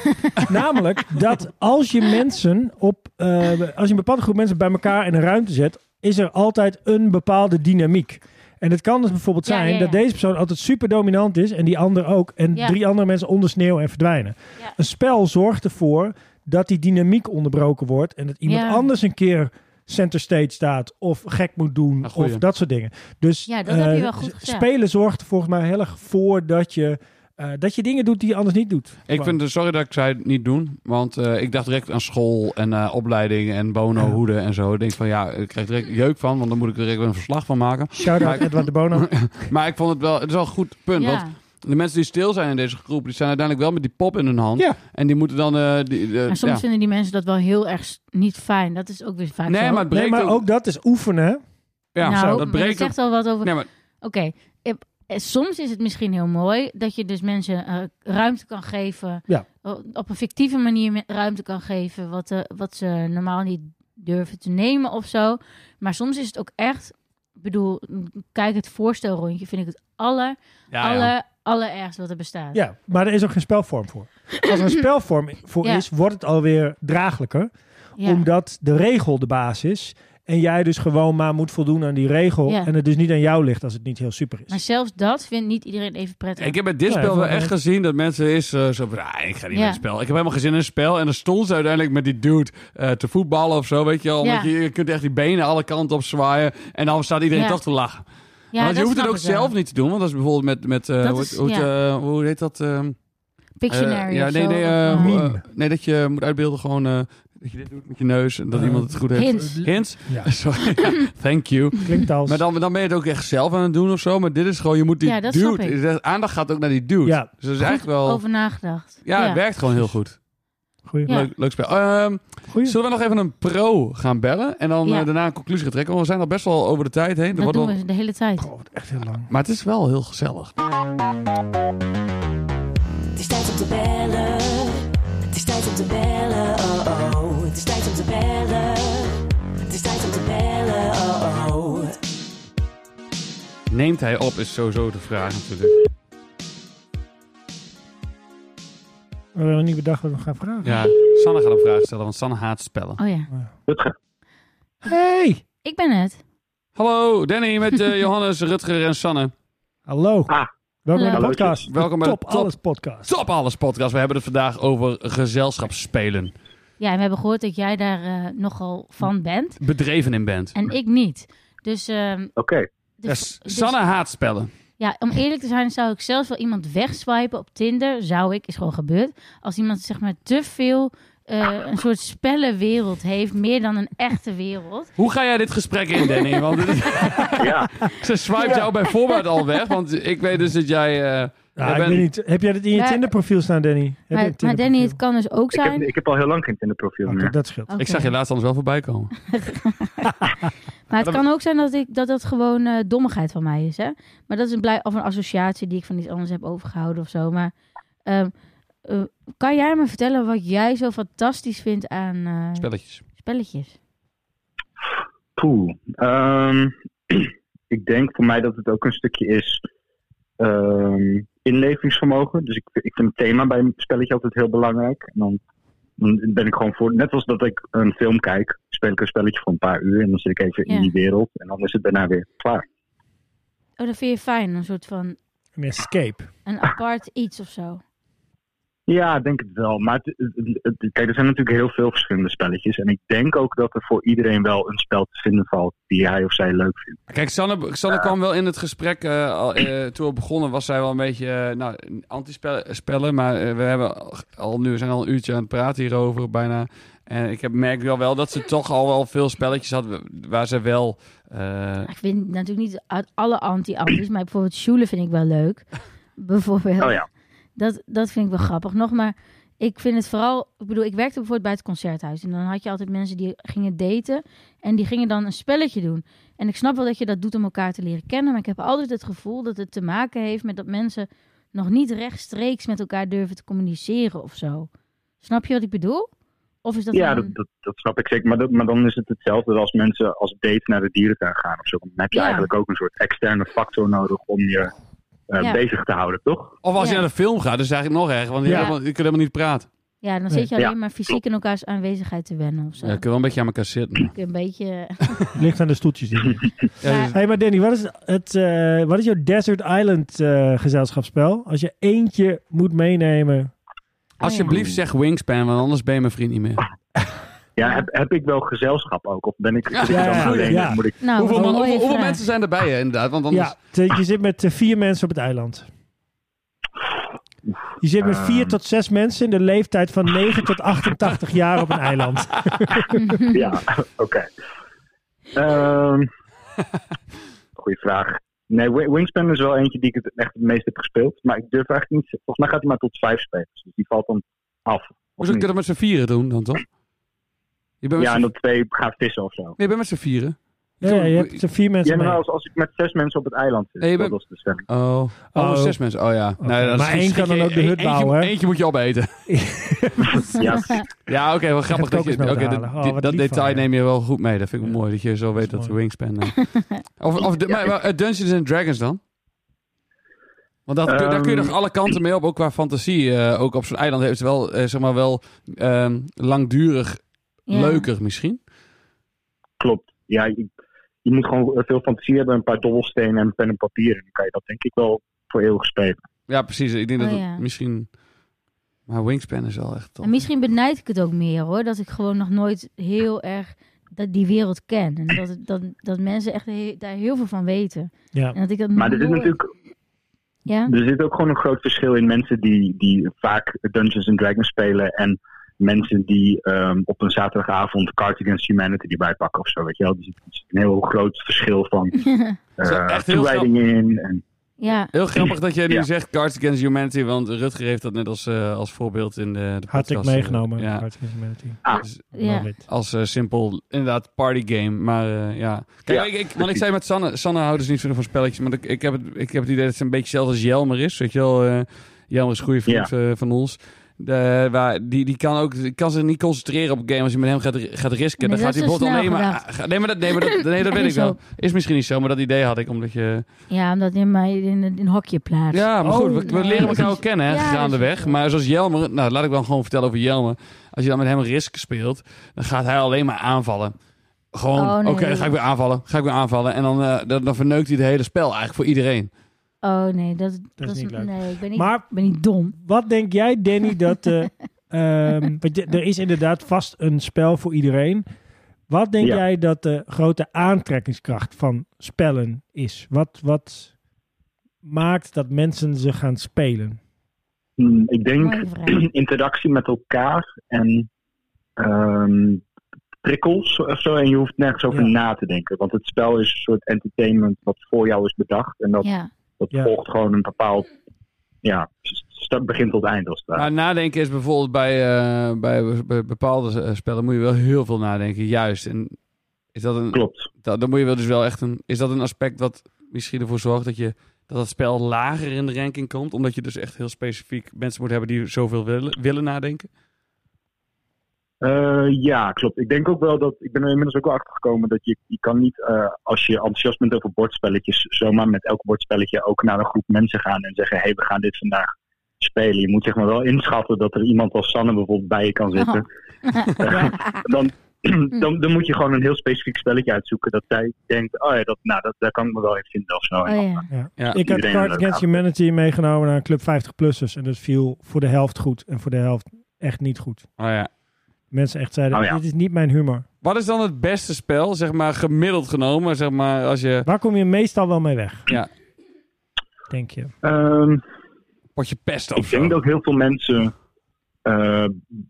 Speaker 3: Namelijk dat als je mensen op. eh, als je een bepaalde groep mensen bij elkaar in een ruimte zet. is er altijd een bepaalde dynamiek. En het kan dus bijvoorbeeld
Speaker 1: Ja,
Speaker 3: zijn
Speaker 1: ja, ja.
Speaker 3: dat deze persoon altijd super dominant is. en die ander ook. en
Speaker 1: Ja.
Speaker 3: drie andere mensen onder sneeuw en verdwijnen.
Speaker 1: Ja.
Speaker 3: Een spel zorgt ervoor dat die dynamiek onderbroken wordt. en dat iemand
Speaker 1: Ja.
Speaker 3: anders een keer center stage staat. of gek moet doen.
Speaker 2: Een goeie.
Speaker 3: of dat soort dingen. Dus
Speaker 1: Ja, dat heb je
Speaker 3: eh,
Speaker 1: wel goed gezegd.
Speaker 3: spelen zorgt er volgens mij heel erg voor dat je. eh, dat je dingen doet die je anders niet doet.
Speaker 2: Ik vind het, sorry dat ik zei niet doen, want eh, ik dacht direct aan school en eh, opleiding en bono
Speaker 3: Ja.
Speaker 2: hoeden en zo. Ik denk van ja, ik krijg direct jeuk van, want dan moet ik er direct weer een verslag van maken.
Speaker 3: Shout
Speaker 2: Maar
Speaker 3: out
Speaker 2: ik-
Speaker 3: Edward de Bono.
Speaker 2: Maar ik vond het wel, het is wel een goed punt, want
Speaker 1: ja.
Speaker 2: de mensen die stil zijn in deze groep, die zijn uiteindelijk wel met die pop in hun hand.
Speaker 3: Ja.
Speaker 2: En die moeten dan... eh, die, eh,
Speaker 1: Maar soms
Speaker 2: ja.
Speaker 1: vinden die mensen dat wel heel erg s- niet fijn. Dat is ook weer vaak
Speaker 2: Nee,
Speaker 1: zo.
Speaker 2: maar het breekt
Speaker 3: Nee, maar ook dat is oefenen. hè?
Speaker 2: Ja,
Speaker 1: nou,
Speaker 2: zo,
Speaker 1: maar
Speaker 2: dat
Speaker 1: het
Speaker 2: breekt ook.
Speaker 1: zegt al wat over...
Speaker 2: Nee, maar
Speaker 1: Oké, eh, eh, soms is het misschien heel mooi dat je dus mensen eh, ruimte kan geven.
Speaker 3: Ja.
Speaker 1: O- Op een fictieve manier me- ruimte kan geven wat, eh, wat ze normaal niet durven te nemen of zo. Maar soms is het ook echt... Ik bedoel, m, kijk het voorstelrondje vind ik het aller,
Speaker 2: ja, ja.
Speaker 1: aller, allerergste wat er bestaat.
Speaker 3: Ja, maar er is ook geen spelvorm voor. Als er een spelvorm voor
Speaker 1: Ja.
Speaker 3: is, wordt het alweer draaglijker.
Speaker 1: Ja.
Speaker 3: Omdat de regel de baas is. En jij dus gewoon maar moet voldoen aan die regel.
Speaker 1: Ja.
Speaker 3: En het dus niet aan jou ligt als het niet heel super
Speaker 1: Maar
Speaker 3: is.
Speaker 1: zelfs dat vindt niet iedereen even prettig.
Speaker 2: Ik heb bij dit
Speaker 3: Ja,
Speaker 2: spel wel
Speaker 3: even-
Speaker 2: echt gezien dat mensen is eh, zo van, ah, ik ga niet
Speaker 1: Ja.
Speaker 2: met het spel. Ik heb helemaal geen zin in het spel. En dan stond ze uiteindelijk met die dude eh, te voetballen of zo, weet je wel.
Speaker 1: Ja.
Speaker 2: Omdat Je, je kunt echt die benen alle kanten op zwaaien. En dan staat iedereen
Speaker 1: Ja.
Speaker 2: toch te lachen.
Speaker 1: ja,
Speaker 2: want je
Speaker 1: dat
Speaker 2: hoeft het
Speaker 1: snap
Speaker 2: ook
Speaker 1: ik wel.
Speaker 2: zelf niet te doen. Want dat is bijvoorbeeld met, met eh,
Speaker 1: Dat
Speaker 2: hoe,
Speaker 1: is-
Speaker 2: hoe, het,
Speaker 1: ja.
Speaker 2: eh, hoe heet dat? ehm,
Speaker 1: Pictionary
Speaker 2: Eh, ja,
Speaker 1: of
Speaker 2: nee,
Speaker 1: zo,
Speaker 2: nee,
Speaker 1: of,
Speaker 2: eh,
Speaker 1: eh,
Speaker 2: hoe,
Speaker 3: Meme.
Speaker 2: eh, nee, dat je moet uitbeelden gewoon eh, Dat je dit doet met je neus en dat
Speaker 3: Eh,
Speaker 2: iemand het goed heeft.
Speaker 1: Hints.
Speaker 2: Hints?
Speaker 3: Ja,
Speaker 2: Sorry. Thank you.
Speaker 3: klinkt als...
Speaker 2: Maar dan, dan ben je het ook echt zelf aan het doen of zo. Maar dit is gewoon, je moet die
Speaker 1: Ja, dat snap
Speaker 2: dude.
Speaker 1: ik.
Speaker 2: De aandacht gaat ook naar die dude.
Speaker 3: Ja.
Speaker 2: Dus dat is
Speaker 1: Goed
Speaker 2: eigenlijk wel.
Speaker 1: over nagedacht.
Speaker 2: Ja, het werkt gewoon heel goed.
Speaker 3: Goeie.
Speaker 1: Ja.
Speaker 2: Leuk, leuk spel. Ehm,
Speaker 3: Goeie.
Speaker 2: zullen we nog even een pro gaan bellen? En dan
Speaker 1: Ja.
Speaker 2: eh, daarna een conclusie gaan trekken. Want we zijn al best wel over de tijd heen. Er
Speaker 1: dat
Speaker 2: wordt
Speaker 1: doen
Speaker 2: wel-
Speaker 1: we de hele tijd.
Speaker 3: Goh, wat Oh, echt heel lang.
Speaker 2: Maar het is wel heel gezellig.
Speaker 4: Het is tijd om te bellen. Het is tijd om te bellen. Oh oh. Het is tijd om te bellen. Het is tijd om te bellen. Oh oh.
Speaker 2: Neemt hij op, is sowieso de vraag natuurlijk.
Speaker 3: We hebben niet bedacht wat we gaan vragen.
Speaker 2: Ja, Sanne gaat een vraag stellen, want Sanne haat spellen.
Speaker 1: Oh ja,
Speaker 3: Hey!
Speaker 1: ik ben het.
Speaker 2: Hallo, Danny met eh, Johannes, Rutger en Sanne.
Speaker 3: Hallo.
Speaker 6: Ah.
Speaker 3: Welkom bij de
Speaker 1: Hallo.
Speaker 3: podcast.
Speaker 2: Welkom bij de
Speaker 3: Top
Speaker 2: Top-
Speaker 3: Alles podcast.
Speaker 2: Top Alles podcast. We hebben het vandaag over gezelschapsspelen.
Speaker 1: Ja, en we hebben gehoord dat jij daar eh, nogal
Speaker 3: Mm.
Speaker 1: van bent.
Speaker 2: Bedreven in bent.
Speaker 1: En ik niet. Dus, ehm,
Speaker 6: Oké.
Speaker 1: dus-
Speaker 2: Yes,
Speaker 1: dus-
Speaker 2: Sanne haat spellen.
Speaker 1: Ja, om eerlijk te zijn zou ik zelfs wel iemand wegswipen op Tinder. Zou ik, is gewoon gebeurd. Als iemand zeg maar te veel eh, een soort spellenwereld heeft. Meer dan een echte wereld.
Speaker 2: Hoe ga jij dit gesprek in, Danny? Want dit is-
Speaker 6: Ja.
Speaker 2: ze swipe jou bij voorbaat al weg. want ik weet dus dat jij... eh,
Speaker 3: Ja,
Speaker 2: jij
Speaker 3: Ah, ik
Speaker 2: bent-
Speaker 3: weet niet. Heb jij dat in je
Speaker 1: Maar-
Speaker 3: Tinder profiel staan, Danny? Heb je
Speaker 1: Maar,
Speaker 3: een
Speaker 1: maar Danny, het
Speaker 3: Tinderprofiel?
Speaker 1: kan dus ook
Speaker 6: Ik heb,
Speaker 1: zijn...
Speaker 6: ik heb al heel lang geen Tinder-profiel
Speaker 3: Oké,
Speaker 6: meer.
Speaker 3: dat scheelt.
Speaker 1: Oké.
Speaker 2: Ik zag je laatst anders wel voorbij komen.
Speaker 1: Maar het kan ook zijn dat ik, dat, dat gewoon eh, dommigheid van mij is. Hè? Maar dat is een blij, of een associatie die ik van iets anders heb overgehouden of zo. Maar ehm, eh, kan jij me vertellen wat jij zo fantastisch vindt aan eh,
Speaker 2: Spelletjes.
Speaker 1: spelletjes?
Speaker 6: Poeh. Ehm, ik denk voor mij dat het ook een stukje is ehm, inlevingsvermogen. Dus ik, ik vind het thema bij een spelletje altijd heel belangrijk. En dan, dan ben ik gewoon voor. Net als dat ik een film kijk, speel ik een spelletje voor een paar uur. En dan zit ik even
Speaker 1: Ja.
Speaker 6: in die wereld. En dan is het daarna weer klaar.
Speaker 1: Oh, dat vind je fijn. Een soort van
Speaker 3: Een escape.
Speaker 1: een apart iets of zo.
Speaker 6: Ja, ik denk het wel. Maar het, het- het- kijk, er zijn natuurlijk heel veel verschillende spelletjes. En ik denk ook dat er voor iedereen wel een spel te vinden valt die hij of zij leuk vindt.
Speaker 2: Kijk, Sanne, Sanne kwam wel in het gesprek. eh, al, eh, toen we begonnen was zij wel een beetje eh, nou, anti-spellen. Maar eh, we hebben al nu, we zijn al een uurtje aan het praten hierover bijna. En ik heb, merk wel, wel dat ze toch al wel veel spelletjes had waar ze wel... eh,
Speaker 1: Ik vind natuurlijk niet uit alle anti-antis, maar bijvoorbeeld Sjoelen vind ik wel leuk. Bijvoorbeeld.
Speaker 6: Oh ja.
Speaker 1: Dat, dat vind ik wel grappig. Nog maar, ik vind het vooral... Ik bedoel, ik werkte bijvoorbeeld bij het concerthuis. En dan had je altijd mensen die gingen daten. En die gingen dan een spelletje doen. En ik snap wel dat je dat doet om elkaar te leren kennen. Maar ik heb altijd het gevoel dat het te maken heeft met dat mensen... nog niet rechtstreeks met elkaar durven te communiceren of zo. Snap je wat ik bedoel? Of is dat
Speaker 6: ja,
Speaker 1: dan-
Speaker 6: dat, dat, dat snap ik zeker. Maar, dat, maar dan is het hetzelfde als mensen als date naar de dierentuin gaan of zo. Dan heb je
Speaker 1: Ja.
Speaker 6: eigenlijk ook een soort externe factor nodig om je eh,
Speaker 1: Ja.
Speaker 6: bezig te houden, toch?
Speaker 2: Of als
Speaker 1: Ja.
Speaker 2: je naar de film gaat, dat is eigenlijk nog erg. Want je,
Speaker 1: Ja.
Speaker 2: helemaal- je kunt helemaal niet praten.
Speaker 1: Ja, dan zit je
Speaker 6: Nee.
Speaker 1: alleen maar fysiek in elkaars aanwezigheid te wennen of zo.
Speaker 2: Ja, je kunt wel een beetje aan elkaar zitten.
Speaker 1: Ik een beetje...
Speaker 3: Ligt aan de stoeltjes. die hier.
Speaker 2: Ja, dus
Speaker 1: Maar-
Speaker 3: hey, maar Danny, wat is, het, eh, wat is jouw Desert Island eh, gezelschapsspel? Als je eentje moet meenemen.
Speaker 2: alsjeblieft zeg wingspan, want anders ben je mijn vriend niet meer.
Speaker 6: Ja, Heb, heb ik wel gezelschap ook? Of ben ik,
Speaker 2: Ja.
Speaker 6: zit ik dan
Speaker 3: Ja, ja,
Speaker 6: alleen?
Speaker 3: ja.
Speaker 6: Dan Moet ik,
Speaker 1: Nou,
Speaker 2: hoeveel
Speaker 1: wat een
Speaker 2: man-
Speaker 1: mooie
Speaker 2: hoeveel- hoeveel
Speaker 1: vraag.
Speaker 2: mensen zijn erbij, hè, inderdaad? Want anders...
Speaker 3: Ja, te- je zit met eh, vier mensen op het eiland. Je zit met vier
Speaker 6: Ehm.
Speaker 3: tot zes mensen in de leeftijd van 9 tot 88 jaar op een eiland.
Speaker 6: ja, oké. Ehm, goeie vraag. Nee, Wi- Wingspan is wel eentje die ik het echt het meest heb gespeeld. Maar ik durf eigenlijk niet... Volgens mij gaat hij maar tot vijf spelers. Dus die valt dan af. Of
Speaker 2: Hoezo kun
Speaker 6: niet?
Speaker 2: je dat met z'n vieren doen dan, toch? Je bent met
Speaker 6: Ja,
Speaker 2: z'n-
Speaker 6: en dan twee gaan vissen of zo.
Speaker 2: Nee, je bent met z'n vieren.
Speaker 3: Ja, ja, je hebt er vier
Speaker 6: Ja,
Speaker 3: mensen
Speaker 6: maar
Speaker 3: mee.
Speaker 6: als, als ik met zes mensen op het eiland zit,
Speaker 2: Nee, je
Speaker 6: dat
Speaker 2: bent-
Speaker 6: was de stemming.
Speaker 2: Oh, oh,
Speaker 3: Oh.
Speaker 2: zes mensen. Oh ja. Nee, dat is
Speaker 3: maar
Speaker 2: geen-
Speaker 3: één kan dan
Speaker 2: geen-
Speaker 3: ook de hut
Speaker 2: eentje-
Speaker 3: bouwen, hè?
Speaker 2: Eentje moet je opeten.
Speaker 6: Ja,
Speaker 2: Ja, oké, wel grappig.
Speaker 3: gaat
Speaker 2: Dat, je,
Speaker 3: kokosnoten
Speaker 2: oké, dat,
Speaker 3: halen. Oh,
Speaker 2: dit-
Speaker 3: wat
Speaker 2: dat
Speaker 3: lief van
Speaker 2: detail
Speaker 3: je.
Speaker 2: neem je wel goed mee. Dat vind ik
Speaker 3: Ja.
Speaker 2: mooi, dat je zo weet
Speaker 3: Dat
Speaker 2: dat
Speaker 3: is
Speaker 2: de wingspan... eh. of of de, maar, maar, eh, Dungeons and Dragons dan? Want dat, daar kun je
Speaker 6: Ehm.
Speaker 2: nog alle kanten mee op, ook qua fantasie. eh, ook op zo'n eiland heeft het wel, eh, zeg maar, wel ehm, langdurig
Speaker 1: Ja.
Speaker 2: leuker misschien.
Speaker 6: klopt. Ja, je, je moet gewoon eh, veel fantasie hebben, een paar dobbelstenen en een pen en papier. En dan kan je dat denk ik wel voor eeuwig spelen.
Speaker 2: Ja, precies. Ik denk
Speaker 1: Oh,
Speaker 2: dat het
Speaker 1: ja.
Speaker 2: misschien... Maar wingspan is wel echt... tof.
Speaker 1: En misschien benijd ik het ook meer hoor. Dat ik gewoon nog nooit heel erg dat die wereld ken. En dat, het- dat, dat mensen echt he- daar heel veel van weten.
Speaker 3: Ja.
Speaker 1: En dat ik dat
Speaker 6: Maar er zit
Speaker 1: nooit-
Speaker 6: natuurlijk
Speaker 1: Ja?
Speaker 6: er zit ook gewoon een groot verschil in mensen die, die vaak Dungeons and Dragons spelen en mensen die ehm, op een zaterdagavond Card Against Humanity erbij pakken of zo. Weet je wel? Dus er zit een heel groot verschil van
Speaker 2: is
Speaker 6: eh,
Speaker 2: echt heel
Speaker 6: toewijding in. En,
Speaker 1: ja,
Speaker 2: Heel grappig dat jij nu
Speaker 6: Ja.
Speaker 2: zegt Cards Against Humanity, want Rutger heeft dat net als, eh, als voorbeeld in de, de podcast.
Speaker 3: Had ik
Speaker 2: eh,
Speaker 3: meegenomen. Dus
Speaker 2: ja,
Speaker 3: Cards Against Humanity.
Speaker 1: ja.
Speaker 3: Love it.
Speaker 2: als eh, simpel, inderdaad, party game. Maar eh, ja. Kijk,
Speaker 6: Ja,
Speaker 2: ik, ik- want ik
Speaker 6: precies.
Speaker 2: zei met Sanne, Sanne houdt dus niet zo van spelletjes, maar ik, ik, heb het, ik heb het idee dat ze een beetje zelfs als Jelmer is. Weet je wel, eh, Jelmer is een goede vriend eh, van ons. De, waar, die, die kan ook die kan zich niet concentreren op een game als je met hem gaat, gaat risken.
Speaker 1: Nee,
Speaker 2: dan
Speaker 1: dat
Speaker 2: gaat
Speaker 1: is
Speaker 2: hij
Speaker 1: te
Speaker 2: bijvoorbeeld alleen
Speaker 1: snel
Speaker 2: maar... ga- Nee, maar dat, nee, maar dat, nee, dat
Speaker 1: Nee,
Speaker 2: weet ik
Speaker 1: zo.
Speaker 2: wel. Is misschien niet zo, maar dat idee had ik omdat je...
Speaker 1: ja, omdat je mij in een in een hokje plaatst.
Speaker 2: Ja, maar
Speaker 3: Oh,
Speaker 2: goed, we, we
Speaker 1: nee.
Speaker 2: leren elkaar
Speaker 1: Precies.
Speaker 2: ook kennen hè,
Speaker 1: Ja, dat is
Speaker 2: gaandeweg.
Speaker 1: zo.
Speaker 2: Maar zoals Jelmer, nou laat ik dan gewoon vertellen over Jelmer. Als je dan met hem Risk speelt, dan gaat hij alleen maar aanvallen. Gewoon,
Speaker 1: Oh, nee.
Speaker 2: oké, dan ga ik weer aanvallen, ga ik weer aanvallen. En dan, eh, dan, dan verneukt hij het hele spel eigenlijk voor iedereen.
Speaker 1: Oh nee, dat, dat,
Speaker 3: is niet leuk.
Speaker 1: Nee, ik ben niet,
Speaker 3: Maar-
Speaker 1: ik ben niet dom.
Speaker 3: Wat denk jij, Danny, dat... eh, ehm, want je- er is inderdaad vast een spel voor iedereen. Wat denk
Speaker 6: Ja.
Speaker 3: jij dat de grote aantrekkingskracht van spellen is? Wat, wat maakt dat mensen ze gaan spelen?
Speaker 6: mm, ik denk
Speaker 1: Mooie vraag.
Speaker 6: interactie met elkaar en ehm, prikkels of zo. En je hoeft nergens over
Speaker 3: Ja.
Speaker 6: na te denken. Want het spel is een soort entertainment wat voor jou is bedacht. En dat,
Speaker 1: Ja.
Speaker 6: dat
Speaker 3: Ja.
Speaker 6: volgt gewoon een bepaald. Ja, stap begint tot eind als het ware.
Speaker 2: Maar nadenken is bijvoorbeeld bij, eh, bij, bij bepaalde eh, spellen moet je wel heel veel nadenken, juist. En is dat een,
Speaker 6: Klopt.
Speaker 2: dat, dan moet je wel dus wel echt een... Is dat een aspect wat misschien ervoor zorgt dat je... Dat dat spel lager in de ranking komt, omdat je dus echt heel specifiek mensen moet hebben die zoveel willen, willen nadenken?
Speaker 6: Eh, ja, klopt. Ik denk ook wel dat. Ik ben er inmiddels ook wel achter gekomen dat je, je kan niet, eh, als je enthousiast bent over bordspelletjes, zomaar met elk bordspelletje ook naar een groep mensen gaan en zeggen: hé, hey, we gaan dit vandaag spelen. Je moet zeg maar wel inschatten dat er iemand als Sanne bijvoorbeeld bij je kan zitten. Eh, dan,
Speaker 1: Mm.
Speaker 6: dan, dan moet je gewoon een heel specifiek spelletje uitzoeken dat zij denkt: oh ja, dat, nou, dat, daar kan ik me wel in vinden of zo.
Speaker 1: Oh ja.
Speaker 2: Ja.
Speaker 3: Ik had
Speaker 6: Iedereen
Speaker 3: Cards
Speaker 6: leuk
Speaker 3: Against Humanity meegenomen naar een club 50-plussers. En dat viel voor de helft goed en voor de helft echt niet goed.
Speaker 2: Oh ja.
Speaker 3: Mensen echt zeiden,
Speaker 6: Oh ja.
Speaker 3: dit is niet mijn humor.
Speaker 2: Wat is dan het beste spel, zeg maar gemiddeld genomen, zeg maar als je
Speaker 3: Waar kom je meestal wel mee weg,
Speaker 2: ja,
Speaker 3: denk je?
Speaker 6: Ehm,
Speaker 2: potje pest of
Speaker 6: Ik
Speaker 2: zo.
Speaker 6: denk dat heel veel mensen eh,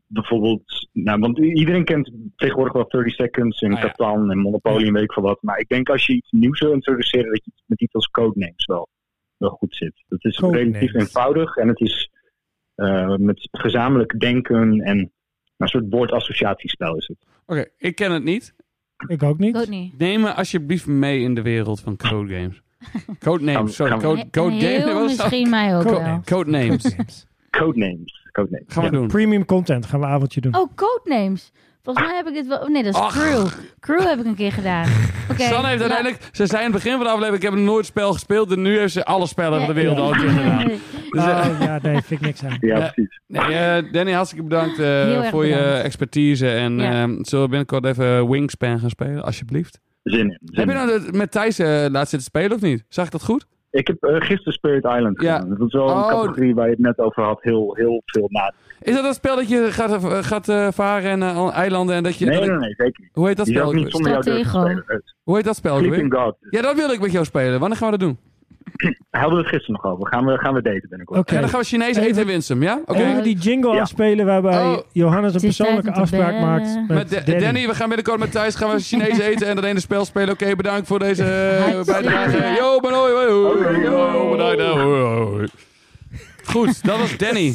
Speaker 6: bijvoorbeeld, nou, want i- iedereen kent tegenwoordig wel 30 Seconds en
Speaker 2: Ah, ja.
Speaker 6: Catan en Monopoly en weet ik veel wat. Maar ik denk als je iets nieuws wil introduceren, dat je het met iets als codenames wel, wel goed zit. Dat is
Speaker 3: Codenames.
Speaker 6: relatief eenvoudig en het is eh, met gezamenlijk denken en een soort woordassociatiespel is het.
Speaker 2: Oké, ik ken het niet.
Speaker 3: Ik ook niet.
Speaker 1: Ik ook niet.
Speaker 2: Neem me alsjeblieft mee in de wereld van code games. Code
Speaker 6: Gaan
Speaker 2: names,
Speaker 6: we-
Speaker 2: sorry.
Speaker 6: gaan we-
Speaker 2: Code,
Speaker 1: En-
Speaker 2: code
Speaker 1: en
Speaker 2: game-
Speaker 1: heel
Speaker 2: wat is dat?
Speaker 1: misschien mij ook
Speaker 3: Code
Speaker 1: wel.
Speaker 3: names.
Speaker 2: Code names.
Speaker 3: Games.
Speaker 6: Codenames, codenames.
Speaker 2: Gaan we
Speaker 6: Ja.
Speaker 2: doen.
Speaker 3: Premium content gaan we een avondje doen.
Speaker 1: Oh, codenames. Volgens mij heb ik dit wel... oh, Nee, dat is
Speaker 2: Ach.
Speaker 1: Crew. Crew heb ik een keer gedaan. Oké.
Speaker 2: Sanne heeft
Speaker 1: la-
Speaker 2: uiteindelijk, ze zei in het begin van de aflevering, ik heb nog nooit spel gespeeld en nu heeft ze alle spellen van de wereld al een keer gedaan. Dus, eh,
Speaker 3: Oh, ja, nee, vind ik niks aan.
Speaker 6: Ja,
Speaker 2: Ja.
Speaker 6: precies.
Speaker 2: nee, eh, Danny, hartstikke bedankt eh,
Speaker 1: Heel erg
Speaker 2: voor je
Speaker 1: bedankt.
Speaker 2: expertise en
Speaker 1: Ja.
Speaker 2: ehm, zullen we binnenkort even Wingspan gaan spelen, alsjeblieft.
Speaker 6: Zin in.
Speaker 2: Heb
Speaker 6: zin
Speaker 2: je
Speaker 6: in.
Speaker 2: nou dat met Thijs eh, laat zitten spelen of niet? Zag ik dat goed?
Speaker 6: Ik heb eh, gisteren Spirit Island
Speaker 2: Ja.
Speaker 6: gedaan. Dat is wel
Speaker 2: Oh.
Speaker 6: een categorie waar je het net over had. Heel, heel veel na.
Speaker 2: Is dat dat spel dat je gaat, eh, gaat eh, varen en eh, al- eilanden en dat je...
Speaker 6: Nee,
Speaker 2: dat
Speaker 6: nee,
Speaker 2: ik-
Speaker 6: nee, zeker niet.
Speaker 2: hoe heet dat
Speaker 6: Die
Speaker 2: spel?
Speaker 6: zou
Speaker 2: ook
Speaker 6: ik niet
Speaker 2: weer?
Speaker 6: zonder jou durven
Speaker 1: Stratego.
Speaker 6: spelen. Het-
Speaker 2: Hoe heet dat spel? ook weer?
Speaker 6: Sleeping God.
Speaker 2: Ja, dat wil ik met jou spelen. Wanneer gaan we dat doen?
Speaker 6: Hadden we het gisteren nog over. Gaan we, gaan we daten binnenkort.
Speaker 3: Oké.
Speaker 2: Ja, dan gaan we Chinees
Speaker 3: Even-
Speaker 2: eten in Winsum, ja? Oké.
Speaker 3: Even die jingle
Speaker 6: Ja.
Speaker 3: afspelen waarbij
Speaker 2: Oh.
Speaker 3: Johannes een
Speaker 1: Het is tijd
Speaker 3: persoonlijke
Speaker 1: om te
Speaker 3: afspraak
Speaker 1: bellen.
Speaker 3: maakt met,
Speaker 2: Met Da-
Speaker 3: Danny.
Speaker 2: Danny. we gaan binnenkort met Thijs gaan we Chinees eten en dat ene spel spelen. Oké, bedankt voor deze eh,
Speaker 1: Hartstikke
Speaker 2: bijdrage.
Speaker 1: bedankt.
Speaker 2: Yo, man, hoi, hoi, hoi.
Speaker 6: Hoi.
Speaker 2: Yo, bedankt. hoi, hoi. Goed, dat was Danny.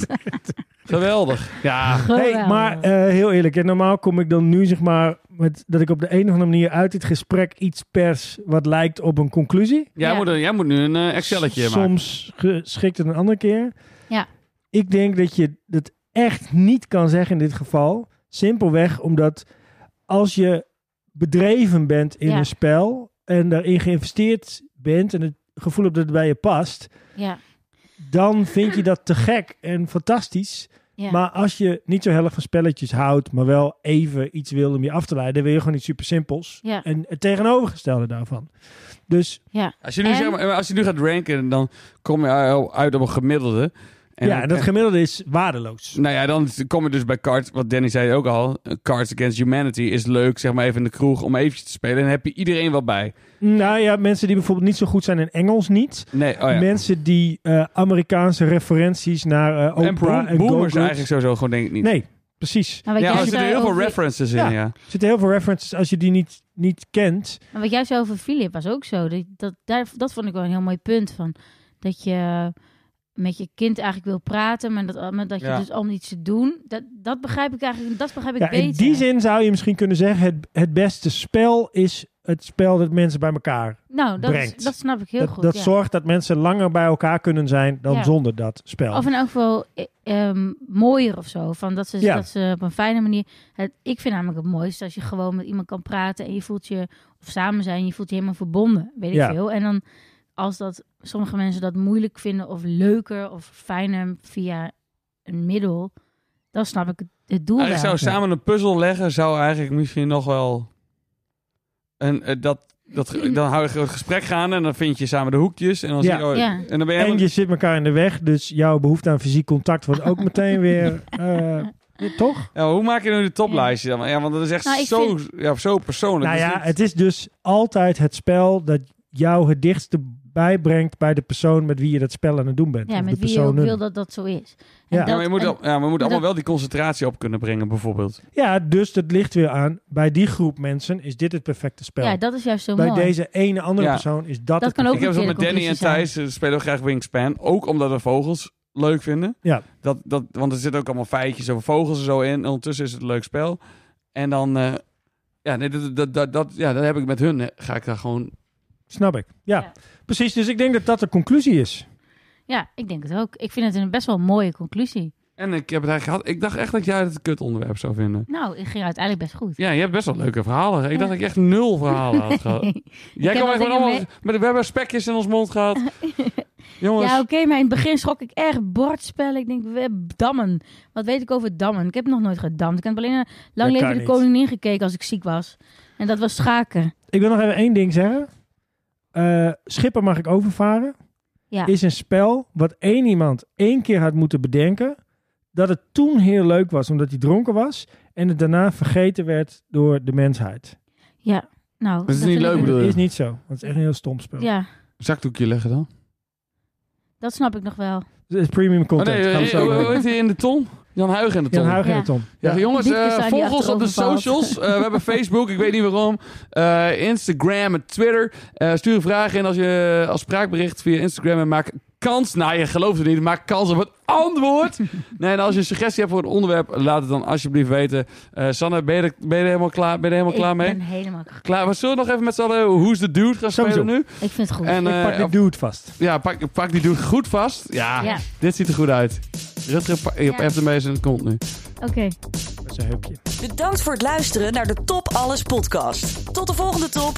Speaker 2: Geweldig. Ja,
Speaker 1: Oh,
Speaker 3: Hey, maar eh, heel eerlijk, hè, normaal kom ik dan nu zeg maar met dat ik op de een of andere manier uit dit gesprek iets pers wat lijkt op een conclusie.
Speaker 2: jij,
Speaker 1: Ja.
Speaker 2: Moet, jij moet nu een eh, Excelletje maken.
Speaker 3: Soms geschikt het een andere keer.
Speaker 1: Ja.
Speaker 3: Ik denk dat je dat echt niet kan zeggen in dit geval. Simpelweg omdat als je bedreven bent in
Speaker 1: Ja.
Speaker 3: een spel en daarin geïnvesteerd bent en het gevoel hebt dat het bij je past,
Speaker 1: Ja.
Speaker 3: dan vind je dat te gek en fantastisch.
Speaker 1: Ja.
Speaker 3: Maar als je niet zo heel erg van spelletjes houdt, maar wel even iets wil om je af te leiden, wil je gewoon iets super simpels.
Speaker 1: Ja.
Speaker 3: En het tegenovergestelde daarvan. Dus
Speaker 2: Als je, nu
Speaker 1: En-
Speaker 2: zeg maar, als je nu gaat ranken, dan kom je eh, uit op een gemiddelde. En
Speaker 3: ja, dat gemiddelde is waardeloos.
Speaker 2: Nou ja, dan kom je dus bij cards. Wat Danny zei ook al. eh, Cards Against Humanity is leuk, zeg maar even in de kroeg om eventjes te spelen. En dan heb je iedereen wel bij.
Speaker 3: Nou ja, mensen die bijvoorbeeld niet zo goed zijn in Engels niet.
Speaker 2: Nee, oh ja.
Speaker 3: Mensen die eh, Amerikaanse referenties naar eh,
Speaker 2: En
Speaker 3: Oprah
Speaker 2: boom,
Speaker 3: en
Speaker 2: boomers
Speaker 3: Go-Go's-
Speaker 2: eigenlijk sowieso gewoon denk ik niet.
Speaker 3: Nee, precies.
Speaker 1: Maar wat
Speaker 2: ja,
Speaker 1: jij
Speaker 2: er zitten
Speaker 1: zei
Speaker 2: heel veel
Speaker 1: over-
Speaker 2: references
Speaker 3: Ja.
Speaker 2: in, ja.
Speaker 3: Er zitten heel veel references als je die niet, niet kent.
Speaker 1: Maar wat jij zei over Filip was ook zo. Dat, dat, daar, dat vond ik wel een heel mooi punt. Van, dat je met je kind eigenlijk wil praten, maar dat, maar dat je
Speaker 2: Ja.
Speaker 1: dus om iets te doen. Dat, dat begrijp ik eigenlijk dat begrijp ik
Speaker 3: Ja,
Speaker 1: beter.
Speaker 3: in die zin zou je misschien kunnen zeggen: het, het beste spel is het spel dat mensen bij elkaar.
Speaker 1: nou, dat, is-
Speaker 3: brengt.
Speaker 1: dat snap ik heel
Speaker 3: dat
Speaker 1: goed.
Speaker 3: dat
Speaker 1: ja.
Speaker 3: zorgt dat mensen langer bij elkaar kunnen zijn dan
Speaker 1: Ja.
Speaker 3: zonder dat spel.
Speaker 1: Of in elk geval eh, ehm, mooier of zo. Van dat, ze,
Speaker 3: Ja.
Speaker 1: dat ze op een fijne manier. Het, ik vind namelijk het mooiste als je gewoon met iemand kan praten en je voelt je, of samen zijn, je voelt je helemaal verbonden. Weet ik
Speaker 3: Ja.
Speaker 1: veel. En dan als dat sommige mensen dat moeilijk vinden of leuker of fijner via een middel, dan snap ik het, het doel.
Speaker 2: Eigenlijk
Speaker 1: wel.
Speaker 2: Ah, zou samen een puzzel leggen, zou eigenlijk misschien nog wel... En eh, dat, dat, dan hou je het gesprek gaan en dan vind je samen de hoekjes. En dan,
Speaker 3: Ja.
Speaker 2: zie je, oh,
Speaker 1: Ja.
Speaker 2: en dan ben je
Speaker 3: en
Speaker 2: helemaal-
Speaker 3: je zit elkaar in de weg, dus jouw behoefte aan fysiek contact wordt ook meteen weer. eh, ja, toch?
Speaker 2: Ja, hoe maak je nu de toplijstje dan? Ja, want dat is echt
Speaker 1: Nou, ik
Speaker 2: zo, ja, zo persoonlijk.
Speaker 3: Nou
Speaker 2: Dat is
Speaker 3: ja,
Speaker 2: niet-
Speaker 3: het is dus altijd het spel dat jou het dichtste bijbrengt bij de persoon met wie je dat spel aan het doen bent.
Speaker 1: Ja,
Speaker 3: Of
Speaker 1: met
Speaker 3: de
Speaker 1: wie je ook
Speaker 3: personen.
Speaker 1: wil dat dat zo is. En
Speaker 3: Ja.
Speaker 2: ja, maar je moet,
Speaker 1: en-
Speaker 2: al- ja, maar je moet allemaal
Speaker 1: dat-
Speaker 2: wel die concentratie op kunnen brengen, bijvoorbeeld.
Speaker 3: Ja, dus dat ligt weer aan. Bij die groep mensen is dit het perfecte spel.
Speaker 1: ja, dat is juist zo
Speaker 3: Bij
Speaker 1: mooi.
Speaker 3: deze ene andere
Speaker 2: Ja.
Speaker 3: persoon is dat,
Speaker 1: Dat kan ook
Speaker 2: ik heb
Speaker 1: een
Speaker 2: zo
Speaker 1: keer
Speaker 2: met
Speaker 1: de
Speaker 2: Danny en
Speaker 1: conclusie zijn.
Speaker 2: Thijs, ze spelen ook graag Wingspan. Ook omdat we vogels leuk vinden.
Speaker 3: Ja.
Speaker 2: Dat, dat, want er zitten ook allemaal feitjes over vogels en zo in. En ondertussen is het een leuk spel. En dan, eh, ja, nee, dat, dat, dat, dat- ja, dat heb ik met hun. eh, Ga ik daar gewoon...
Speaker 3: Snap ik. Ja,
Speaker 1: Ja.
Speaker 3: precies. Dus ik denk dat dat de conclusie is.
Speaker 1: Ja, ik denk het ook. Ik vind het een best wel mooie conclusie.
Speaker 2: En ik heb het eigenlijk gehad. Ik dacht echt dat jij het een kut onderwerp zou vinden.
Speaker 1: Nou, ik ging uiteindelijk best goed.
Speaker 2: Ja, je hebt best wel leuke verhalen. Ik
Speaker 1: Ja.
Speaker 2: dacht dat ik echt nul verhalen had gehad. Jij
Speaker 1: heb wel
Speaker 2: kwam echt met
Speaker 1: dingen
Speaker 2: allemaal...
Speaker 1: mee-
Speaker 2: Met, we hebben spekjes in ons mond gehad. Jongens.
Speaker 1: Ja, oké, maar in het begin schrok ik echt bordspellen. Ik denk, we- dammen. Wat weet ik over dammen? Ik heb nog nooit gedamd. Ik heb alleen naar Lang
Speaker 3: Dat kan
Speaker 1: Leven de
Speaker 3: niet.
Speaker 1: Koningin gekeken als ik ziek was. En dat was schaken.
Speaker 3: Ik wil nog even één ding zeggen. Eh Schipper mag ik overvaren.
Speaker 1: Ja.
Speaker 3: Is een spel wat één iemand één keer had moeten bedenken. Dat het toen heel leuk was omdat hij dronken was. En het daarna vergeten werd door de mensheid.
Speaker 1: Ja, nou.
Speaker 2: is niet
Speaker 1: vind
Speaker 2: leuk,
Speaker 1: ik-
Speaker 2: bedoel
Speaker 3: Dat
Speaker 2: je?
Speaker 3: is niet zo. Dat is echt een heel stom spel.
Speaker 1: Ja,
Speaker 2: Zakdoekje leggen dan.
Speaker 1: dat snap ik nog wel.
Speaker 3: Het is premium
Speaker 2: Oh,
Speaker 3: content.
Speaker 2: nee,
Speaker 3: Gaan we
Speaker 2: eh,
Speaker 3: zo
Speaker 2: hoe
Speaker 3: doen.
Speaker 2: hoe heet die in de ton? Jan Huigen in de ton.
Speaker 3: Jan Huigen
Speaker 1: Ja.
Speaker 3: en Tom.
Speaker 2: Ja, jongens,
Speaker 1: Diepjes
Speaker 2: eh,
Speaker 1: aan die
Speaker 2: volg ons op de
Speaker 1: achterover
Speaker 2: socials. Eh, we hebben Facebook, ik weet niet waarom. Eh, Instagram en Twitter. Eh, stuur een vraag in als, je, als spraakbericht via Instagram en maak kans. Nou, je gelooft het niet, maak kans op het antwoord. nee, en als je een suggestie hebt voor een onderwerp, laat het dan alsjeblieft weten. Eh, Sanne, ben je, er, ben je er helemaal klaar, ben je er helemaal klaar mee?
Speaker 1: Ik ben helemaal... k-
Speaker 2: Klaar, we zullen nog even met z'n allen Who's the Dude gaan
Speaker 3: Sowieso.
Speaker 2: spelen nu.
Speaker 1: Oh, Ik vind het goed.
Speaker 2: En,
Speaker 3: Ik
Speaker 2: eh,
Speaker 3: pak dit dude vast.
Speaker 2: ja, pak, pak die dude goed vast. Ja,
Speaker 1: Ja.
Speaker 2: dit ziet er goed uit. Rutger, pa- je
Speaker 1: Ja.
Speaker 2: hebt hem bij zijn kont nu.
Speaker 1: Oké.
Speaker 3: Dat is een heupje.
Speaker 4: Bedankt voor het luisteren naar de Top Alles podcast. Tot de volgende top.